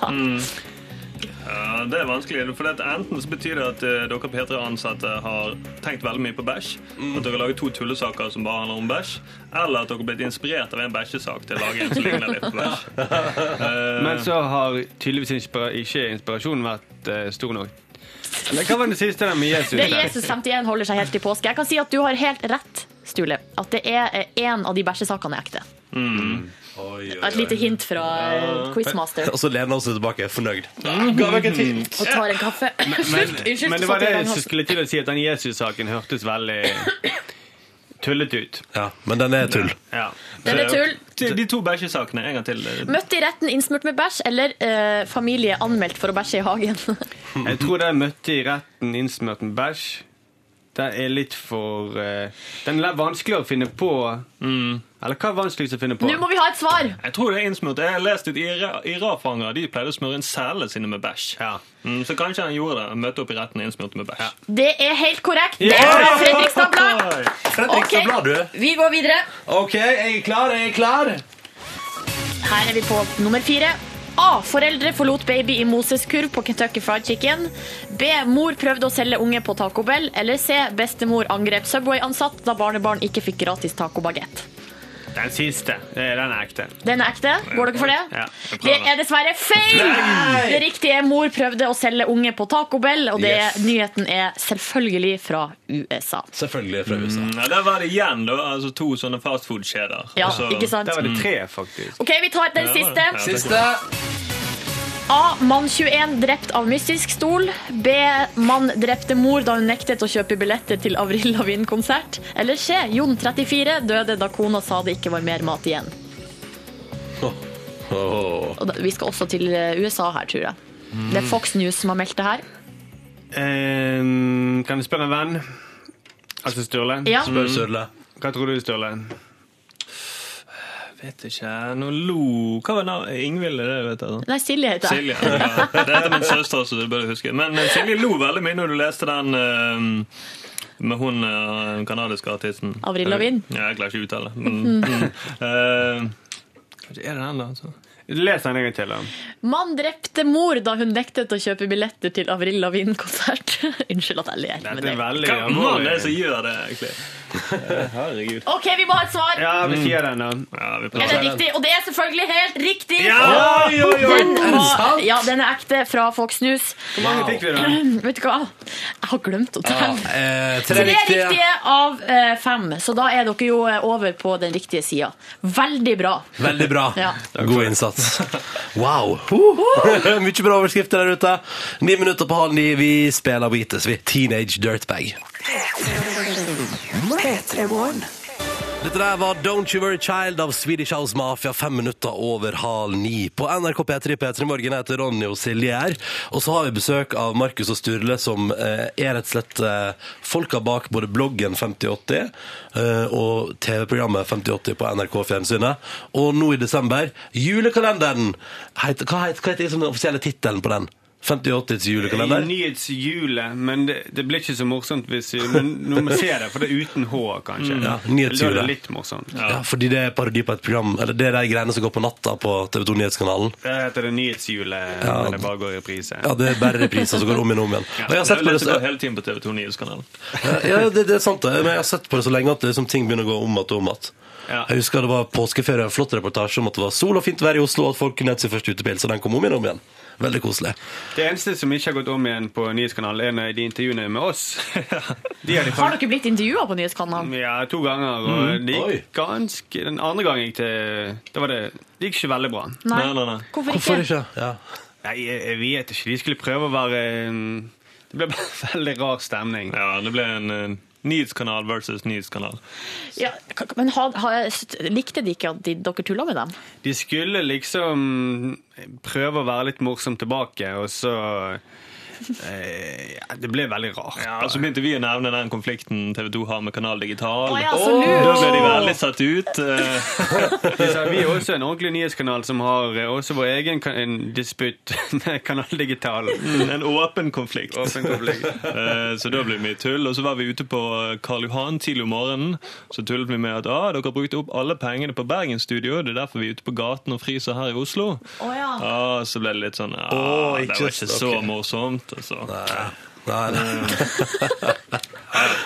Speaker 9: Ja, det er vanskelig, for det at enten så betyr det at eh, dere P3-ansatte har tenkt veldig mye på bæsj, at dere lager to tullesaker som bare handler om bæsj, eller at dere har blitt inspirert av en bæsjesak til å lage en som ligner litt på bæsj. Eh,
Speaker 2: Men så har tydeligvis inspira ikke inspirasjonen vært eh, stor nok. Eller hva var det siste der med Jesus?
Speaker 3: Det er
Speaker 2: der?
Speaker 3: Jesus 51 holder seg helt til påske. Jeg kan si at du har helt rett, Stule. At det er én av de bæsjesakene er ekte. Et lite hint fra eh, Quizmaster.
Speaker 1: Og så lener hun seg tilbake, fornøyd.
Speaker 3: og tar en kaffe. Slutt! Unnskyld.
Speaker 2: Men det var det som Mm. skulle til å si at den Jesus-saken hørtes veldig tullete ut.
Speaker 1: Ja, men den er tull.
Speaker 2: Ja.
Speaker 3: Den er tull.
Speaker 9: De- De to bæsjesakene en gang til. eh,
Speaker 3: Møtt i retten innsmurt med bæsj, eller eh, familie anmeldt for å bæsje i hagen.
Speaker 2: Jeg tror det jeg møtte i retten innsmurt med bæsj. Den er litt for eh, Den er vanskelig å finne på.
Speaker 9: Mm.
Speaker 2: Eller hva er vanskeligst å finne på?
Speaker 3: Nå må vi ha et svar!
Speaker 9: Jeg tror det er innsmurt. Jeg har lest at ira- Irak-fanger de pleide å smøre inn selene sine med bæsj.
Speaker 2: Ja.
Speaker 9: Mm, så kanskje han gjorde det. Møtte opp i retten og innsmurte med bæsj.
Speaker 3: Det er helt korrekt. Det er fra Fredrikstad Blad.
Speaker 1: Fredrik, så bra du er.
Speaker 3: Ok, Vi går videre.
Speaker 1: OK, jeg er klar, jeg er klar.
Speaker 3: Her er vi på nummer fire. A. Foreldre forlot baby i moseskurv på Kentucky Fried Chicken. B. Mor prøvde å selge unge på Taco Bell. Eller C. Bestemor angrep Subway-ansatt da barnebarn ikke fikk gratis tacobagett.
Speaker 2: Den siste. Det er den ekte.
Speaker 3: Den er ekte. Går dere for det?
Speaker 2: Ja, jeg
Speaker 3: Det
Speaker 2: prøver.
Speaker 3: er dessverre feil!
Speaker 2: Nei!
Speaker 3: Det riktige er mor prøvde å selge unge på Taco Bell, og det,
Speaker 9: Yes.
Speaker 3: nyheten er selvfølgelig fra USA.
Speaker 1: Selvfølgelig fra USA.
Speaker 9: Mm, ja, der var det igjen da, altså to sånne fastfood-kjeder.
Speaker 3: Ja,
Speaker 9: Altså,
Speaker 3: ikke sant? Der var det tre,
Speaker 2: faktisk.
Speaker 3: OK, vi tar den
Speaker 9: Ja,
Speaker 3: siste.
Speaker 9: ja, takk. Siste.
Speaker 3: A. Mann 21 drept av mystisk stol. B. Mann drepte mor da hun nektet å kjøpe billetter til Avril Lavigne-konsert. Eller C. Jon 34 døde da kona sa det ikke var mer mat igjen.
Speaker 1: Åh.
Speaker 3: Og da, vi skal også til eh, USA her, tror jeg. Det er Fox News som har meldt det her.
Speaker 2: Ehm, kan du spørre en venn? Altså Sturle?
Speaker 3: Ja. Spør
Speaker 1: Sturle.
Speaker 2: Hva tror du, Sturle?
Speaker 9: Vet ikke. Nå lo Oh, Hva var navnet? Ingvild er det du heter? sant?
Speaker 3: Nei, Silje heter jeg.
Speaker 9: Silje. Ja. Det heter min søster, så det bør du huske. Men eh, Silje lo veldig mye når du leste den eh, med hun eh, den kanadiske artisten.
Speaker 3: Avril Lavigne?
Speaker 9: Ja, jeg klarer ikke å uttale det. Men, mm. Eh, hva er det den, da? altså?
Speaker 2: Les den en gang til. da.
Speaker 3: Mann drepte mor da hun nektet å kjøpe billetter til Avril Lavigne-konsert. Unnskyld at jeg ler, men det
Speaker 9: Hva mann er det som gjør det, egentlig? Eh, Herregud.
Speaker 3: OK, vi må ha et svar!
Speaker 2: den, da.
Speaker 9: Ja, vi
Speaker 3: Er
Speaker 9: prøver.
Speaker 3: det riktig? Og det er selvfølgelig helt riktig!
Speaker 9: Ja! Oi, oi, oi!
Speaker 3: Den,
Speaker 9: Er det
Speaker 3: var,
Speaker 9: sant?
Speaker 3: ja, den er ekte fra Fox News.
Speaker 1: Hvor mange fikk vi da?
Speaker 3: Vet du hva? Jeg har glemt å
Speaker 1: Ja,
Speaker 3: telle.
Speaker 1: eh,
Speaker 3: Tre riktige av eh, fem, så da er dere jo eh, over på den riktige sida. Veldig bra.
Speaker 1: Veldig bra.
Speaker 3: Ja.
Speaker 1: God innsats. Wow. Huh. Mye bra overskrifter der ute. Ni minutter på halv ni. Vi spiller Beatles, vi. Teenage Dirtbag.
Speaker 11: P3-morgen.
Speaker 1: Dette der var Don't You Worry Child av Swedish House Mafia, fem minutter over halv ni. På NRK P3 P3 Morgen heter Ronny og Silje her. Og så har vi besøk av Markus og Sturle, som eh, er rett og slett eh, folka bak både bloggen 5080 eh, og TV-programmet 5080 på NRK Fjernsynet. Og nå i desember, julekalenderen! Heter, hva heter, hva heter liksom den offisielle tittelen på den? 5080s
Speaker 2: I
Speaker 1: julekalender?
Speaker 2: nyhetshjulet, men det, det blir ikke så morsomt hvis vi men nå må se det, for det er uten H, kanskje.
Speaker 1: Mm. Ja,
Speaker 2: Da er
Speaker 1: nyhetshjulet.
Speaker 2: det litt morsomt.
Speaker 1: Ja. fordi det er parodi på et program, eller det er de greiene som går på natta på TV 2 Nyhetskanalen.
Speaker 2: Det heter det nyhetshjulet
Speaker 1: Ja.
Speaker 2: når det bare går i reprise.
Speaker 1: Ja, det er bare repriser som går om igjen og om igjen.
Speaker 2: Ja,
Speaker 1: Og jeg har sett
Speaker 2: det
Speaker 1: på det,
Speaker 2: er jo
Speaker 1: så,
Speaker 2: lett å gå
Speaker 9: Hele tiden på TV 2 Nyhetskanalen.
Speaker 1: ja, det, det er sant, det. Men jeg har sett på det så lenge at det, liksom, ting begynner å gå om igjen og om igjen.
Speaker 9: Ja.
Speaker 1: Jeg husker det var påskeferie, en flott reportasje om at det var sol og fint vær i Oslo, og at folk kunne hente sin første utepils, og den kom om igjen og om igjen. Veldig koselig.
Speaker 2: Det eneste som ikke har gått om igjen på nyhetskanalen, er når de intervjuene med oss. De har de
Speaker 3: Har
Speaker 2: fakt-
Speaker 3: dere blitt intervjua på Nyhetskanalen?
Speaker 2: ja, to ganger, og
Speaker 3: Mm.
Speaker 2: det
Speaker 3: Oi.
Speaker 2: gikk ganske Den andre gangen gikk det Det, var det, det gikk ikke veldig bra.
Speaker 3: Nei. Nei, nei, nei. Hvorfor Hvorfor ikke?
Speaker 2: Nei, jeg, jeg vet ikke. De skulle prøve å være mm, Det ble bare veldig rar stemning.
Speaker 9: Ja, det ble en eh, nyhetskanal versus nyhetskanal.
Speaker 3: Ja, k- men ha, ha, likte de ikke at de, dere tulla med dem?
Speaker 2: De skulle liksom prøve å være litt morsom tilbake, og så eh, ja, Det ble veldig rart.
Speaker 9: Ja, så begynte vi å nevne den konflikten TV 2 har med Kanal Digital.
Speaker 2: Å, ja, så lurt.
Speaker 9: Da ble de veldig satt ut. eh,
Speaker 2: Vi sa, Vi er også en ordentlig nyhetskanal som har eh, også vår egen kan en disputt. Nei, Kanal Digital.
Speaker 9: En åpen konflikt.
Speaker 2: Åpen konflikt.
Speaker 9: Eh, så da ble det mye tull. Og så var vi ute på eh, Karl Johan tidlig om morgenen. Så tullet vi med at ah, dere brukte opp alle pengene på Bergen Studio. Det er derfor vi er ute på gaten og fryser her i Oslo.
Speaker 3: Å, ja.
Speaker 9: Ah, så ble det litt sånn ah,
Speaker 1: Å,
Speaker 9: Det
Speaker 1: ikke
Speaker 9: var ikke
Speaker 1: så-
Speaker 9: så
Speaker 1: ok.
Speaker 9: morsomt. altså.» Og så.
Speaker 1: Nei,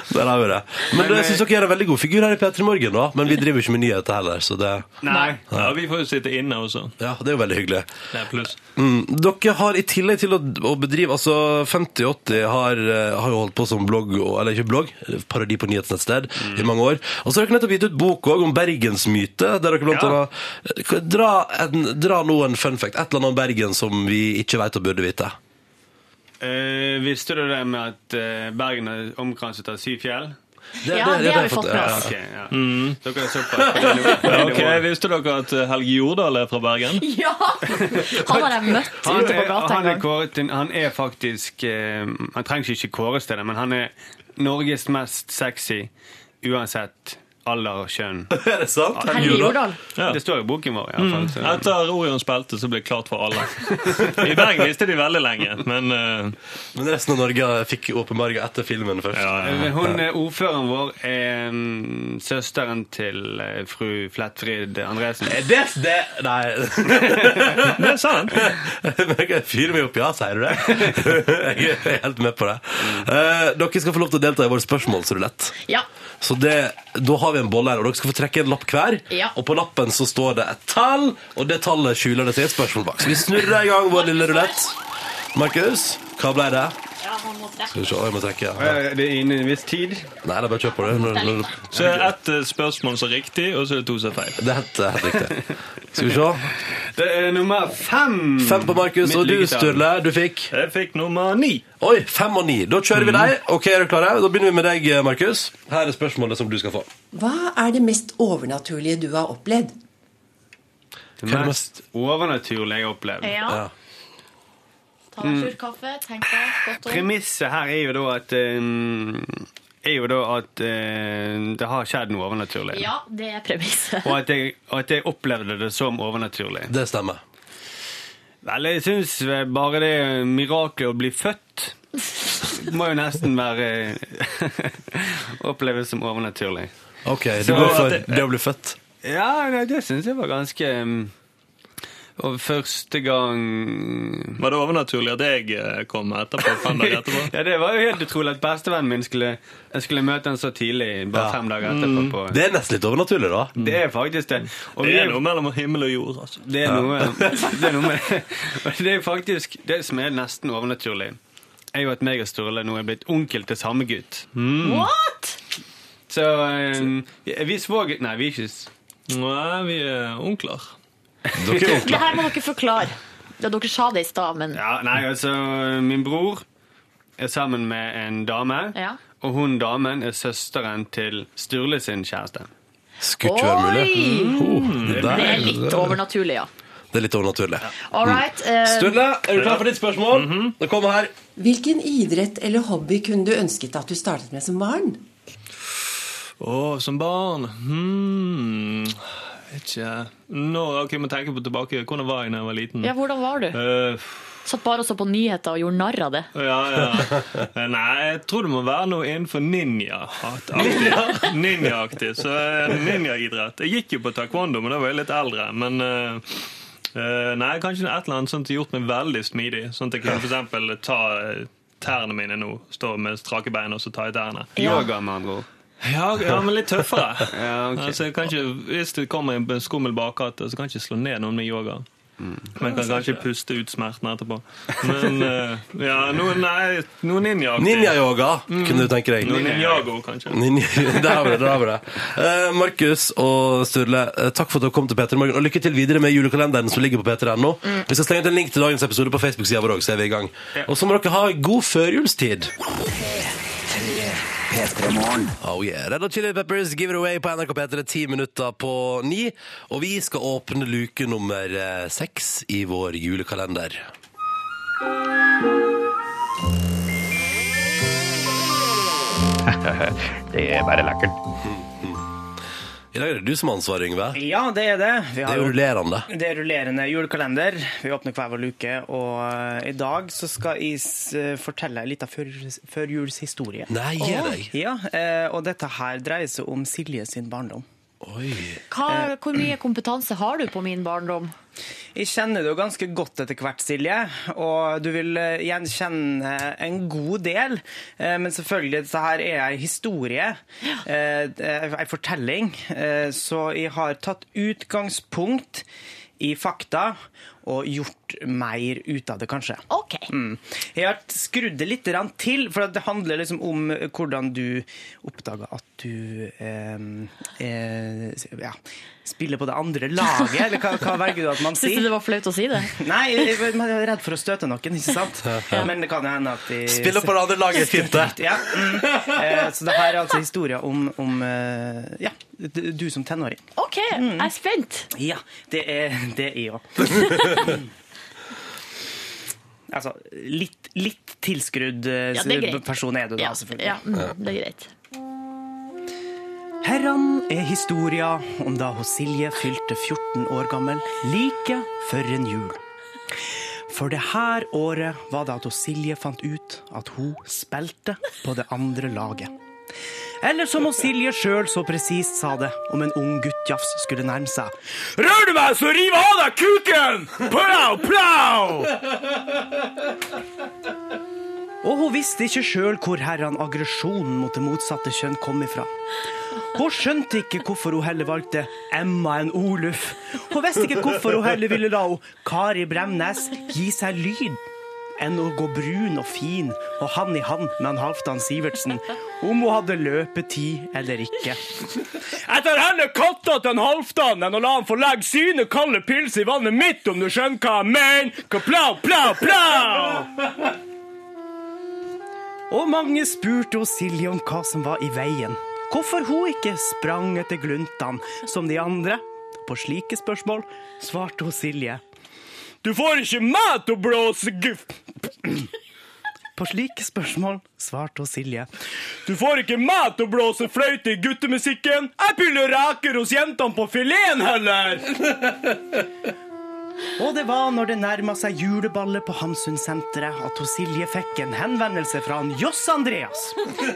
Speaker 1: Der har vi det. Men,
Speaker 2: Men, eh,
Speaker 1: det- jeg syns dere gjør en veldig god figur her i P3 Morgen, da. Men vi driver ikke med nyheter heller, så det
Speaker 2: Nei.
Speaker 9: Ja, vi får jo sitte inne også.
Speaker 1: Ja, det er jo veldig hyggelig.
Speaker 9: Det er pluss.
Speaker 1: Mm. Dere har i tillegg til å, å bedrive Altså 5080 har, eh, har jo holdt på som blogg, og- eller ikke blogg, eh, parodi på nyhetsnettsted i mange år. Og så har dere nettopp gitt ut bok også, om bergensmyte, der dere blant
Speaker 9: Ja.
Speaker 1: annet eh, dra, en, dra noen fun fact, et eller annet om Bergen som vi ikke vet og burde vite.
Speaker 2: Eh, visste du det med at eh, Bergen er omkranset av syv fjell?
Speaker 1: Det- Ja, det- det- det har vi det har jeg fått fått med med oss. oss.
Speaker 2: Ja, ok, ja.
Speaker 9: Mm.
Speaker 2: Dere er såpass på det nivå- på det
Speaker 9: Ok,
Speaker 2: nivået.
Speaker 9: Visste dere at eh, Helge Jordal er fra Bergen?
Speaker 3: Ja! Han har jeg møtt
Speaker 2: Han
Speaker 3: ute på
Speaker 2: er,
Speaker 3: gata
Speaker 2: han,
Speaker 3: en
Speaker 2: er
Speaker 3: gang.
Speaker 2: kåret, til- han er faktisk eh, Han trenger ikke kåres til det, men han er Norges mest sexy uansett alder og kjønn.
Speaker 1: Er det sant?
Speaker 9: Helge Helge Jordal? Jordal?
Speaker 2: Ja. Det står i boken vår. i
Speaker 9: Mm.
Speaker 2: hvert fall. så-
Speaker 9: Etter Orions belte så ble det klart for alle. I Bergen visste de veldig lenge, men eh,
Speaker 1: Men resten av Norge fikk åpenbarga etter filmen først.
Speaker 2: Eh, Hun eh, Ordføreren vår er mm, søsteren til eh, fru Flettfrid Andresen.
Speaker 1: Eh, Det, det Nei.
Speaker 2: det
Speaker 9: er sant.
Speaker 1: Jeg fyrer meg opp, ja, sier du det? Jeg er helt med på det. Eh, dere skal få lov til å delta i vår spørsmålsrulett.
Speaker 3: Ja.
Speaker 1: Så det, da har vi en bolle her, og dere skal få trekke en lapp hver.
Speaker 3: Ja.
Speaker 1: Og på lappen så står det et tall, og det tallet skjuler det til et spørsmål bak. Så vi snurrer i gang vår lille rulett. Markus, hva ble det?
Speaker 3: Ja, han må
Speaker 1: Skal
Speaker 3: trekke.
Speaker 1: vi se, jeg må trekke.
Speaker 12: Ja. Er det innen en viss tid?
Speaker 1: Nei, da bare kjør på det. Når- når-
Speaker 9: Så er ett eh, spørsmål som er riktig, og så er det to som er feil.
Speaker 1: Det er helt, helt riktig. Skal vi se.
Speaker 12: Det er nummer fem.
Speaker 1: Fem på Markus,
Speaker 12: Mitt
Speaker 1: og du,
Speaker 12: lykketall.
Speaker 1: Sturle, du fikk?
Speaker 9: Jeg fikk nummer ni.
Speaker 1: Oi, fem og ni. Da kjører vi deg. Ok, er du klare? Da begynner vi med deg, eh, Markus. Her er spørsmålet som du skal få.
Speaker 13: Hva er det mest overnaturlige du har opplevd?
Speaker 12: Det mest overnaturlige jeg har opplevd.
Speaker 3: Ja. Ta
Speaker 2: Mm.
Speaker 3: deg en slurk kaffe, tenk deg godt om.
Speaker 12: Premisset her er jo da at eh, er jo da at eh, det har skjedd noe overnaturlig.
Speaker 3: Ja, det er premisset.
Speaker 12: Og at jeg, og at jeg opplevde det som overnaturlig.
Speaker 1: Det stemmer.
Speaker 12: Vel, jeg syns bare det miraklet å bli født må jo nesten være Oppleves som overnaturlig.
Speaker 1: Ok, du
Speaker 12: Så
Speaker 1: går for
Speaker 12: at-
Speaker 1: det å bli født.
Speaker 12: Ja, nei, det syns jeg var ganske mm, Og første gang
Speaker 9: Var det overnaturlig at jeg eh, kom etterpå? Fem dager etterpå?
Speaker 12: Ja, Det var jo helt utrolig at bestevennen min skulle Jeg skulle møte han så tidlig, bare
Speaker 9: Ja.
Speaker 12: fem dager etterpå.
Speaker 9: Mm.
Speaker 12: På.
Speaker 1: Det er nesten litt overnaturlig, da.
Speaker 12: Det er faktisk det. Og
Speaker 9: Det
Speaker 12: vi
Speaker 9: er noe mellom himmel og jord, altså.
Speaker 12: Det er noe, det er noe med og Det er faktisk det som er nesten overnaturlig, er jo at meg og Sturle nå er blitt onkel til samme gutt.
Speaker 9: Mm.
Speaker 3: What?!
Speaker 12: Så eh, vi svoger Nei, vi er ikke s-
Speaker 9: Nei, vi er onkler.
Speaker 12: Dere er
Speaker 3: Det her må dere forklare. Ja, dere sa det i stad, men
Speaker 12: Ja, nei, altså, min bror er sammen med en dame,
Speaker 3: Ja.
Speaker 12: og hun damen er søsteren til Sturle sin kjæreste.
Speaker 1: Skulle ikke være mulig.
Speaker 3: Oi!
Speaker 1: Mm.
Speaker 3: det
Speaker 1: der-
Speaker 3: er litt overnaturlig, ja.
Speaker 1: Det er litt overnaturlig.
Speaker 2: Mm.
Speaker 3: All right. eh,
Speaker 1: Sturle, er du klar for ditt spørsmål? Det kommer her.
Speaker 13: Hvilken idrett eller hobby kunne du ønsket at du startet med som barn?
Speaker 9: Å, som barn hmm. Ikke Nå, ok, må tenke på tilbake. Hvordan var jeg da jeg var liten?
Speaker 3: ja, hvordan var du?
Speaker 9: Eh,
Speaker 3: Satt bare og så på nyheter og gjorde narr av det.
Speaker 9: ja, ja. Eh, Nei, jeg tror det må være noe innenfor ninja-aktig. Ninja-aktig, Så eh, ninjaidrett. Jeg gikk jo på taekwondo, men da var jeg litt eldre. Men eh, eh, nei, kanskje et eller annet sånt som gjort meg veldig smidig. Sånn at jeg kunne for eksempel ta eh, tærne mine nå. Stå med strake bein og så ta i tærne.
Speaker 12: Yoga, med andre ord.
Speaker 9: Ja, ja, men litt tøffere.
Speaker 12: Ja, ok.
Speaker 9: altså, jeg kan ikke, hvis det kommer en skummel bakgate, så kan jeg ikke slå ned noen med yoga. Men kan kanskje puste ut smerten etterpå. Men eh, ja, noen, nei, noen ninja.
Speaker 1: Ninja-yoga, kunne du tenke deg.
Speaker 9: Noen ninjago, kanskje.
Speaker 1: Ninja, der har vi det. der har vi det. Eh, Markus og Sturle, eh, takk for at dere kom til P3 Morgen. Og lykke til videre med julekalenderen som ligger på p3.no. Vi skal slenge ut en link til dagens episode på Facebook-sida vår òg, så er vi i gang. Og så må dere ha god førjulstid. Oh yeah. Red Hot Chili Peppers Give It Away på NRK P3, ti minutter på ni. Og vi skal åpne luke nummer eh, seks i vår julekalender.
Speaker 14: Det er bare lekkert.
Speaker 1: I dag er det du som har ansvaret, Yngve.
Speaker 2: Ja, det er det. Vi
Speaker 1: Det
Speaker 2: har
Speaker 1: er
Speaker 2: jo-
Speaker 1: jo rullerende.
Speaker 2: Det er rullerende julekalender. Vi åpner hver vår luke, og eh, i dag så skal jeg s- eh, fortelle litt av før- førjulshistorie.
Speaker 1: Nei, gi deg.
Speaker 2: Ja, eh, og dette her dreier seg om Silje sin barndom. Eh.
Speaker 3: Hva, hvor mye kompetanse har du på min barndom?
Speaker 2: Jeg kjenner det jo ganske godt etter hvert, Silje, og du vil eh, gjenkjenne en god del. Eh, Men selvfølgelig, dette her er en historie, eh, en fortelling. Eh, Så jeg har tatt utgangspunkt i fakta og gjort mer ut av det, kanskje.
Speaker 3: Ok.
Speaker 2: Mm. Jeg har skrudd det litt grann til, for at det handler liksom om hvordan du oppdager at du eh, eh, ja, spiller på det andre laget, eller hva, hva velger du at man
Speaker 3: Syns du
Speaker 2: sier?
Speaker 3: det var flaut å si det?
Speaker 2: Nei, eh, jeg, jeg jeg er redd for å støte noen, ikke sant? Men det kan jo hende at de
Speaker 1: Spiller på det andre laget, er fint, det.
Speaker 2: Ja. Mm. Eh, så det her er altså historien om, om eh, ja, d- du som tenåring.
Speaker 3: OK, jeg er spent.
Speaker 2: Ja, det er det er jeg òg. altså, litt, litt tilskrudd eh,
Speaker 3: Ja, det er greit.
Speaker 2: person er du da,
Speaker 3: Ja,
Speaker 2: selvfølgelig.
Speaker 3: ja, mm, det er greit.
Speaker 2: Herran er historia om da hos Silje fylte 14 år gammel like før en jul. For det her året var det at hos Silje fant ut at hun spilte på det andre laget. Eller som hos Silje sjøl så presist sa det om en ung guttjafs skulle nærme seg. Rør du meg, så river jeg av deg kuken! Plau, plau! Og hun visste ikke sjøl hvor herran aggresjonen mot det motsatte kjønn kom ifra. Hun skjønte ikke hvorfor hun heller valgte Emma enn Oluf. Hun visste ikke hvorfor hun heller ville la hun Kari Bremnes gi seg lyd enn å gå brun og fin og hand i hand med han Halvdan Sivertsen om hun hadde løpetid eller ikke.
Speaker 14: Jeg tar heller katta til en Halvdan enn å la han få legge sine kalde pilser i vannet mitt, om du skjønner hva jeg mener. Kaplau, plau, plau!
Speaker 2: Og mange spurte hos Silje om hva som var i veien. Hvorfor hun ikke sprang etter gluntene som de andre. På slike spørsmål svarte hun Silje.
Speaker 14: Du får ikke meg til å blåse guff...
Speaker 2: På slike spørsmål svarte hun Silje.
Speaker 14: Du får ikke meg til å blåse fløyte i guttemusikken. Jeg piller reker hos jentene på fileten heller.
Speaker 2: Og det var når det nærma seg juleballet på Hamsunsenteret at hun Silje fikk en henvendelse fra han Joss Andreas.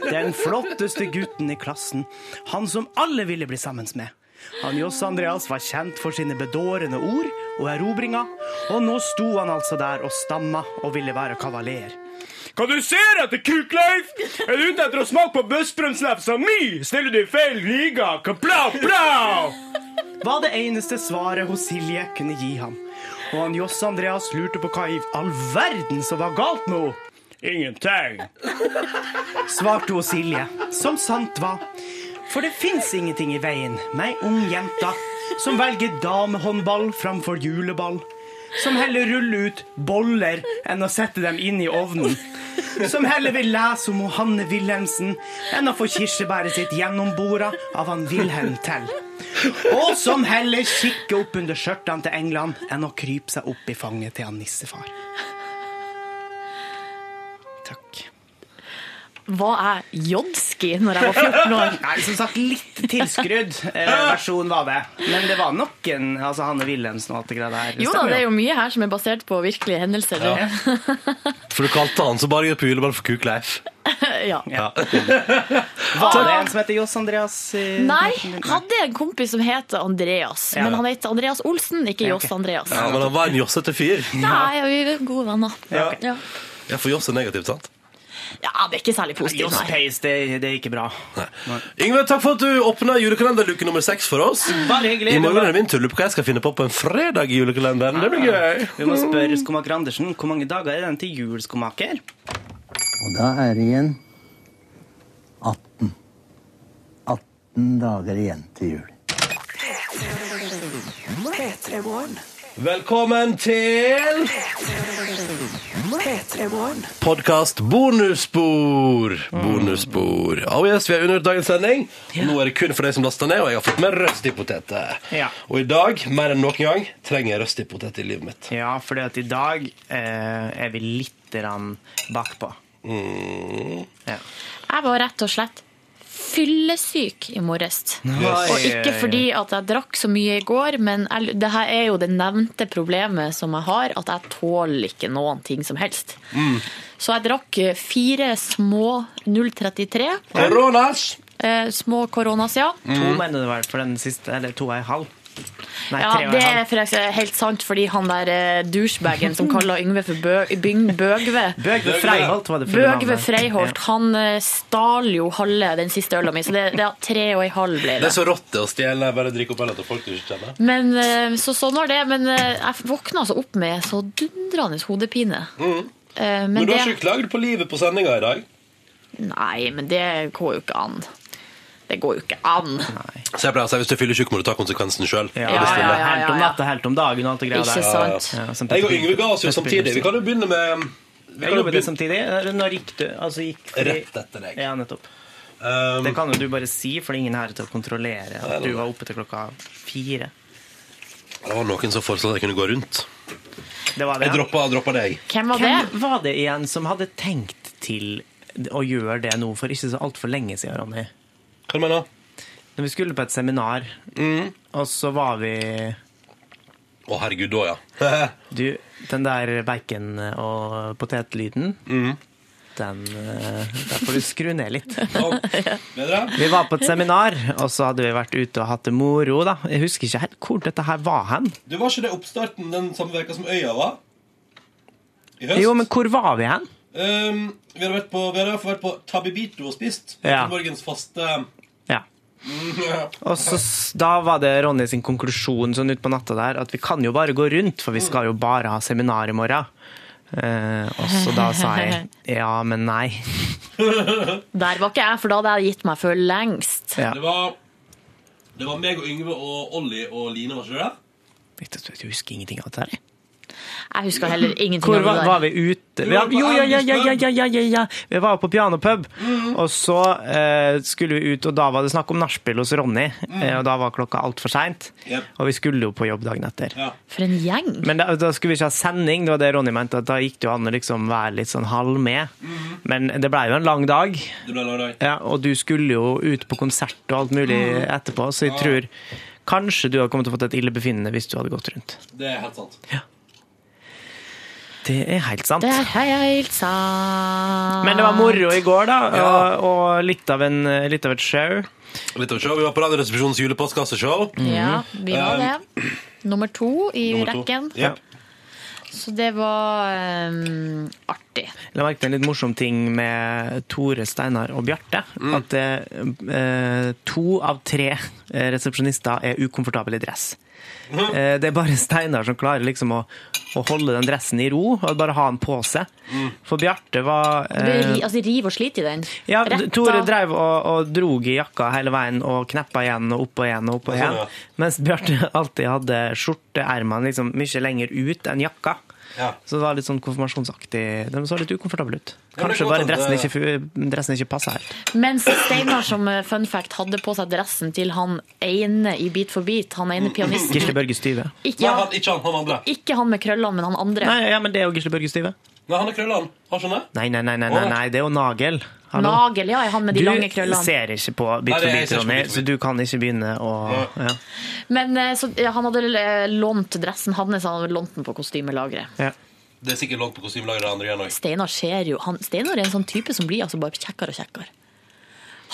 Speaker 2: Den flotteste gutten i klassen. Han som alle ville bli sammen med. Han Joss Andreas var kjent for sine bedårende ord og erobringer, og nå sto han altså der og stamma og ville være kavaler.
Speaker 14: Hva du ser etter, Kukleif? Er du ute etter å smake på bøssbrømsnapsa mi? Stiller du i feil liga? Kaplau, plau!
Speaker 2: Var det eneste svaret hos Silje kunne gi ham. Og han Joss Andreas lurte på hva i all verden som var galt med henne.
Speaker 14: Ingenting.
Speaker 2: Svarte hun Silje, som sant var. For det fins ingenting i veien med ei ung jente som velger damehåndball framfor juleball. Som heller ruller ut boller enn å sette dem inn i ovnen. Som heller vil lese om hun Hanne Wilhelmsen enn å få kirsebæret sitt gjennombora av han Wilhelm Tell. Og som heller kikker opp under skjørtene til England enn å krype seg opp i fanget til han nissefar. Takk.
Speaker 3: Var jeg jodski når jeg var 14 år?
Speaker 2: Nei, som sagt, litt tilskrudd eh, versjon var det. Men det var nok en altså Hanne Wilhelmsen og alt det greia der.
Speaker 3: Jo da, det er jo mye her som er basert på virkelige hendelser.
Speaker 1: Ja.
Speaker 3: Ja.
Speaker 1: For du kalte han som bare gikk på juleball for Kuk Leif.
Speaker 3: ja.
Speaker 1: Ja.
Speaker 2: Var det en som heter Johs Andreas? eh,
Speaker 3: Nei, hadde en kompis som het Andreas.
Speaker 1: Ja.
Speaker 3: Men han het Andreas Olsen, ikke
Speaker 1: Ja,
Speaker 3: Johs Andreas.
Speaker 1: Ja, men han var en jossete fyr.
Speaker 3: Nei, vi er gode venner.
Speaker 1: Ja.
Speaker 3: Ja.
Speaker 1: Ja, for joss er negativt, sant?
Speaker 3: Ja, det er ikke særlig positivt,
Speaker 2: Johs
Speaker 3: nei.
Speaker 2: Pace, det, det er ikke bra.
Speaker 1: Yngve, takk for at du åpna julekalenderluke nummer seks for oss.
Speaker 2: Bare hyggelig.
Speaker 1: I morgen er det min tur. Lurer på hva jeg skal finne på på en fredag i julekalenderen.
Speaker 2: Ah.
Speaker 1: Det blir gøy.
Speaker 2: Vi må spørre skomaker Andersen hvor mange dager er den til jul, skomaker?
Speaker 15: Og da er det igjen 18. 18 dager igjen til jul.
Speaker 4: P3 Morgen.
Speaker 1: Velkommen til
Speaker 4: P3 Morgen.
Speaker 1: Podkast bonusspor.
Speaker 2: Mm.
Speaker 1: Bonusspor. Oh yes, vi er under dagens sending. Og nå er det kun for deg som laster ned, og jeg har fått med røst i poteter.
Speaker 2: Ja.
Speaker 1: Og i dag, mer enn noen gang, trenger jeg røst i potet i livet mitt.
Speaker 2: Ja, for at i dag eh, er vi litt grann bakpå.
Speaker 1: Mm.
Speaker 2: Ja.
Speaker 3: Jeg var rett og slett fyllesyk i morges.
Speaker 2: Yes.
Speaker 3: Og ikke fordi at jeg drakk så mye i går, men jeg, det her er jo det nevnte problemet som jeg har, at jeg tåler ikke noen ting som helst.
Speaker 2: Mm.
Speaker 3: Så jeg drakk eh, fire små 033.
Speaker 1: Koronas!
Speaker 3: Eh, små koronas, ja.
Speaker 1: Mm.
Speaker 2: To mener du vel for den siste, eller to og en halv? Nei,
Speaker 3: Ja,
Speaker 2: tre og
Speaker 3: det
Speaker 2: en
Speaker 3: er
Speaker 2: halv.
Speaker 3: forresten helt sant, fordi han der eh, douchebagen som kaller Yngve for Bø Byng Bøgve
Speaker 2: Bøgve Freiholt var det fulle
Speaker 3: Bøgve
Speaker 2: navnet.
Speaker 3: Freiholt, han eh, stal jo halve den siste øla mi, så det, det er tre og ei halv ble
Speaker 1: Det er så rått det å stjele. Bare drikke opp øl til folk du ikke kjenner.
Speaker 3: Men, eh, så sånn var det. Men eh, jeg våkna altså opp med så dundrende hodepine. Eh,
Speaker 1: Mm. Men,
Speaker 3: Men
Speaker 1: du
Speaker 3: det
Speaker 1: har ikke klagd på livet på sendinga i dag?
Speaker 3: Nei, men det går jo ikke an. Det går jo ikke an.
Speaker 1: Så jeg pleier å si hvis du fyller tjukk, må du ta konsekvensen sjøl.
Speaker 2: Ja, ja, ja, ja, Helt om natta, helt om dagen og alt det greia der.
Speaker 1: Ikke sant. Jeg og Yngve ga oss jo samtidig. Vi kan jo begynne med vi
Speaker 2: Jeg
Speaker 1: kan jo
Speaker 2: gjorde det
Speaker 1: begynne-
Speaker 2: samtidig. Når gikk du? Altså, gikk
Speaker 1: Rett etter deg.
Speaker 2: Ja, nettopp.
Speaker 1: Ehm,
Speaker 2: det kan jo du bare si, for det er ingen her til å kontrollere
Speaker 1: Nei, nei,
Speaker 2: at du
Speaker 1: nei.
Speaker 2: var oppe til klokka fire.
Speaker 1: Det var noen som foreslo at jeg kunne gå rundt.
Speaker 2: Det var det.
Speaker 1: Jeg droppa, droppa deg.
Speaker 3: Hvem var
Speaker 2: Hvem
Speaker 3: det?
Speaker 2: var det igjen som hadde tenkt til å gjøre det nå for ikke så altfor lenge siden, Ronny?
Speaker 1: Hva du mener
Speaker 2: Når vi skulle på et seminar, og så var vi
Speaker 1: Å, herregud, da, ja.
Speaker 2: Du, den der bacon- og potetlyden, den eh, Der får du skru ned litt.
Speaker 1: Bedre?
Speaker 2: Vi var på et seminar, og så hadde vi vært ute og hatt det moro, da. Jeg husker ikke helt hvor dette her var hen.
Speaker 1: Du var ikke det oppstarten den samme veka som Øya var? I høst?
Speaker 2: Jo, men hvor var vi hen?
Speaker 1: Um, vi har vært på, vi har vært på Tabibito og spist.
Speaker 2: Ja.
Speaker 1: Morgens faste
Speaker 2: Ja. Og så, s- da var det Ronny sin konklusjon sånn ut på natta der, at vi kan jo bare gå rundt, for vi skal jo bare ha seminar i morgen. Eh, og så da sa jeg ja, men nei.
Speaker 3: Der var ikke jeg, for da hadde jeg gitt meg for lengst.
Speaker 1: Det var Det var meg og Yngve og Olli og Line, var ikke det?
Speaker 2: Jeg husker ingenting av dette her.
Speaker 3: Jeg husker heller ingenting
Speaker 2: Hvor
Speaker 3: av
Speaker 2: var,
Speaker 3: det
Speaker 2: var
Speaker 3: der.
Speaker 2: vi ute?
Speaker 3: Vi
Speaker 2: Vi,
Speaker 3: var på
Speaker 2: jo, Mhm. ja, ja, ja, ja,
Speaker 3: Agnes
Speaker 2: ja, ja, ja, ja. Vi var på pianopub, og så eh, skulle vi ut, og da var det snakk om nachspiel hos Ronny,
Speaker 3: Mm.
Speaker 2: eh, og da var klokka altfor seint,
Speaker 3: Yep.
Speaker 2: og vi skulle jo på jobb dagen etter.
Speaker 3: For en gjeng.
Speaker 2: Men da, da skulle vi ikke ha sending, det var det Ronny mente, at da gikk det jo an å liksom være litt sånn halv med.
Speaker 3: Mhm.
Speaker 2: Men det blei jo en lang dag,
Speaker 1: Det ble lørdag.
Speaker 2: ja, og du skulle jo ut på konsert og alt mulig
Speaker 3: Mhm.
Speaker 2: etterpå, så jeg tror kanskje du hadde kommet til å fått et illebefinnende hvis du hadde gått rundt.
Speaker 1: Det er helt sant.
Speaker 2: Det er helt sant.
Speaker 3: Det er helt sant.
Speaker 2: Men det var moro i går, da, og, og litt, av en, litt av et show.
Speaker 1: Litt av et show. Vi var på Radioresepsjonens julepostkasseshow.
Speaker 3: Ja,
Speaker 2: Mhm.
Speaker 3: vi var
Speaker 1: Um,
Speaker 3: det. Nummer to i
Speaker 1: nummer to.
Speaker 3: rekken.
Speaker 1: Jep.
Speaker 3: Så det var ehm, artig.
Speaker 2: La merke til en litt morsom ting med Tore, Steinar og Bjarte. At eh, eh, to av tre eh, resepsjonister er ukomfortable i dress. Eh, det er bare Steinar som klarer liksom å, å holde den dressen i ro, og bare ha den på seg. For Bjarte var eh,
Speaker 3: Det ble ri, altså, riv og slit i den.
Speaker 2: ja,
Speaker 3: Rett av-
Speaker 2: Tore drev og, og drog i jakka hele veien og kneppa igjen og opp og igjen. og opp og
Speaker 3: Ja, sånn,
Speaker 2: igjen.
Speaker 3: ja.
Speaker 2: Mens Bjarte alltid hadde skjorteermene liksom mye lenger ut enn jakka. Så det var litt sånn konfirmasjonsaktig. De så litt ukomfortable ut.
Speaker 3: Ja, men det
Speaker 2: Kanskje
Speaker 3: er godt
Speaker 2: bare
Speaker 3: at
Speaker 2: dressen
Speaker 3: det-
Speaker 2: ikke, fu- dressen ikke passa helt.
Speaker 3: Mens Steinar som eh, fun fact hadde på seg dressen til han ene i Beat for beat, han ene pianisten.
Speaker 2: Gisle Børge Styve.
Speaker 3: Ikke
Speaker 1: Nei,
Speaker 3: han,
Speaker 1: han, ikke han, han andre.
Speaker 3: ikke han med krøllene, men han andre.
Speaker 2: Nei, ja, men det er jo Gisle Børge Styve.
Speaker 1: Nei, han er krølla, han. Har ikke han det?
Speaker 2: Nei, nei, nei, nei, nei, nei, det er jo Nagel. Hallo.
Speaker 3: Nagel, ja, er han med de
Speaker 2: du
Speaker 3: lange krøllene.
Speaker 2: ser ikke på
Speaker 1: Nei,
Speaker 2: Bit for
Speaker 1: jeg
Speaker 2: bit,
Speaker 1: ser ikke på
Speaker 2: Ronny,
Speaker 1: Bit for
Speaker 2: så du kan ikke begynne å ja.
Speaker 3: Men eh, så, ja, han hadde eh, lånt dressen hans, han hadde lånt den på kostymelageret.
Speaker 1: Det er sikkert langt på kostymelageret andre igjen også.
Speaker 3: Steinar ser jo han, Steinar er en sånn type som blir altså bare kjekkere og kjekkere.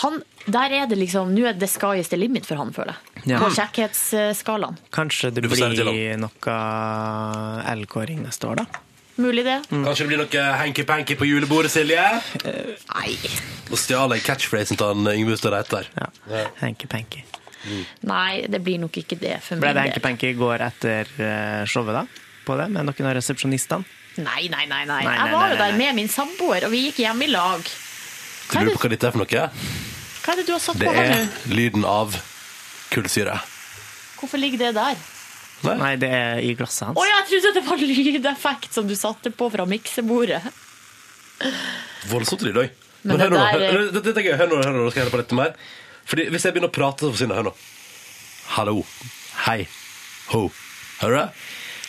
Speaker 3: Han, der er det liksom Nå er the sky is the limit for han, føler jeg.
Speaker 2: Ja.
Speaker 3: På kjekkhetsskalaen.
Speaker 2: Kanskje det
Speaker 1: Du får si det til
Speaker 2: blir noe L-kåring neste år, da?
Speaker 3: Mulig det.
Speaker 2: Mm.
Speaker 1: Kanskje det blir noe hanky-panky på julebordet, Silje?
Speaker 3: Nei.
Speaker 1: Nå stjal jeg catchphrasen til han Yngve Ustad Reitar.
Speaker 2: Ja. Hanky-panky.
Speaker 3: Nei, det blir nok ikke det for
Speaker 2: Ble det
Speaker 3: min del.
Speaker 2: hanky-panky i går etter eh, showet, da? På det, med noen av resepsjonistene?
Speaker 3: Nei, nei, nei, nei.
Speaker 2: Nei, nei,
Speaker 3: Jeg var
Speaker 2: nei,
Speaker 3: jo
Speaker 2: nei,
Speaker 3: der
Speaker 2: nei.
Speaker 3: med min samboer, og vi gikk hjem i lag.
Speaker 1: Du lurer på hva dette er for noe?
Speaker 3: Hva er det du har satt
Speaker 1: Det
Speaker 3: på her
Speaker 1: er
Speaker 3: nå?
Speaker 1: lyden av kullsyre.
Speaker 3: Hvorfor ligger det der?
Speaker 1: Nei.
Speaker 2: det er i glasset
Speaker 3: Å
Speaker 2: hans.
Speaker 3: ja, jeg trodde det var lydeffekt som du satte på fra miksebordet.
Speaker 1: Voldsomt lyd òg.
Speaker 3: Men
Speaker 1: Men hør
Speaker 3: det
Speaker 1: nå,
Speaker 3: der
Speaker 1: hør-
Speaker 3: er-
Speaker 1: hør- dette er gøy. hør nå, hør nå, nå skal jeg høre på litt mer. Fordi Hvis jeg begynner å prate, så forsvinner jeg. Hør nå. Hallo. Hei. Ho. Hører du?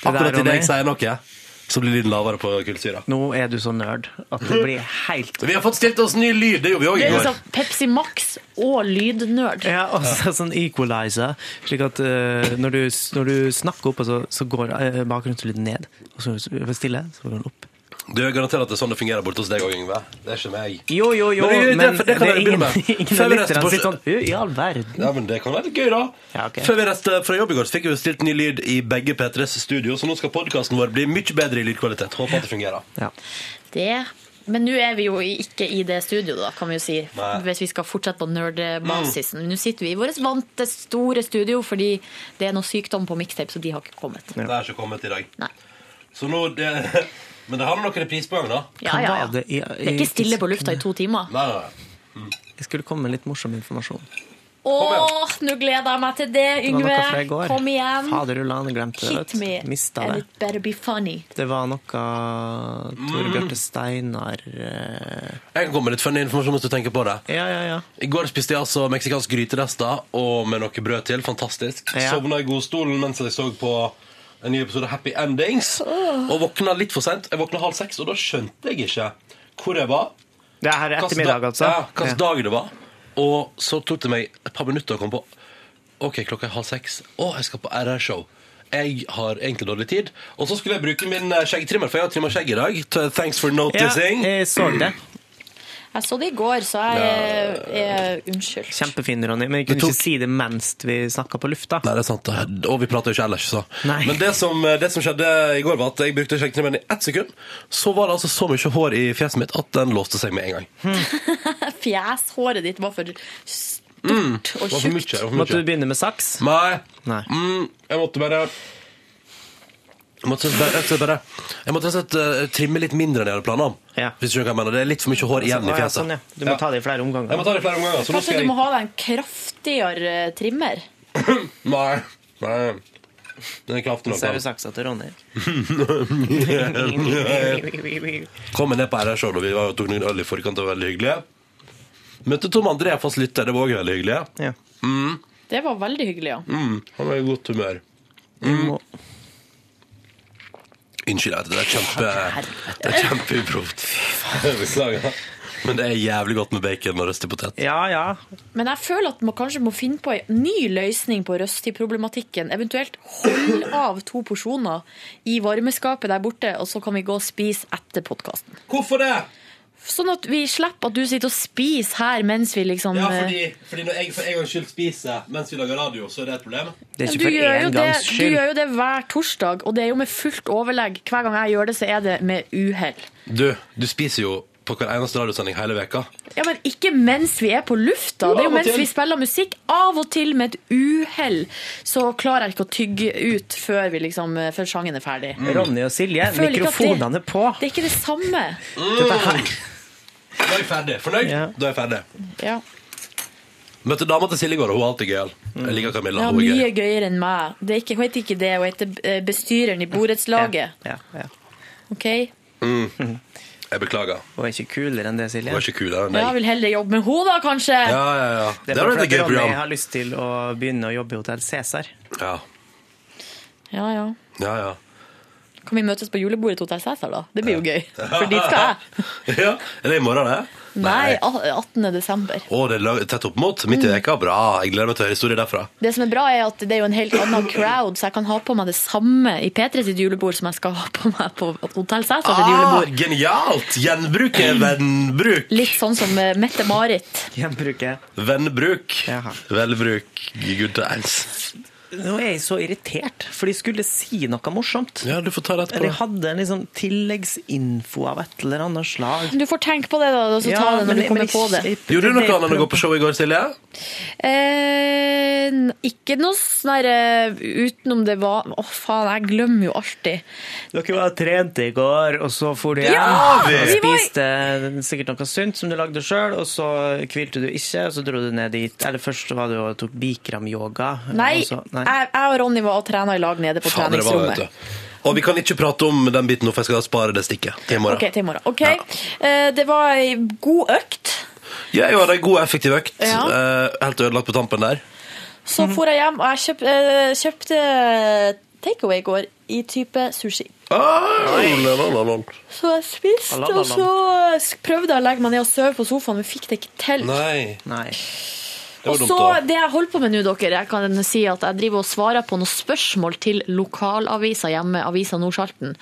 Speaker 2: der,
Speaker 1: Akkurat idet
Speaker 2: Ronny.
Speaker 1: jeg sier noe, så blir lyden lavere på kullsyra.
Speaker 2: Nå er du så nerd at det blir helt
Speaker 1: Vi har fått stilt oss ny lyd, det gjorde vi òg
Speaker 3: Det
Speaker 1: i
Speaker 3: er
Speaker 1: går.
Speaker 3: liksom Pepsi Max og lydnerd.
Speaker 2: Ja, og så sånn equalizer, slik at eh, når, du, når du snakker opp, og så, så går uh, bakgrunnslyden ned. Og så hvis du er stille, så går den opp.
Speaker 1: Du jeg garanterer at det er sånn det fungerer borte hos deg òg, Yngve. Det er ikke meg.
Speaker 2: Jo, jo, jo,
Speaker 1: Men, det- det,
Speaker 2: men
Speaker 1: for det kan
Speaker 2: det er
Speaker 1: jeg begynne med.
Speaker 2: ingen- ingen
Speaker 1: Før vi
Speaker 2: lytter,
Speaker 1: reiste
Speaker 2: han
Speaker 1: på-
Speaker 2: sitter sånn, I all verden.
Speaker 1: Ja, men det kan være litt gøy, da. Før vi reiste fra jobb i går, så fikk vi jo stilt ny lyd i begge P3s studio, så nå skal podkasten vår bli mye bedre i lydkvalitet. Håper at det fungerer.
Speaker 3: Det. Men nå er vi jo ikke i det studioet, da, kan vi jo si.
Speaker 1: Nei.
Speaker 3: Hvis vi skal fortsette på nerdbasisen. Nå sitter vi i vårt vante, store studio fordi det er noe sykdom på mixtape, så de har ikke kommet.
Speaker 1: Det er ikke kommet i dag. Så nå det, Men det har nå noen repris på gang, da.
Speaker 3: Ja, ja, ja. Det er ikke stille på lufta i to timer.
Speaker 1: Nei, nei, nei.
Speaker 2: Jeg skulle komme med litt morsom informasjon.
Speaker 3: Åh, nå gleder jeg meg til det,
Speaker 2: Det var
Speaker 3: Yngve!
Speaker 2: noe fra i går.
Speaker 3: Kom igjen!
Speaker 2: Faderullan, glemte det.
Speaker 3: Hit
Speaker 2: vet du.
Speaker 3: me,
Speaker 2: Mista
Speaker 3: and
Speaker 2: det.
Speaker 3: it better be funny.
Speaker 2: Det var noe
Speaker 1: Mm.
Speaker 2: Tore Bjarte Steinar eh,
Speaker 1: Jeg kan komme med litt funny informasjon hvis du tenker på det. I går spiste jeg altså meksikansk gryterester og med noe brød til. Fantastisk.
Speaker 2: Ja.
Speaker 1: Sovna i godstolen mens jeg så på en ny episode av Happy Endings. Og våkna litt for seint. Jeg våkna halv seks, og da skjønte jeg ikke hvor jeg var.
Speaker 2: Det her er
Speaker 1: Hvilken
Speaker 2: ettermiddag,
Speaker 1: dag-
Speaker 2: altså.
Speaker 1: Ja, hvilken
Speaker 2: Ja.
Speaker 1: dag det var. Og så tok det meg et par minutter å komme på Ok, klokka er halv seks. Å, jeg skal på RR-show. Jeg har egentlig dårlig tid. Og så skulle jeg bruke min eh, skjeggtrimmer, for jeg har trimma skjegg i dag. T- Thanks for
Speaker 2: Ja,
Speaker 1: noticing.
Speaker 2: jeg så det.
Speaker 3: Jeg så det i går, så jeg er unnskyld.
Speaker 2: Kjempefin, Ronny, men vi kunne ikke si det mens vi snakka på lufta.
Speaker 1: Nei, det er sant. det. Og vi prater jo ikke ellers, så. Men det som, eh, det som skjedde i går, var at jeg brukte skjeggkremen i ett sekund. Så var det altså så mye hår i fjeset mitt at den låste seg med en gang.
Speaker 3: Fjeshåret ditt var for
Speaker 1: Mm.
Speaker 3: stort
Speaker 1: Det
Speaker 3: og
Speaker 1: var for mye, det
Speaker 3: tjukt.
Speaker 1: var for mye.
Speaker 2: Måtte du begynne med saks?
Speaker 1: Nei.
Speaker 2: Nei.
Speaker 1: Mm, jeg måtte bare jeg måtte bare, rett og slett bare Jeg måtte rett og slett eh, trimme litt mindre enn jeg hadde planer om. Hvis du skjønner hva jeg mener. Det er litt for mye hår igjen i
Speaker 2: Å, ja,
Speaker 1: fjeset.
Speaker 2: sånn, ja. Du må ta det i flere omganger.
Speaker 1: Jeg må ta det i flere omganger, så nå
Speaker 3: Kanskje
Speaker 1: skal
Speaker 3: du må
Speaker 1: jeg
Speaker 3: ha deg en kraftigere eh, trimmer?
Speaker 1: Nei. Nei. Den er kraftig nok.
Speaker 2: Så er jo saksa til Ronny.
Speaker 1: Kom med ned på RR-show da vi var og tok noen øl i forkant. Det var veldig hyggelig. Møtte Tom André fast lytter. Det var også veldig hyggelig. Mm,
Speaker 3: Det var veldig hyggelig, ja.
Speaker 1: mm, han var i godt humør. Mm. Unnskyld, jeg vet det er kjempe Det er kjempeuproft. Beklager. Men det er jævlig godt med bacon og røstig potet.
Speaker 2: Ja, ja.
Speaker 3: Men jeg føler at man kanskje må finne på en ny løsning på røstidproblematikken. Eventuelt holde av to porsjoner i varmeskapet der borte, og så kan vi gå og spise etter podkasten.
Speaker 1: Hvorfor det?
Speaker 3: Sånn at vi slipper at du sitter og spiser her mens vi liksom
Speaker 1: Ja, fordi, fordi når jeg for en gangs skyld spiser mens vi lager radio, så er det et problem.
Speaker 2: Det er
Speaker 3: du gjør, jo det, du gjør jo det hver torsdag, og det er jo med fullt overlegg. Hver gang jeg gjør det, så er det med uhell.
Speaker 1: Du, du spiser jo på hver eneste radiosending hele veka.
Speaker 3: Ja, men ikke mens vi er på lufta.
Speaker 1: Jo,
Speaker 3: Det
Speaker 1: av
Speaker 3: er jo
Speaker 1: og
Speaker 3: mens
Speaker 1: til.
Speaker 3: vi spiller musikk. Av og til med et uhell så klarer jeg ikke å tygge ut før, vi liksom, før sangen er ferdig.
Speaker 2: Ronny og Silje,
Speaker 3: Jeg føler ikke at
Speaker 2: Mm. mikrofonene på.
Speaker 3: Det er ikke det samme.
Speaker 2: Dette her.
Speaker 1: Da er jeg ferdig. Fornøyd? Da er jeg ferdig.
Speaker 3: Ja.
Speaker 1: Møtte dama til Silje i går, og hun er alltid gøyal. Jeg liker Camilla.
Speaker 3: Ja,
Speaker 1: hun er gøy.
Speaker 3: mye gøyere enn meg. Det er ikke, hun heter ikke det, hun heter eh, bestyreren i borettslaget.
Speaker 2: Ja, ja.
Speaker 3: Ok?
Speaker 1: Mm. Jeg beklager.
Speaker 2: Hun er ikke kulere enn det, Silje.
Speaker 1: Hun er ikke kulere enn
Speaker 3: Ja,
Speaker 1: deg.
Speaker 3: jeg vil heller jobbe med henne da, kanskje.
Speaker 1: Ja, ja, ja.
Speaker 2: Det
Speaker 1: Det
Speaker 2: er
Speaker 1: var
Speaker 2: bare
Speaker 1: et
Speaker 2: fordi
Speaker 1: gøy
Speaker 2: at Ronny
Speaker 1: program.
Speaker 2: har lyst til å begynne å jobbe i Hotell Cæsar.
Speaker 1: Ja,
Speaker 3: Ja, ja.
Speaker 1: ja. ja.
Speaker 3: Kan vi møtes på julebordet til Hotell Cæsar, da? Det blir jo gøy. For dit skal jeg.
Speaker 1: ja. Er det i morgen, det?
Speaker 3: Nei, Mm. 18. desember.
Speaker 1: Å, det er lag- tett opp mot. Midt i veka. Bra. Jeg gleder meg til å høre historier derfra.
Speaker 3: Det som er bra, er at det er jo en helt annen crowd, så jeg kan ha på meg det samme i P3 sitt julebord som jeg skal ha på meg på Hotell Cæsar sitt
Speaker 1: Ah,
Speaker 3: julebord.
Speaker 1: genialt! Gjenbruk er vennbruk.
Speaker 3: Litt sånn som eh, Mette-Marit.
Speaker 2: Gjenbruket.
Speaker 1: Vennbruk. Velbruk. Good times.
Speaker 2: Nå er jeg så irritert, for de skulle si noe morsomt.
Speaker 1: Ja, du får ta rett
Speaker 3: på
Speaker 2: De
Speaker 3: det.
Speaker 2: hadde en liksom tilleggsinfo av et eller annet slag.
Speaker 3: Du får tenke på det, da, og så ta det når du kommer på det.
Speaker 1: Gjorde du noe annet enn å gå på show i går, Silje?
Speaker 3: Eh, n- ikke noe sånn der, eh, utenom det var Å, faen, jeg glemmer jo alltid.
Speaker 2: Dere var trent i går, og så for du hjem
Speaker 3: Ja,
Speaker 2: og
Speaker 3: vi var i-
Speaker 2: spiste sikkert noe sunt som du lagde sjøl, og så hvilte du ikke, og så dro du ned dit. Eller først var du og tok bikram-yoga.
Speaker 3: Nei,
Speaker 2: og så- nei.
Speaker 3: Jeg, jeg og Ronny var og trena i lag nede på
Speaker 1: altså, Faen, det var, vet
Speaker 3: treningsrommet.
Speaker 1: du. Og vi kan ikke prate om den biten nå, for jeg skal spare det stikket til i morgen.
Speaker 3: Ok, til i morgen. Ok, eh, Det var ei god økt.
Speaker 1: Ja, jeg hadde en god, effektiv økt.
Speaker 3: Ja.
Speaker 1: Eh, helt ødelagt på tampen der.
Speaker 3: Så
Speaker 1: Mhm.
Speaker 3: for jeg hjem, og jeg kjøp, eh, kjøpte takeaway i går i type sushi. Så jeg spiste,
Speaker 1: Alalalal.
Speaker 3: og så eh, prøvde jeg å legge meg ned og sove på sofaen, men fikk det ikke til.
Speaker 1: Nei. Det
Speaker 3: Og
Speaker 1: var
Speaker 3: så
Speaker 1: dumt, da.
Speaker 3: det jeg holder på med nå, dere, jeg kan si at jeg driver og svarer på noen spørsmål til lokalavisa hjemme, Avisa Nordsalten.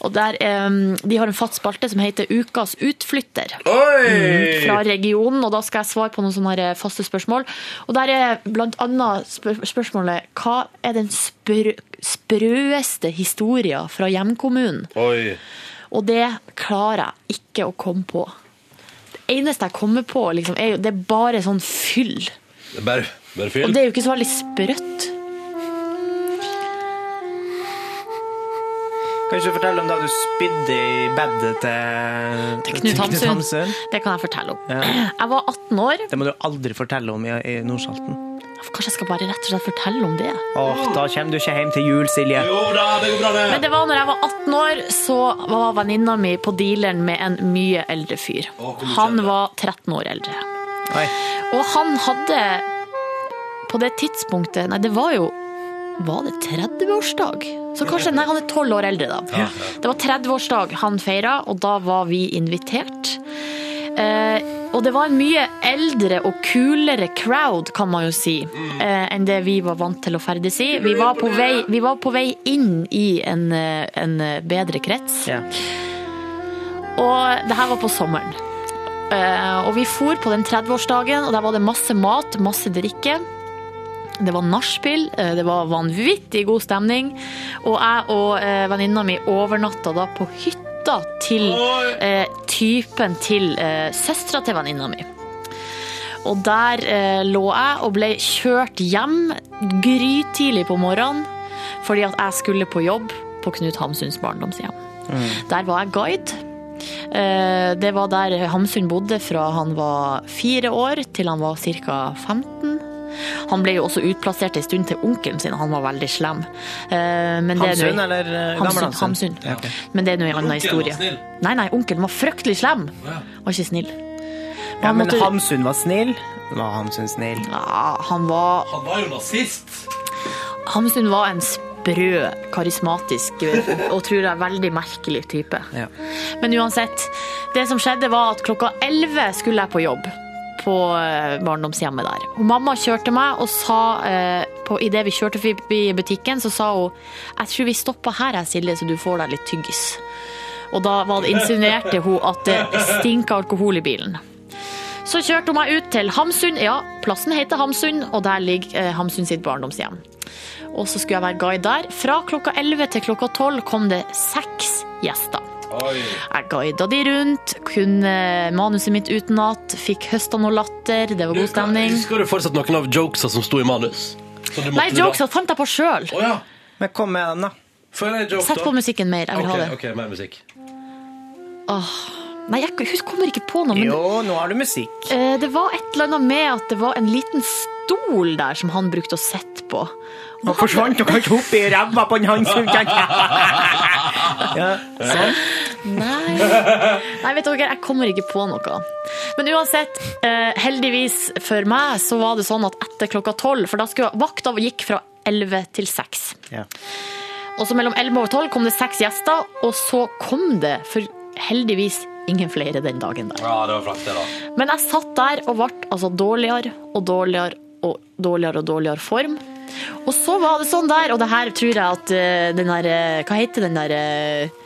Speaker 3: Og der, em, de har en fatt spalte som heter Ukas utflytter.
Speaker 1: Oi!
Speaker 3: Mm, Fra regionen, og da skal jeg svare på noen sånne her faste spørsmål. Og der er blant annet spør spørsmålet, hva er den sprø sprøeste historien fra hjemkommunen?
Speaker 1: Oi.
Speaker 3: Og det klarer jeg ikke å komme på. Det eneste jeg kommer på, liksom, er jo, det er bare sånn fyll.
Speaker 1: Det er Bare, bare fyll.
Speaker 3: Og det er jo ikke så veldig sprøtt.
Speaker 2: Kan ikke du fortelle om da du spydde i bedet til,
Speaker 3: Knut Hamsun. Det kan jeg fortelle om.
Speaker 2: Ja.
Speaker 3: Jeg var 18 år.
Speaker 2: Det må du aldri fortelle om i, i Nordsalten.
Speaker 3: Kanskje jeg skal bare rett og slett fortelle om det.
Speaker 2: Åh, Da kommer du ikke hjem til jul, Silje.
Speaker 3: Men det var når jeg var 18 år, så var venninna mi på dealeren med en mye eldre fyr. Han var 13 år eldre.
Speaker 2: Oi.
Speaker 3: Og han hadde på det tidspunktet Nei, det var jo var det 30-årsdag? Så kanskje, nei, Han er 12 år eldre, da.
Speaker 16: Ja.
Speaker 3: Det var 30-årsdag han feira, og da var vi invitert. Eh, og det var en mye eldre og kulere crowd, kan man jo si, eh, enn det vi var vant til å ferdes i. Vi var på vei, vi var på vei inn i en, eh, en eh, bedre krets. Og det her var på sommeren. Eh, og vi for på den 30-årsdagen, og der var det masse mat, masse drikke. Det var nachspiel, eh, det var vanvittig god stemning. Og jeg og eh, venninna mi overnatta da på hytta til eh, typen til eh, søstera til venninna mi. Og der eh, lå jeg og ble kjørt hjem grytidlig på morgenen fordi at jeg skulle på jobb på Knut Hamsuns barndomshjem.
Speaker 2: Mm.
Speaker 3: Der var jeg guide. Eh, Det var der Hamsun bodde fra han var fire år til han var ca. 15. Han ble jo også utplassert en stund til onkelen sin, han var veldig slem. Eh, Men det er
Speaker 2: Hamsun
Speaker 3: nå-
Speaker 2: eller eh,
Speaker 3: Hamsun,
Speaker 2: gammel
Speaker 3: Hamsun.
Speaker 2: Ja, ok.
Speaker 3: Men det er nå en
Speaker 2: Onkelen
Speaker 3: annen
Speaker 2: var
Speaker 3: historie.
Speaker 2: snill.
Speaker 3: Nei, nei, onkelen var fryktelig slem. Var ikke snill.
Speaker 2: Ja,
Speaker 3: Han
Speaker 2: men
Speaker 3: måtte-
Speaker 2: Hamsun var snill. Var Hamsun snill?
Speaker 3: Ja, Ah, han var
Speaker 1: Han var jo nazist.
Speaker 3: Hamsun var en sprø, karismatisk eh, og tror jeg veldig merkelig type.
Speaker 2: Ja.
Speaker 3: Men uansett, det som skjedde var at klokka 11 skulle jeg på jobb på eh, barndomshjemmet der. Og mamma kjørte meg og sa, eh, på, i det vi kjørte forbi butikken, så sa hun «Jeg tror vi stopper her, jeg, Silje, så du får deg litt tyggis». Og da var det insinuerte hun at det stinket alkohol i bilen. Så kjørte hun meg ut til Hamsun. Ja, plassen heter Hamsun, og der ligger eh, Hamsun sitt barndomshjem. Og så skulle jeg være guide der. Fra klokka 11 til klokka 12 kom det seks gjester. Jeg guida de rundt, kunne manuset mitt utenat, fikk høsta noe latter, det var god stemning.
Speaker 1: Husker du fortsatt noen av jokesa som sto i manus? Så du måtte
Speaker 3: Nei,
Speaker 1: dra-
Speaker 3: jokes fant jeg på sjøl.
Speaker 2: Men kom med den, da.
Speaker 1: Før jeg joke,
Speaker 3: Sett
Speaker 1: da.
Speaker 3: på musikken mer, jeg
Speaker 1: Ok,
Speaker 3: vil ha det.
Speaker 1: ok, mer musikk.
Speaker 3: Åh. Nei, jeg husker- kommer ikke på noe. men-
Speaker 2: Jo, nå har du musikk.
Speaker 3: Eh, Det var et eller annet med at det var en liten stol der som han brukte å sette på.
Speaker 2: Nå forsvant dere ikke opp i ræva på en Hamsun. ja, sånn.
Speaker 3: Nei. Nei, vet dere, jeg kommer ikke på noe. Men uansett, eh, heldigvis for meg så var det sånn at etter klokka tolv, for da skulle vakta gikk fra 11 til 6.
Speaker 2: Ja.
Speaker 3: Og så mellom 11 og 12 kom det seks gjester, og så kom det, for heldigvis, ingen flere den dagen der.
Speaker 1: Ja, det var flaks, det, da.
Speaker 3: Men jeg satt der og ble altså, dårligere og dårligere og dårligere og dårligere form. Og så var det sånn der, og det her tror jeg at eh, den der eh, Hva heter den der eh,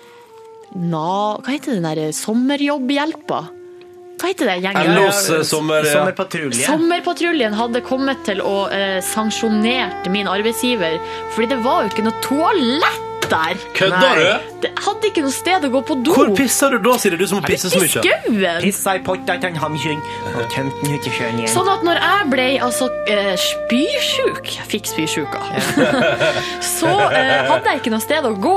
Speaker 3: na, Hva heter den der eh, sommerjobbhjelpa? Hva heter det gjengen?
Speaker 1: LOs eh, sommer... ja.
Speaker 3: Sommerpatruljen hadde kommet til å eh, sanksjonert min arbeidsgiver, fordi det var jo ikke noe toalett der.
Speaker 1: Kødder
Speaker 3: Nei.
Speaker 1: du?
Speaker 3: Det hadde ikke noe sted å gå på do.
Speaker 1: Hvor pisser du da, Silje? Du som pisser så
Speaker 3: I
Speaker 1: mye.
Speaker 3: skauen!
Speaker 2: Pissa i potta til en Hamsun og tømte den ut i sjøen igjen.
Speaker 3: Sånn at når jeg ble altså, eh, spysjuk, jeg fikk spysjuka, så eh, hadde jeg ikke noe sted å gå.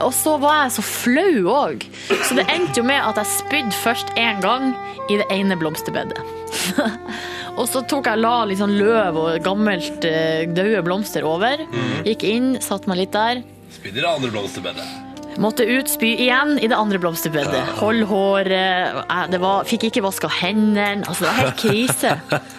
Speaker 3: Og så var jeg så flau òg. Så det endte jo med at jeg spydde først én gang i det ene blomsterbedet. og så tok jeg la litt sånn løv og gammelt eh, døde blomster over.
Speaker 1: Mhm.
Speaker 3: Gikk inn, satte meg litt der.
Speaker 1: Spydd i det andre blomsterbedet.
Speaker 3: Måtte ut, spy igjen i det andre blomsterbedet. Hold håret. eh, Det var, fikk ikke vaska hendene. Altså, det var helt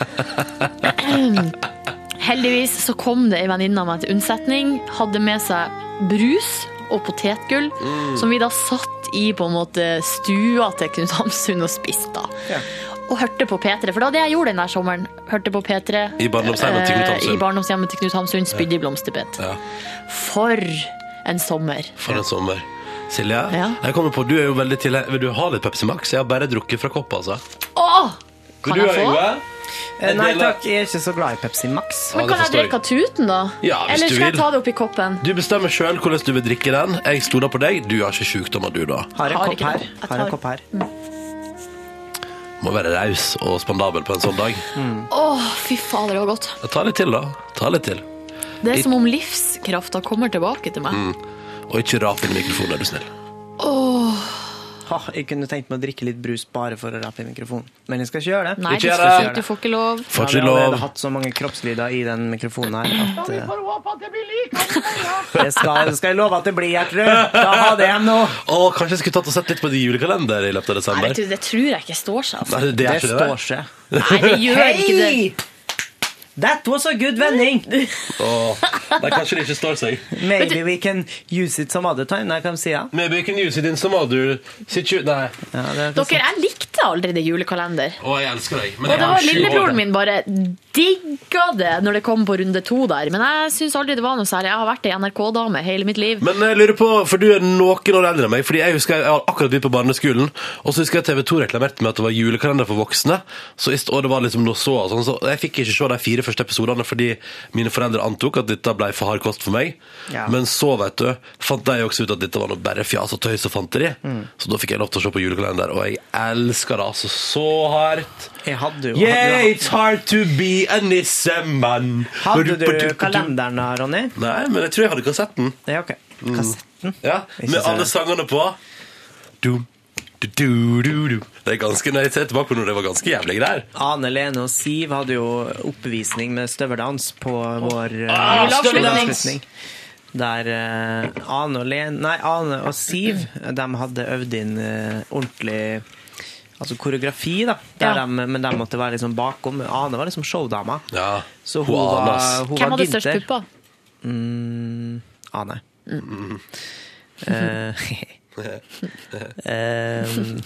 Speaker 3: krise. Heldigvis så kom det ei venninne av meg til unnsetning. Hadde med seg brus og potetgull,
Speaker 16: Mm.
Speaker 3: som vi da satt i på en måte stua til Knut Hamsun og spiste. da. Og hørte på P3, for det var det jeg gjorde den der sommeren. Hørte på P3
Speaker 1: I barndomshjemmet til Knut
Speaker 3: eh,
Speaker 1: Hamsun.
Speaker 3: I barndomshjemmet til Knut Hamsun, spydde i blomsterbed.
Speaker 1: Ja.
Speaker 3: For en sommer.
Speaker 1: For en sommer. Silje,
Speaker 3: Ja.
Speaker 1: jeg kommer på, du er jo veldig til... Vil du ha litt Pepsi Max? Jeg har bare drukket fra kopp, altså.
Speaker 3: Åh!
Speaker 1: Vil
Speaker 3: Kan
Speaker 1: du
Speaker 3: jeg
Speaker 1: ha,
Speaker 3: få?
Speaker 1: Yngve?
Speaker 2: Eh, Nei
Speaker 1: Jeg deler-
Speaker 2: takk, jeg er ikke så glad i Pepsi Max.
Speaker 1: Ja,
Speaker 3: Men
Speaker 1: det
Speaker 3: kan jeg
Speaker 1: forstår
Speaker 3: drikke av tuten, da?
Speaker 1: Ja, hvis
Speaker 3: Eller
Speaker 1: du
Speaker 3: skal jeg
Speaker 1: vil.
Speaker 3: ta det oppi koppen?
Speaker 1: Du bestemmer sjøl hvordan du vil drikke den. Jeg stoler på deg. Du har ikke sjukdommer, du, da.
Speaker 2: Har en
Speaker 3: Har
Speaker 2: kopp
Speaker 3: ikke
Speaker 2: her.
Speaker 3: det. Jeg
Speaker 2: Har
Speaker 3: tar-
Speaker 2: en kopp her.
Speaker 1: Må være raus og spandabel på en sånn dag.
Speaker 3: Å, fy fader, det var godt.
Speaker 1: Ta litt til, da. Ta litt til.
Speaker 3: Det er som om livskrafta kommer tilbake til meg.
Speaker 1: Mm. Og ikke rap inn i mikrofonen, er du snill.
Speaker 3: Åh.
Speaker 2: Ha, jeg kunne tenkt meg å drikke litt brus bare for å rappe i mikrofonen, men jeg skal ikke gjøre det.
Speaker 3: Nei, du, skal ikke, du får ikke lov.
Speaker 1: Får ikke
Speaker 2: Jeg har
Speaker 1: lov.
Speaker 2: allerede hatt så mange kroppslyder i den mikrofonen her at eh, det skal, det skal jeg love at det blir, Gjertrud. Da har det nå.
Speaker 1: Åh, kanskje jeg skulle tatt og sett litt på de julekalender i løpet av
Speaker 3: Nei,
Speaker 1: desember?
Speaker 3: vet du, det tror jeg ikke står seg. Altså.
Speaker 1: Nei, det er ikke det.
Speaker 2: står seg.
Speaker 3: Nei, det gjør ikke det.
Speaker 2: That was a good vending!
Speaker 1: Åh, nei, kanskje det ikke står seg.
Speaker 2: Maybe we can use it some other time. Nei, hva sier jeg?
Speaker 1: Maybe you can use it in some other situ... Nei.
Speaker 2: Ja, det er
Speaker 3: Dere, jeg likte likte aldri det julekalender.
Speaker 1: Å, jeg elsker deg.
Speaker 3: og det var lillebroren min bare digga det når det kom på runde to der. Men jeg syns aldri det var noe særlig. Jeg har vært ei NRK-dame hele mitt liv.
Speaker 1: Men jeg lurer på, for du er noen år eldre enn meg, fordi jeg husker jeg har akkurat begynt på barneskolen, og så husker jeg TV 2 reklamerte med at det var julekalender for voksne, så i st- og det var liksom noe så, og sånn, så jeg fikk ikke se de fire første episodene fordi mine foreldre antok at dette ble for hard kost for meg,
Speaker 2: Ja.
Speaker 1: men så, vet du, fant de også ut at dette var noe bare fjas og tøys og fanteri,
Speaker 2: Mm.
Speaker 1: så da fikk jeg lov til å se på julekalender, og jeg elsker det altså så hardt.
Speaker 2: Jeg hadde jo
Speaker 1: Yeah, it's hard to be a nissemann.
Speaker 2: Hadde du kalenderen da, Ronny?
Speaker 1: Nei, men jeg tror jeg hadde kassetten.
Speaker 2: Ja, ok.
Speaker 1: Mm.
Speaker 2: Kassetten?
Speaker 1: Ja,
Speaker 2: Ikke
Speaker 1: Med
Speaker 2: så-
Speaker 1: alle sangene på. Dum, du, du, du, du. Det er ganske nøye til tilbake på når det var ganske jævlig greier.
Speaker 2: Ane Lene og Siv hadde jo oppvisning med støveldans på vår eh,
Speaker 1: Ah, støveldans!
Speaker 2: juleavslutning. Der eh, Ane, og Lene, nei, Ane og Siv de hadde øvd inn eh, ordentlig altså koreografi, da. Der
Speaker 3: Ja.
Speaker 2: de, men de måtte være liksom bakom. Ane var liksom showdama. Så hun
Speaker 1: hun Ane,
Speaker 2: var,
Speaker 1: ass.
Speaker 2: hun
Speaker 3: Hvem
Speaker 2: var
Speaker 3: hadde størst
Speaker 2: Gynter.
Speaker 3: pupper?
Speaker 2: Mm, Ane. Eh, em,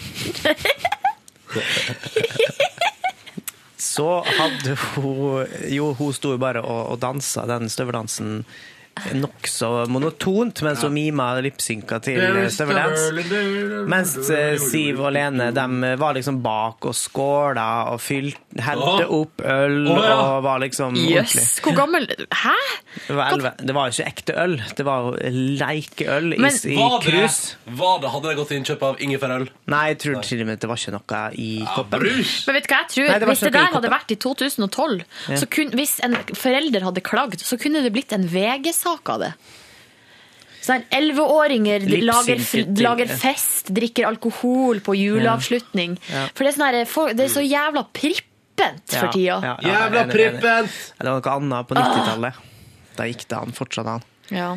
Speaker 2: så hadde hun Jo, hun sto jo bare og, og dansa den støveldansen nokså monotont, mens hun mima lipsynka til eh, støveldans. Mens eh, Siv og Lene de var liksom bak og skåla og fylt, helte opp øl
Speaker 3: Å, ja.
Speaker 2: og var liksom
Speaker 3: Jøss,
Speaker 2: ordentlig.
Speaker 3: hvor gammel Hæ?
Speaker 2: Det var, elleve. det var jo ikke ekte øl, det var jo lekeøl i, i
Speaker 1: var det,
Speaker 2: krus.
Speaker 1: var det, hadde det gått innkjøp av ingefærøl?
Speaker 2: Nei, jeg tror til og med det var ikke noe i koppen.
Speaker 3: Men vet du hva jeg tror?
Speaker 2: Nei, det var
Speaker 3: hvis det
Speaker 2: ikke noe
Speaker 3: der
Speaker 2: i
Speaker 3: hadde
Speaker 2: koppen.
Speaker 3: vært i 2012,
Speaker 2: Ja.
Speaker 3: så kun, hvis en forelder hadde klagd, så kunne det blitt en VG-sak av det. Sånn, Elleveåringer de lager,
Speaker 16: Lipsynket til-
Speaker 3: lager fest, drikker alkohol på juleavslutning.
Speaker 2: Ja. Ja.
Speaker 3: For det er, sånn her, folk- det er så jævla prippent for tida.
Speaker 2: Jævla prippent! Det var noe annet
Speaker 1: Ah.
Speaker 2: på 90-tallet. Da gikk det an, fortsatt an.
Speaker 3: Ja.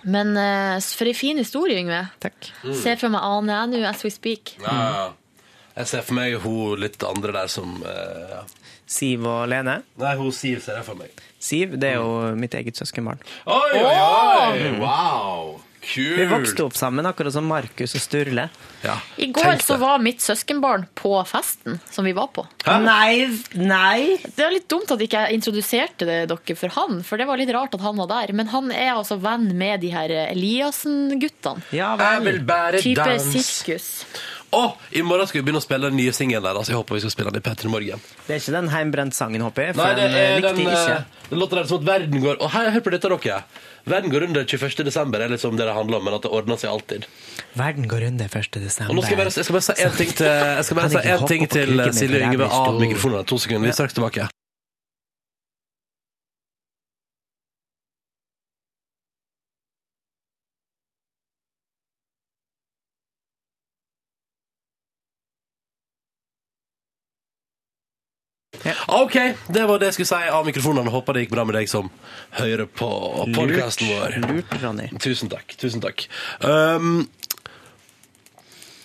Speaker 3: Men eh, for ei fin historie, Yngve.
Speaker 2: Takk.
Speaker 1: Mm.
Speaker 3: Ser for meg Ane jeg nå as we speak.
Speaker 1: Ja, ja. Jeg ser for meg hun litt andre der som eh, ja.
Speaker 2: Siv og Lene.
Speaker 1: Nei, hun Siv ser jeg for meg.
Speaker 2: Siv, det er jo
Speaker 1: Mm.
Speaker 2: mitt eget søskenbarn.
Speaker 1: Oi, oi, oi! Wow! Kult!
Speaker 2: Vi vokste opp sammen, akkurat som Markus og Sturle.
Speaker 3: I går så var mitt søskenbarn på festen som vi var på.
Speaker 2: Hæ? Nei,
Speaker 3: Det er litt dumt at ikke jeg introduserte det dere for han, for det var litt rart at han var der. Men han er altså venn med de her Eliassen-guttene.
Speaker 2: Ja,
Speaker 1: Jeg vil bare
Speaker 3: Type
Speaker 1: danse.
Speaker 3: sirkus.
Speaker 1: Å, I morgen skal vi begynne å spille den nye singelen der. Altså, jeg håper vi skal spille den i P3 Morgen.
Speaker 2: Det er ikke den heimbrent-sangen, håper jeg. For
Speaker 1: Nei, det
Speaker 2: den eh,
Speaker 1: er
Speaker 2: likte
Speaker 1: den,
Speaker 2: jeg ikke.
Speaker 1: eh, den låta der som at verden går Og hei, hør på dette, dere. Verden går under 21. desember, er liksom det det handler om, men at det ordner seg alltid.
Speaker 2: Verden går under 1. desember.
Speaker 1: Og nå skal jeg bare, jeg skal bare si én ting til, jeg skal bare
Speaker 2: Kan
Speaker 1: si
Speaker 2: ikke
Speaker 1: en ting
Speaker 2: hoppe på
Speaker 1: til
Speaker 2: kuken min, for
Speaker 1: Silje
Speaker 2: jeg
Speaker 1: Yngve
Speaker 2: blir
Speaker 1: av
Speaker 2: stor.
Speaker 1: mikrofonen. To sekunder, vi er straks tilbake. OK, det var det jeg skulle si av mikrofonene. Håper det gikk bra med deg som hører på podkasten vår.
Speaker 2: Lurt, Ronny.
Speaker 1: Tusen takk. tusen takk um,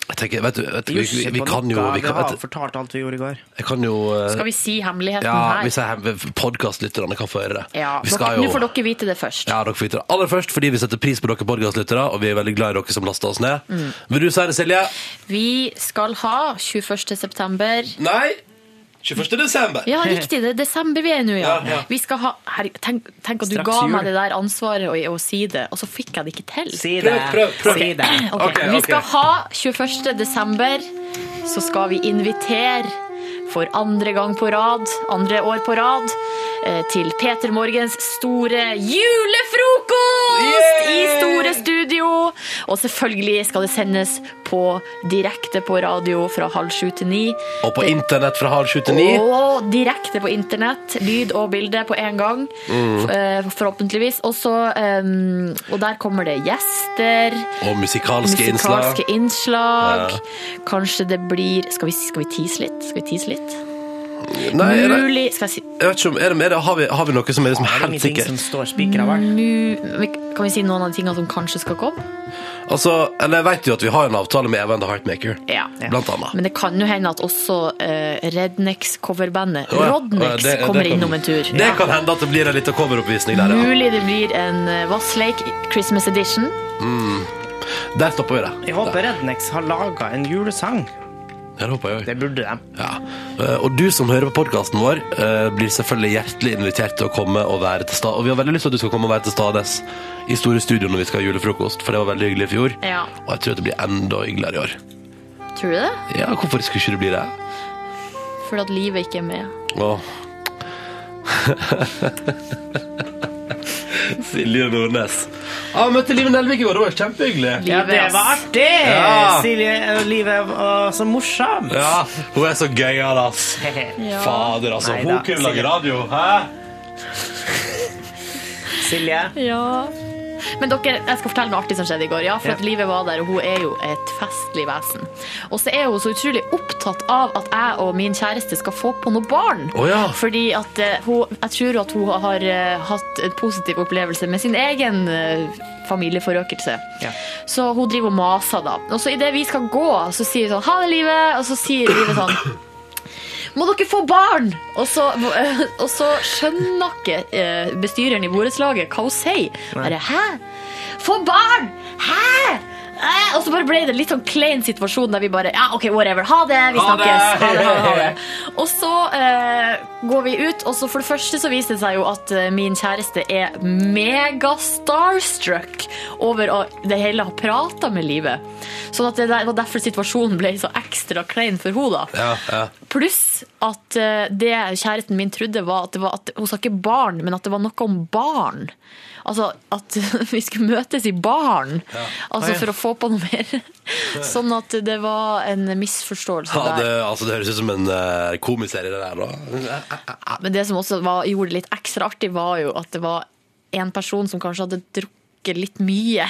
Speaker 1: Jeg tenker, vet du, vet du vi, vi, vi kan jo vi
Speaker 2: Vi
Speaker 1: kan,
Speaker 2: har
Speaker 1: vet, du,
Speaker 2: fortalt alt vi gjorde i går.
Speaker 1: Jeg kan jo eh,
Speaker 3: Skal vi si hemmeligheten
Speaker 1: ja,
Speaker 3: her?
Speaker 1: hvis jeg- Podkastlytterne kan få høre det.
Speaker 3: Ja,
Speaker 1: vi
Speaker 3: dere-
Speaker 1: skal
Speaker 3: Nå får
Speaker 1: jo
Speaker 3: dere vite det først.
Speaker 1: ja, dere får vite det. Aller først fordi vi setter pris på dere podkastlyttere, og vi er veldig glad i dere som laster oss ned.
Speaker 3: Mm.
Speaker 1: Vil du si det, Silje?
Speaker 3: Vi skal ha 21. september.
Speaker 1: Nei! 21. desember.
Speaker 3: Ja, riktig. Det er desember vi er nå, ja.
Speaker 1: Ja, ja.
Speaker 3: Vi skal ha, her, tenk, tenk at du
Speaker 1: Straks
Speaker 3: ga
Speaker 1: jul.
Speaker 3: meg det der ansvaret å, å si det, og så fikk jeg det ikke til.
Speaker 2: Si det. Prøv, prøv, prøv.
Speaker 3: Ok.
Speaker 2: Si det.
Speaker 3: Ok,
Speaker 2: Ok,
Speaker 3: Vi
Speaker 2: ok.
Speaker 3: skal ha 21. desember, så skal vi invitere for andre gang på rad, andre år på rad, eh, til Peter Morgens store julefrokost i Store Studio. Og selvfølgelig skal det sendes på direkte på radio fra halv sju til ni.
Speaker 1: Og på internett fra halv sju til ni.
Speaker 3: Og direkte på internett. Lyd og bilde på én gang.
Speaker 1: Mm.
Speaker 3: eh, Forhåpentligvis. Og så, em, og der kommer det gjester.
Speaker 1: Og musikalske,
Speaker 3: musikalske
Speaker 1: innslag.
Speaker 3: innslag.
Speaker 1: Ja.
Speaker 3: Kanskje det blir Skal vi, skal vi tease litt? Skal vi tease litt?
Speaker 1: Nei, er det-
Speaker 3: Mulig Skal jeg si
Speaker 1: Jeg vet ikke om, er det, er det, har, vi, har vi noe som er liksom helt
Speaker 2: ingenting
Speaker 1: sikkert?
Speaker 2: som står spikra, vel?
Speaker 3: Mu- Kan vi si noen av de tingene som kanskje skal komme?
Speaker 1: Altså, eller jeg vet jo at vi har en avtale med Evan the Heartmaker,
Speaker 3: Ja.
Speaker 1: blant annet.
Speaker 3: Men det kan jo hende at også eh, Rednex-coverbandet
Speaker 1: Å ja,
Speaker 3: Rodnex
Speaker 1: det- det
Speaker 3: kommer
Speaker 1: kan-
Speaker 3: innom en tur.
Speaker 1: Det kan hende at det blir en liten coveroppvisning der, ja.
Speaker 3: Mulig det blir en eh, Voss Lake Christmas Edition.
Speaker 1: Mm. Der stopper vi det.
Speaker 2: Jeg håper Rednex har laga en julesang.
Speaker 1: Ja, det håper jeg òg.
Speaker 2: Det burde de.
Speaker 1: Ja. Eh, Og du som hører på podkasten vår, eh, blir selvfølgelig hjertelig invitert til å komme og være til stede. Og vi har veldig lyst til at du skal komme og være til stades i store studio når vi skal ha julefrokost, for det var veldig hyggelig i fjor.
Speaker 3: Ja.
Speaker 1: Og jeg tror at det blir enda hyggeligere i år.
Speaker 3: Tror du det?
Speaker 1: Ja, hvorfor skulle ikke det bli det?
Speaker 3: Fordi at livet ikke er med.
Speaker 1: Åh. Silje Nordnes. Ja, møtte Live Nelvik i går, det var kjempehyggelig.
Speaker 2: Ja, det var artig!
Speaker 1: Ja.
Speaker 2: Silje og livet var så morsomt.
Speaker 1: Ja, hun er så gøyal, ass.
Speaker 2: Ja.
Speaker 1: Fader, altså.
Speaker 2: Neida,
Speaker 1: hun kunne lage
Speaker 2: Silje.
Speaker 1: radio. Hæ?
Speaker 2: Silje.
Speaker 3: Ja. Men dere, jeg skal fortelle noe artig som skjedde i går. Ja, for
Speaker 2: Ja.
Speaker 3: at livet var der, og hun er jo et festlig vesen. Og så er hun så utrolig opptatt av at jeg og min kjæreste skal få på noe barn.
Speaker 16: Å ja.
Speaker 3: Fordi at eh, hun, jeg tror at hun har eh, hatt en positiv opplevelse med sin egen eh, familieforøkelse. Så hun driver og maser da. Og så idet vi skal gå, så sier hun sånn Ha det, livet! Og så sier livet sånn må dere få barn! Og så, eh, og så skjønner ikke eh, bestyreren i borettslaget hva hun sier. Bare, hæ? Få barn! Hæ? Eh, Og så bare ble det en litt sånn klein situasjon der vi bare Ja, OK, whatever. Ha det! Vi
Speaker 16: Ha det!
Speaker 3: snakkes. Ha det, ha det, ha det. Og så eh, går vi ut, og så for det første så viser det seg jo at eh, min kjæreste er mega-starstruck over å det hele ha prata med livet. Sånn at det der, var derfor situasjonen ble så ekstra klein for henne, da.
Speaker 1: Ja, ja.
Speaker 3: Pluss at eh, det kjæresten min trodde var at, det var at hun sa ikke barn, men at det var noe om barn. Altså at vi skulle møtes i barn,
Speaker 1: Ah,
Speaker 3: altså
Speaker 1: ja.
Speaker 3: for å få på noe mer. Sånn at det var en misforståelse
Speaker 1: Ja, det,
Speaker 3: der.
Speaker 1: altså, det høres ut som en eh, komiserie, det der, da.
Speaker 3: Ja, Men det som også var, gjorde det litt ekstra artig, var jo at det var en person som kanskje hadde drukket litt mye.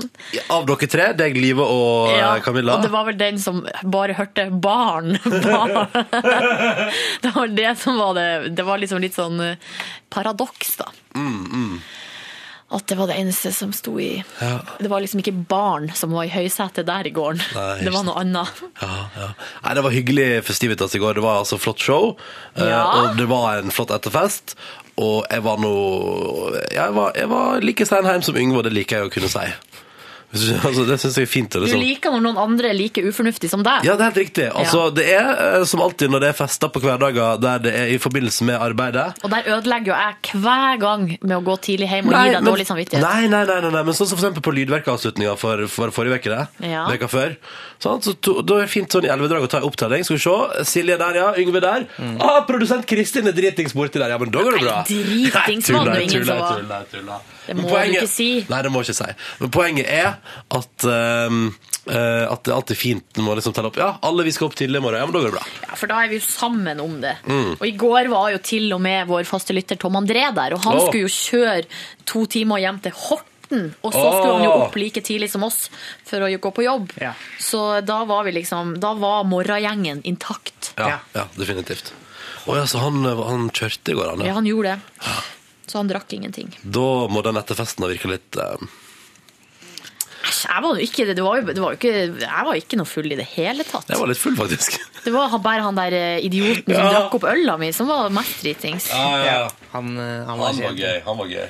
Speaker 1: Av dere tre, deg, Live og eh, Camilla.
Speaker 3: Og det var vel den som bare hørte barn. barn. det var det som var det. Det var liksom litt sånn eh, paradoks, da.
Speaker 1: mm, mm.
Speaker 3: At det var det eneste som sto i
Speaker 1: Ja.
Speaker 3: Det var liksom ikke barn som var i høysetet der i gården.
Speaker 1: Nei, just
Speaker 3: det var noe annet.
Speaker 1: Ja, ja. Nei, det var hyggelig festivitas i går. Det var altså flott show, eh,
Speaker 3: Ja.
Speaker 1: og det var en flott etterfest. Og jeg var nå Jeg var, jeg var like Steinheim som Yngve, og det liker jeg å kunne si. Hvis du- Altså, det syns jeg er fint. og
Speaker 3: Du
Speaker 1: Det, er sånn.
Speaker 3: liker når noen andre er like ufornuftig som deg.
Speaker 1: Ja, det er helt riktig. Altså, Det er eh, som alltid når det er fester på hverdager der det er i forbindelse med arbeidet.
Speaker 3: Og der ødelegger jo jeg hver gang med å gå tidlig hjem og gi deg
Speaker 1: men-
Speaker 3: dårlig samvittighet.
Speaker 1: Nei, nei, nei, nei, nei, men sånn som for eksempel på lydverkavslutninga for, for forrige uke, det.
Speaker 3: Ja.
Speaker 1: Veka før. Sånn, så to, da er det fint sånn i elleve drag å ta en opptelling. Skal vi se. Silje der, ja. Yngve der. Ah, produsent Kristin er dritings borti der. Ja, men da går det bra.
Speaker 3: Nei, dritings var det
Speaker 1: Nei,
Speaker 3: jo ingen
Speaker 1: tuller,
Speaker 3: som var.
Speaker 1: tuller, tuller.
Speaker 3: Det
Speaker 1: Men
Speaker 3: må
Speaker 1: poenget-
Speaker 3: du ikke si.
Speaker 1: Nei, det må jeg ikke si. Men poenget er at, ehm, eh, at det alltid er fint når man liksom teller opp. Ja, alle vi skal opp tidlig i morgen. Ja, men da går det bra.
Speaker 3: Ja, for da er vi jo sammen om det.
Speaker 1: Mm.
Speaker 3: Og i går var jo til og med vår faste lytter Tom André der, og han
Speaker 1: Åh.
Speaker 3: skulle jo kjøre to timer hjem til Horten. Og så skulle
Speaker 16: Åh.
Speaker 3: han jo opp like tidlig som oss for å jo gå på jobb. Så da var vi liksom Da var morgengjengen intakt.
Speaker 1: Ja, ja definitivt. Å ja, så han, han kjørte i går, han.
Speaker 3: Ja, han gjorde det. Så han drakk ingenting.
Speaker 1: Da må den etterfesten ha virka litt eh,
Speaker 3: Æsj, jeg var jo ikke det. var jo, det var jo ikke, Jeg var ikke noe full i det hele tatt.
Speaker 1: Jeg var litt full, faktisk.
Speaker 3: Det var han- bare han der eh, idioten som drakk opp øla mi, som var mest dritings.
Speaker 2: Han, eh, han var,
Speaker 1: Han var gøy. Han var gøy.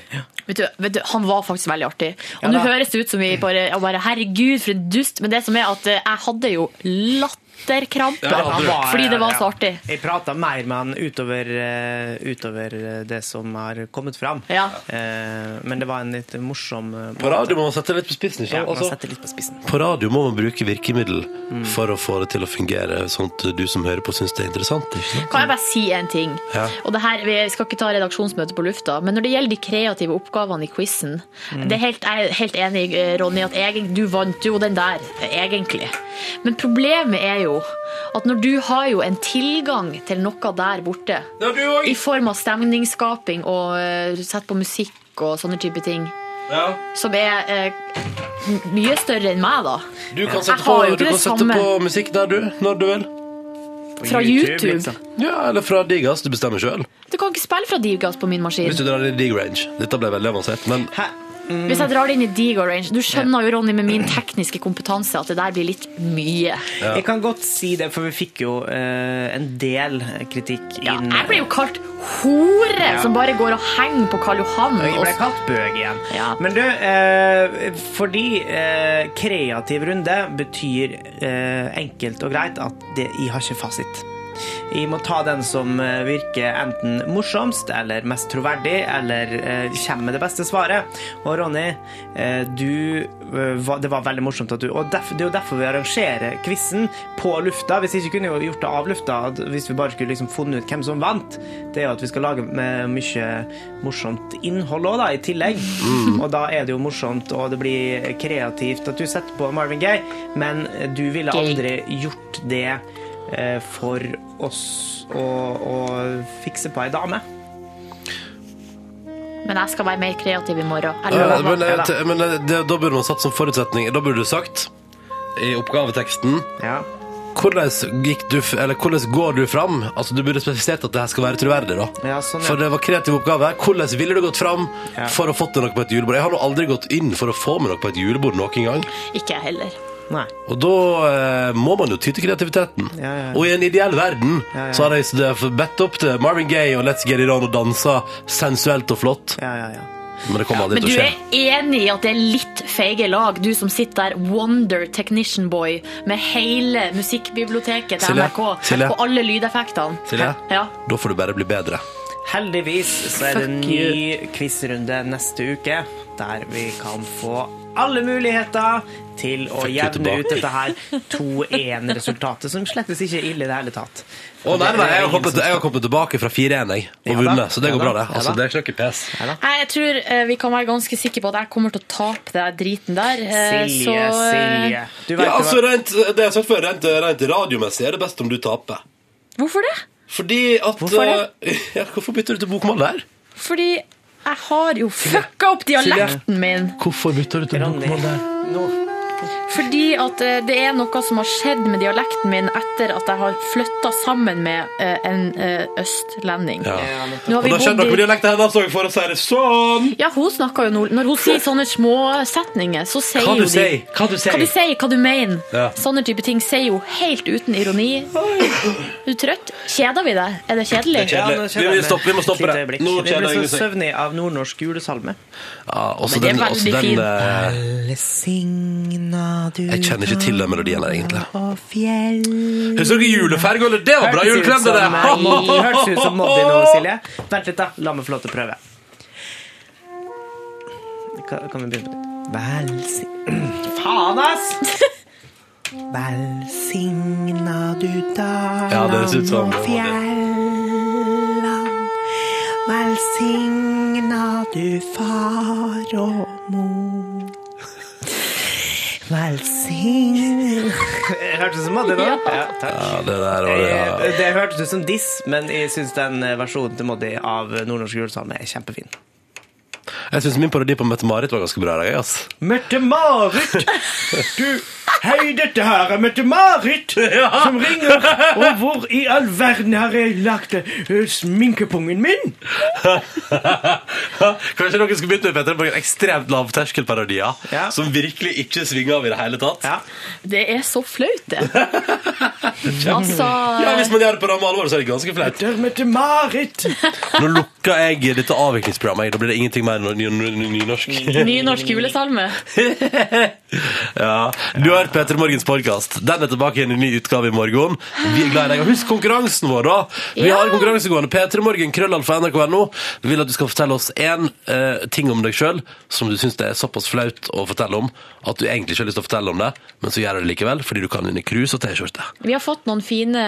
Speaker 3: Vet du, vet du, han var faktisk veldig artig. Og
Speaker 2: Ja
Speaker 3: nå
Speaker 2: da.
Speaker 3: høres det ut som vi bare, og bare Herregud, for en dust. Men det som er at eh, jeg hadde jo latterkrampe. fordi det var så artig.
Speaker 2: Jeg prata mer med han utover, eh, utover eh, det som har kommet fram. Eh, Men det var en litt morsom eh,
Speaker 1: På radio må man sette litt på spissen, ikke
Speaker 2: Ja, man
Speaker 1: Altså-
Speaker 2: setter litt på spissen.
Speaker 1: På radio må man bruke virkemiddel for å få det til å fungere, sånn at du som hører på, syns det er interessant. Ikke sant?
Speaker 3: Kan jeg bare si en ting?
Speaker 1: Ja.
Speaker 3: Og det her, Vi skal ikke ta redaksjonsmøte på lufta, men når det gjelder de kreative oppgavene i quizen
Speaker 16: Mm.
Speaker 3: det er helt, Jeg er helt enig, eh, Ronny, at egen, du vant jo den der, eh, egentlig. Men problemet er jo at når du har jo en tilgang til noe der borte, i form av stemningsskaping og eh, sett på musikk og sånne type ting, som er eh, m- mye større enn meg, da.
Speaker 1: Du kan
Speaker 3: Jeg
Speaker 1: sette, på,
Speaker 3: har jo ikke
Speaker 1: du
Speaker 3: det
Speaker 1: kan sette
Speaker 3: samme.
Speaker 1: på musikk der, du. Når du vil.
Speaker 3: Fra YouTube, YouTube. liksom.
Speaker 1: Ja, eller fra Digas. Du bestemmer sjøl.
Speaker 3: Du kan ikke spille fra Divgas på min maskin.
Speaker 1: Hvis du drar i dig range. Dette ble veldig avansert, men
Speaker 3: Hvis jeg drar det inn i Digo Range Du skjønner jo, Ronny, med min tekniske kompetanse at det der blir litt mye.
Speaker 2: Jeg kan godt si det, for vi fikk jo eh, en del kritikk inn.
Speaker 3: Jeg blir jo kalt hore
Speaker 2: Ja.
Speaker 3: som bare går og henger på Karl Johan.
Speaker 2: eh, Jeg ble
Speaker 3: og-
Speaker 2: kalt bøg igjen. Men du, eh, fordi eh, kreativ runde betyr eh, enkelt og greit at det, jeg har ikke fasit. Jeg må ta den som eh, virker enten morsomst eller mest troverdig, eller eh, kommer med det beste svaret. Og Ronny, eh, du, eh, var- det var veldig morsomt at du Og derf, det er jo derfor vi arrangerer quizen på lufta. Hvis ikke kunne vi jo gjort det av lufta, at hvis vi bare skulle liksom funnet ut hvem som vant. Det er jo at vi skal lage med mye morsomt innhold òg, da, i tillegg. Og da er det jo morsomt, og det blir kreativt at du setter på Marvin Gaye, men du ville
Speaker 14: Gaye.
Speaker 2: aldri gjort det eh, for oss å, å fikse på ei dame.
Speaker 3: Men jeg skal være mer kreativ i morgen. Jeg
Speaker 1: Ja,
Speaker 3: lover.
Speaker 1: men eh, te- men eh, det, da burde man satt som forutsetning Da burde du sagt i oppgaveteksten hvordan, gikk du, f- eller, hvordan går du fram? Altså, du burde spesifisert at det her skal være troverdig. da
Speaker 2: Ja, sånn, ja.
Speaker 1: For det var kreativ oppgave. Hvordan ville du gått fram
Speaker 2: Ja.
Speaker 1: for å fått deg noe på et julebord? Jeg har nå aldri gått inn for å få meg noe på et julebord noen gang.
Speaker 3: Ikke jeg heller.
Speaker 2: Nei.
Speaker 1: Og da eh, må man jo ty til kreativiteten.
Speaker 2: ja.
Speaker 1: Og i en ideell verden så hadde jeg s- bedt opp til Marvin Gaye og Let's Get It On og dansa sensuelt og flott. Men det kommer aldri
Speaker 3: Men du
Speaker 1: til å skje.
Speaker 3: er enig i at det er litt feige lag, du som sitter der, Wonder Technician Boy, med hele musikkbiblioteket til
Speaker 1: Silje,
Speaker 3: NRK
Speaker 1: Silje.
Speaker 3: og alle lydeffektene.
Speaker 1: Silje,
Speaker 3: Ja.
Speaker 1: da får du bare bli bedre.
Speaker 2: Heldigvis så er det en
Speaker 1: Fuck you.
Speaker 2: ny quizrunde neste uke, der vi kan få alle muligheter til å
Speaker 14: Fuck you
Speaker 2: jevne
Speaker 14: tilbake.
Speaker 2: ut dette her 2-1-resultatet, som slettes ikke er ille i det hele tatt.
Speaker 1: Å, nei, nei, jeg har,
Speaker 2: Ingen som
Speaker 1: kommet, jeg har kommet tilbake fra 4-1 jeg, og
Speaker 2: Ja da,
Speaker 1: vunnet, så det
Speaker 2: ja
Speaker 1: går bra,
Speaker 2: da,
Speaker 1: det.
Speaker 2: ja
Speaker 1: Altså,
Speaker 2: da.
Speaker 1: det er ikke noe pes.
Speaker 3: Nei, Jeg tror eh, vi kan være ganske sikre på at jeg kommer til å tape den driten der. eh, så,
Speaker 1: Silje,
Speaker 3: eh,
Speaker 1: Silje. Ja, altså, rent, det jeg har sagt før, rent, eh, rent radiomessig er det best om du taper.
Speaker 3: Hvorfor det?
Speaker 1: Fordi at
Speaker 3: Hvorfor det?
Speaker 1: eh, ja, hvorfor bytter du til bokmål der?
Speaker 3: Fordi jeg har jo fucka opp dialekten min.
Speaker 1: Hvorfor bytter du til bokmål der?
Speaker 3: Fordi at eh, det er noe som har skjedd med dialekten min etter at jeg har flytta sammen med eh, en eh, østlending.
Speaker 1: Ja.
Speaker 3: Nå har
Speaker 1: Og
Speaker 3: vi
Speaker 1: da skjønner
Speaker 3: bodd i-
Speaker 1: dere hvor dialekten hennes også, for å si det sånn.
Speaker 3: Ja, hun snakker jo nord... Når hun sier sånne små setninger, så sier
Speaker 1: Hva du
Speaker 3: jo de...
Speaker 1: sier? Hva du sier?
Speaker 3: Hva du sier, hva du mener.
Speaker 1: Ja.
Speaker 3: Sånne type ting sier hun helt uten ironi. Er du trøtt? Kjeder vi deg? Er det kjedelig?
Speaker 1: Det er kjedelig.
Speaker 2: nå kjeder
Speaker 1: Vi- vi
Speaker 2: jeg meg.
Speaker 1: stopper- vi må stoppe det.
Speaker 2: Et lite øyeblikk.
Speaker 1: Nå
Speaker 2: Jeg
Speaker 1: kjeder jeg
Speaker 2: ble så
Speaker 1: meg.
Speaker 2: søvnig av nordnorsk julesalme.
Speaker 1: Ja, også
Speaker 2: Men det er
Speaker 1: den,
Speaker 2: veldig
Speaker 1: også den
Speaker 2: fin.
Speaker 1: eh, Jeg kjenner ikke til den melodien der, egentlig. Husker dere juleferga, eller? Det var bra
Speaker 2: Hørtes ut
Speaker 1: juleklem, det
Speaker 2: som- Nei,
Speaker 1: der!
Speaker 2: Hørtes ut som Moddi nå, Silje. Vent litt, da. La meg få lov til å prøve. Ka- Kan vi begynne på nytt? Velsign... Faen, ass! Velsigna du dalen
Speaker 14: Ja, det høres ut som
Speaker 2: og
Speaker 14: Moddi.
Speaker 2: fjellan. Velsigna du far og mor. Velsign... Hørtes ut som Moddi nå. Ja, takk.
Speaker 1: Ja, det der var det, ja.
Speaker 2: Eh, Det hørtes ut som diss, men jeg syns den eh, versjonen til Moddi av eh, nordnorsk julesalme er kjempefin.
Speaker 1: Jeg syns min parodi på Mette-Marit var ganske bra. i dag, ass.
Speaker 2: Mette-Marit! Du, hei, dette her er Mette-Marit som ringer. Og hvor i all verden har jeg lagt eh, sminkepungen min?
Speaker 1: Kanskje dere skulle begynne med Petter, noen ekstremt lavterskelparodier som virkelig ikke svinger av i det hele tatt.
Speaker 3: Det er så flaut, det. Altså
Speaker 1: Ja, Hvis man gjør det på ramme alvor, så er det ganske flaut.
Speaker 2: Mette-Marit!
Speaker 1: Nå lukker jeg dette avviklingsprogrammet. jeg. Da blir det ingenting mer ny- ny- ny- nynorsk.
Speaker 3: Nynorsk julesalme.
Speaker 1: Ja. Du har hørt Peter Morgens podkast. Den er tilbake igjen i en ny utgave i morgen. Vi er glad i deg. Og husk konkurransen vår, da! Vi har konkurranse gående. Peter Morgen, krøllalfa nrk.no. Vi vil at du skal fortelle oss én ting om deg sjøl som du syns det er såpass flaut å fortelle om at du egentlig ikke har lyst til å fortelle om det, men så gjør du det likevel fordi du kan vinne krus og T-skjorte.
Speaker 3: Vi har fått noen fine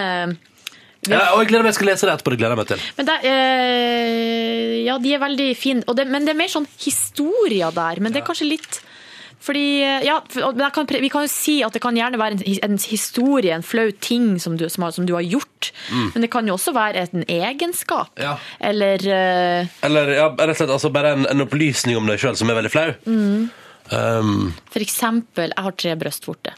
Speaker 3: vi
Speaker 1: Ja,
Speaker 3: har...
Speaker 1: og jeg gleder meg, jeg skal lese det etterpå. Det gleder jeg meg til.
Speaker 3: Men det, eh, ja, de er veldig fine. Og det, men det er mer sånn historier der. Men det er kanskje litt fordi, eh, ja, for- og- men jeg kan, pre- Vi kan jo si at det kan gjerne være en, his- en historie, en flau ting som du, som, har, som du har gjort.
Speaker 1: Mm.
Speaker 3: Men det kan jo også være en egenskap.
Speaker 1: Ja.
Speaker 3: Eller eh,
Speaker 1: Eller ja, rett og slett altså bare en, en opplysning om deg sjøl som er veldig flau.
Speaker 3: mm,
Speaker 1: Um,
Speaker 3: For eksempel, jeg har tre brystvorter.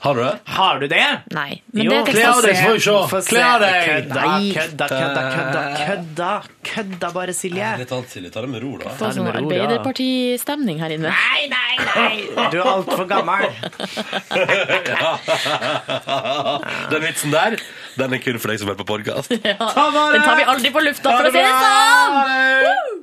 Speaker 1: Har du det?
Speaker 2: Har du det?
Speaker 3: Nei.
Speaker 1: men det er Kle av deg, så får vi se. Kle av deg.
Speaker 2: Kødda,
Speaker 1: Nei.
Speaker 2: kødda, kødda, kødda, kødda, kødda bare, Silje.
Speaker 1: Litt annet, Silje. Ta det med ro, da.
Speaker 3: Få sånn Arbeiderpartistemning her inne. Nei, nei, nei!
Speaker 2: Du er altfor gammel.
Speaker 1: Den vitsen der, den er kun for deg som hører på podkast.
Speaker 2: Uh!
Speaker 3: Ja. Den tar vi aldri på lufta, for å si det sånn! Woo!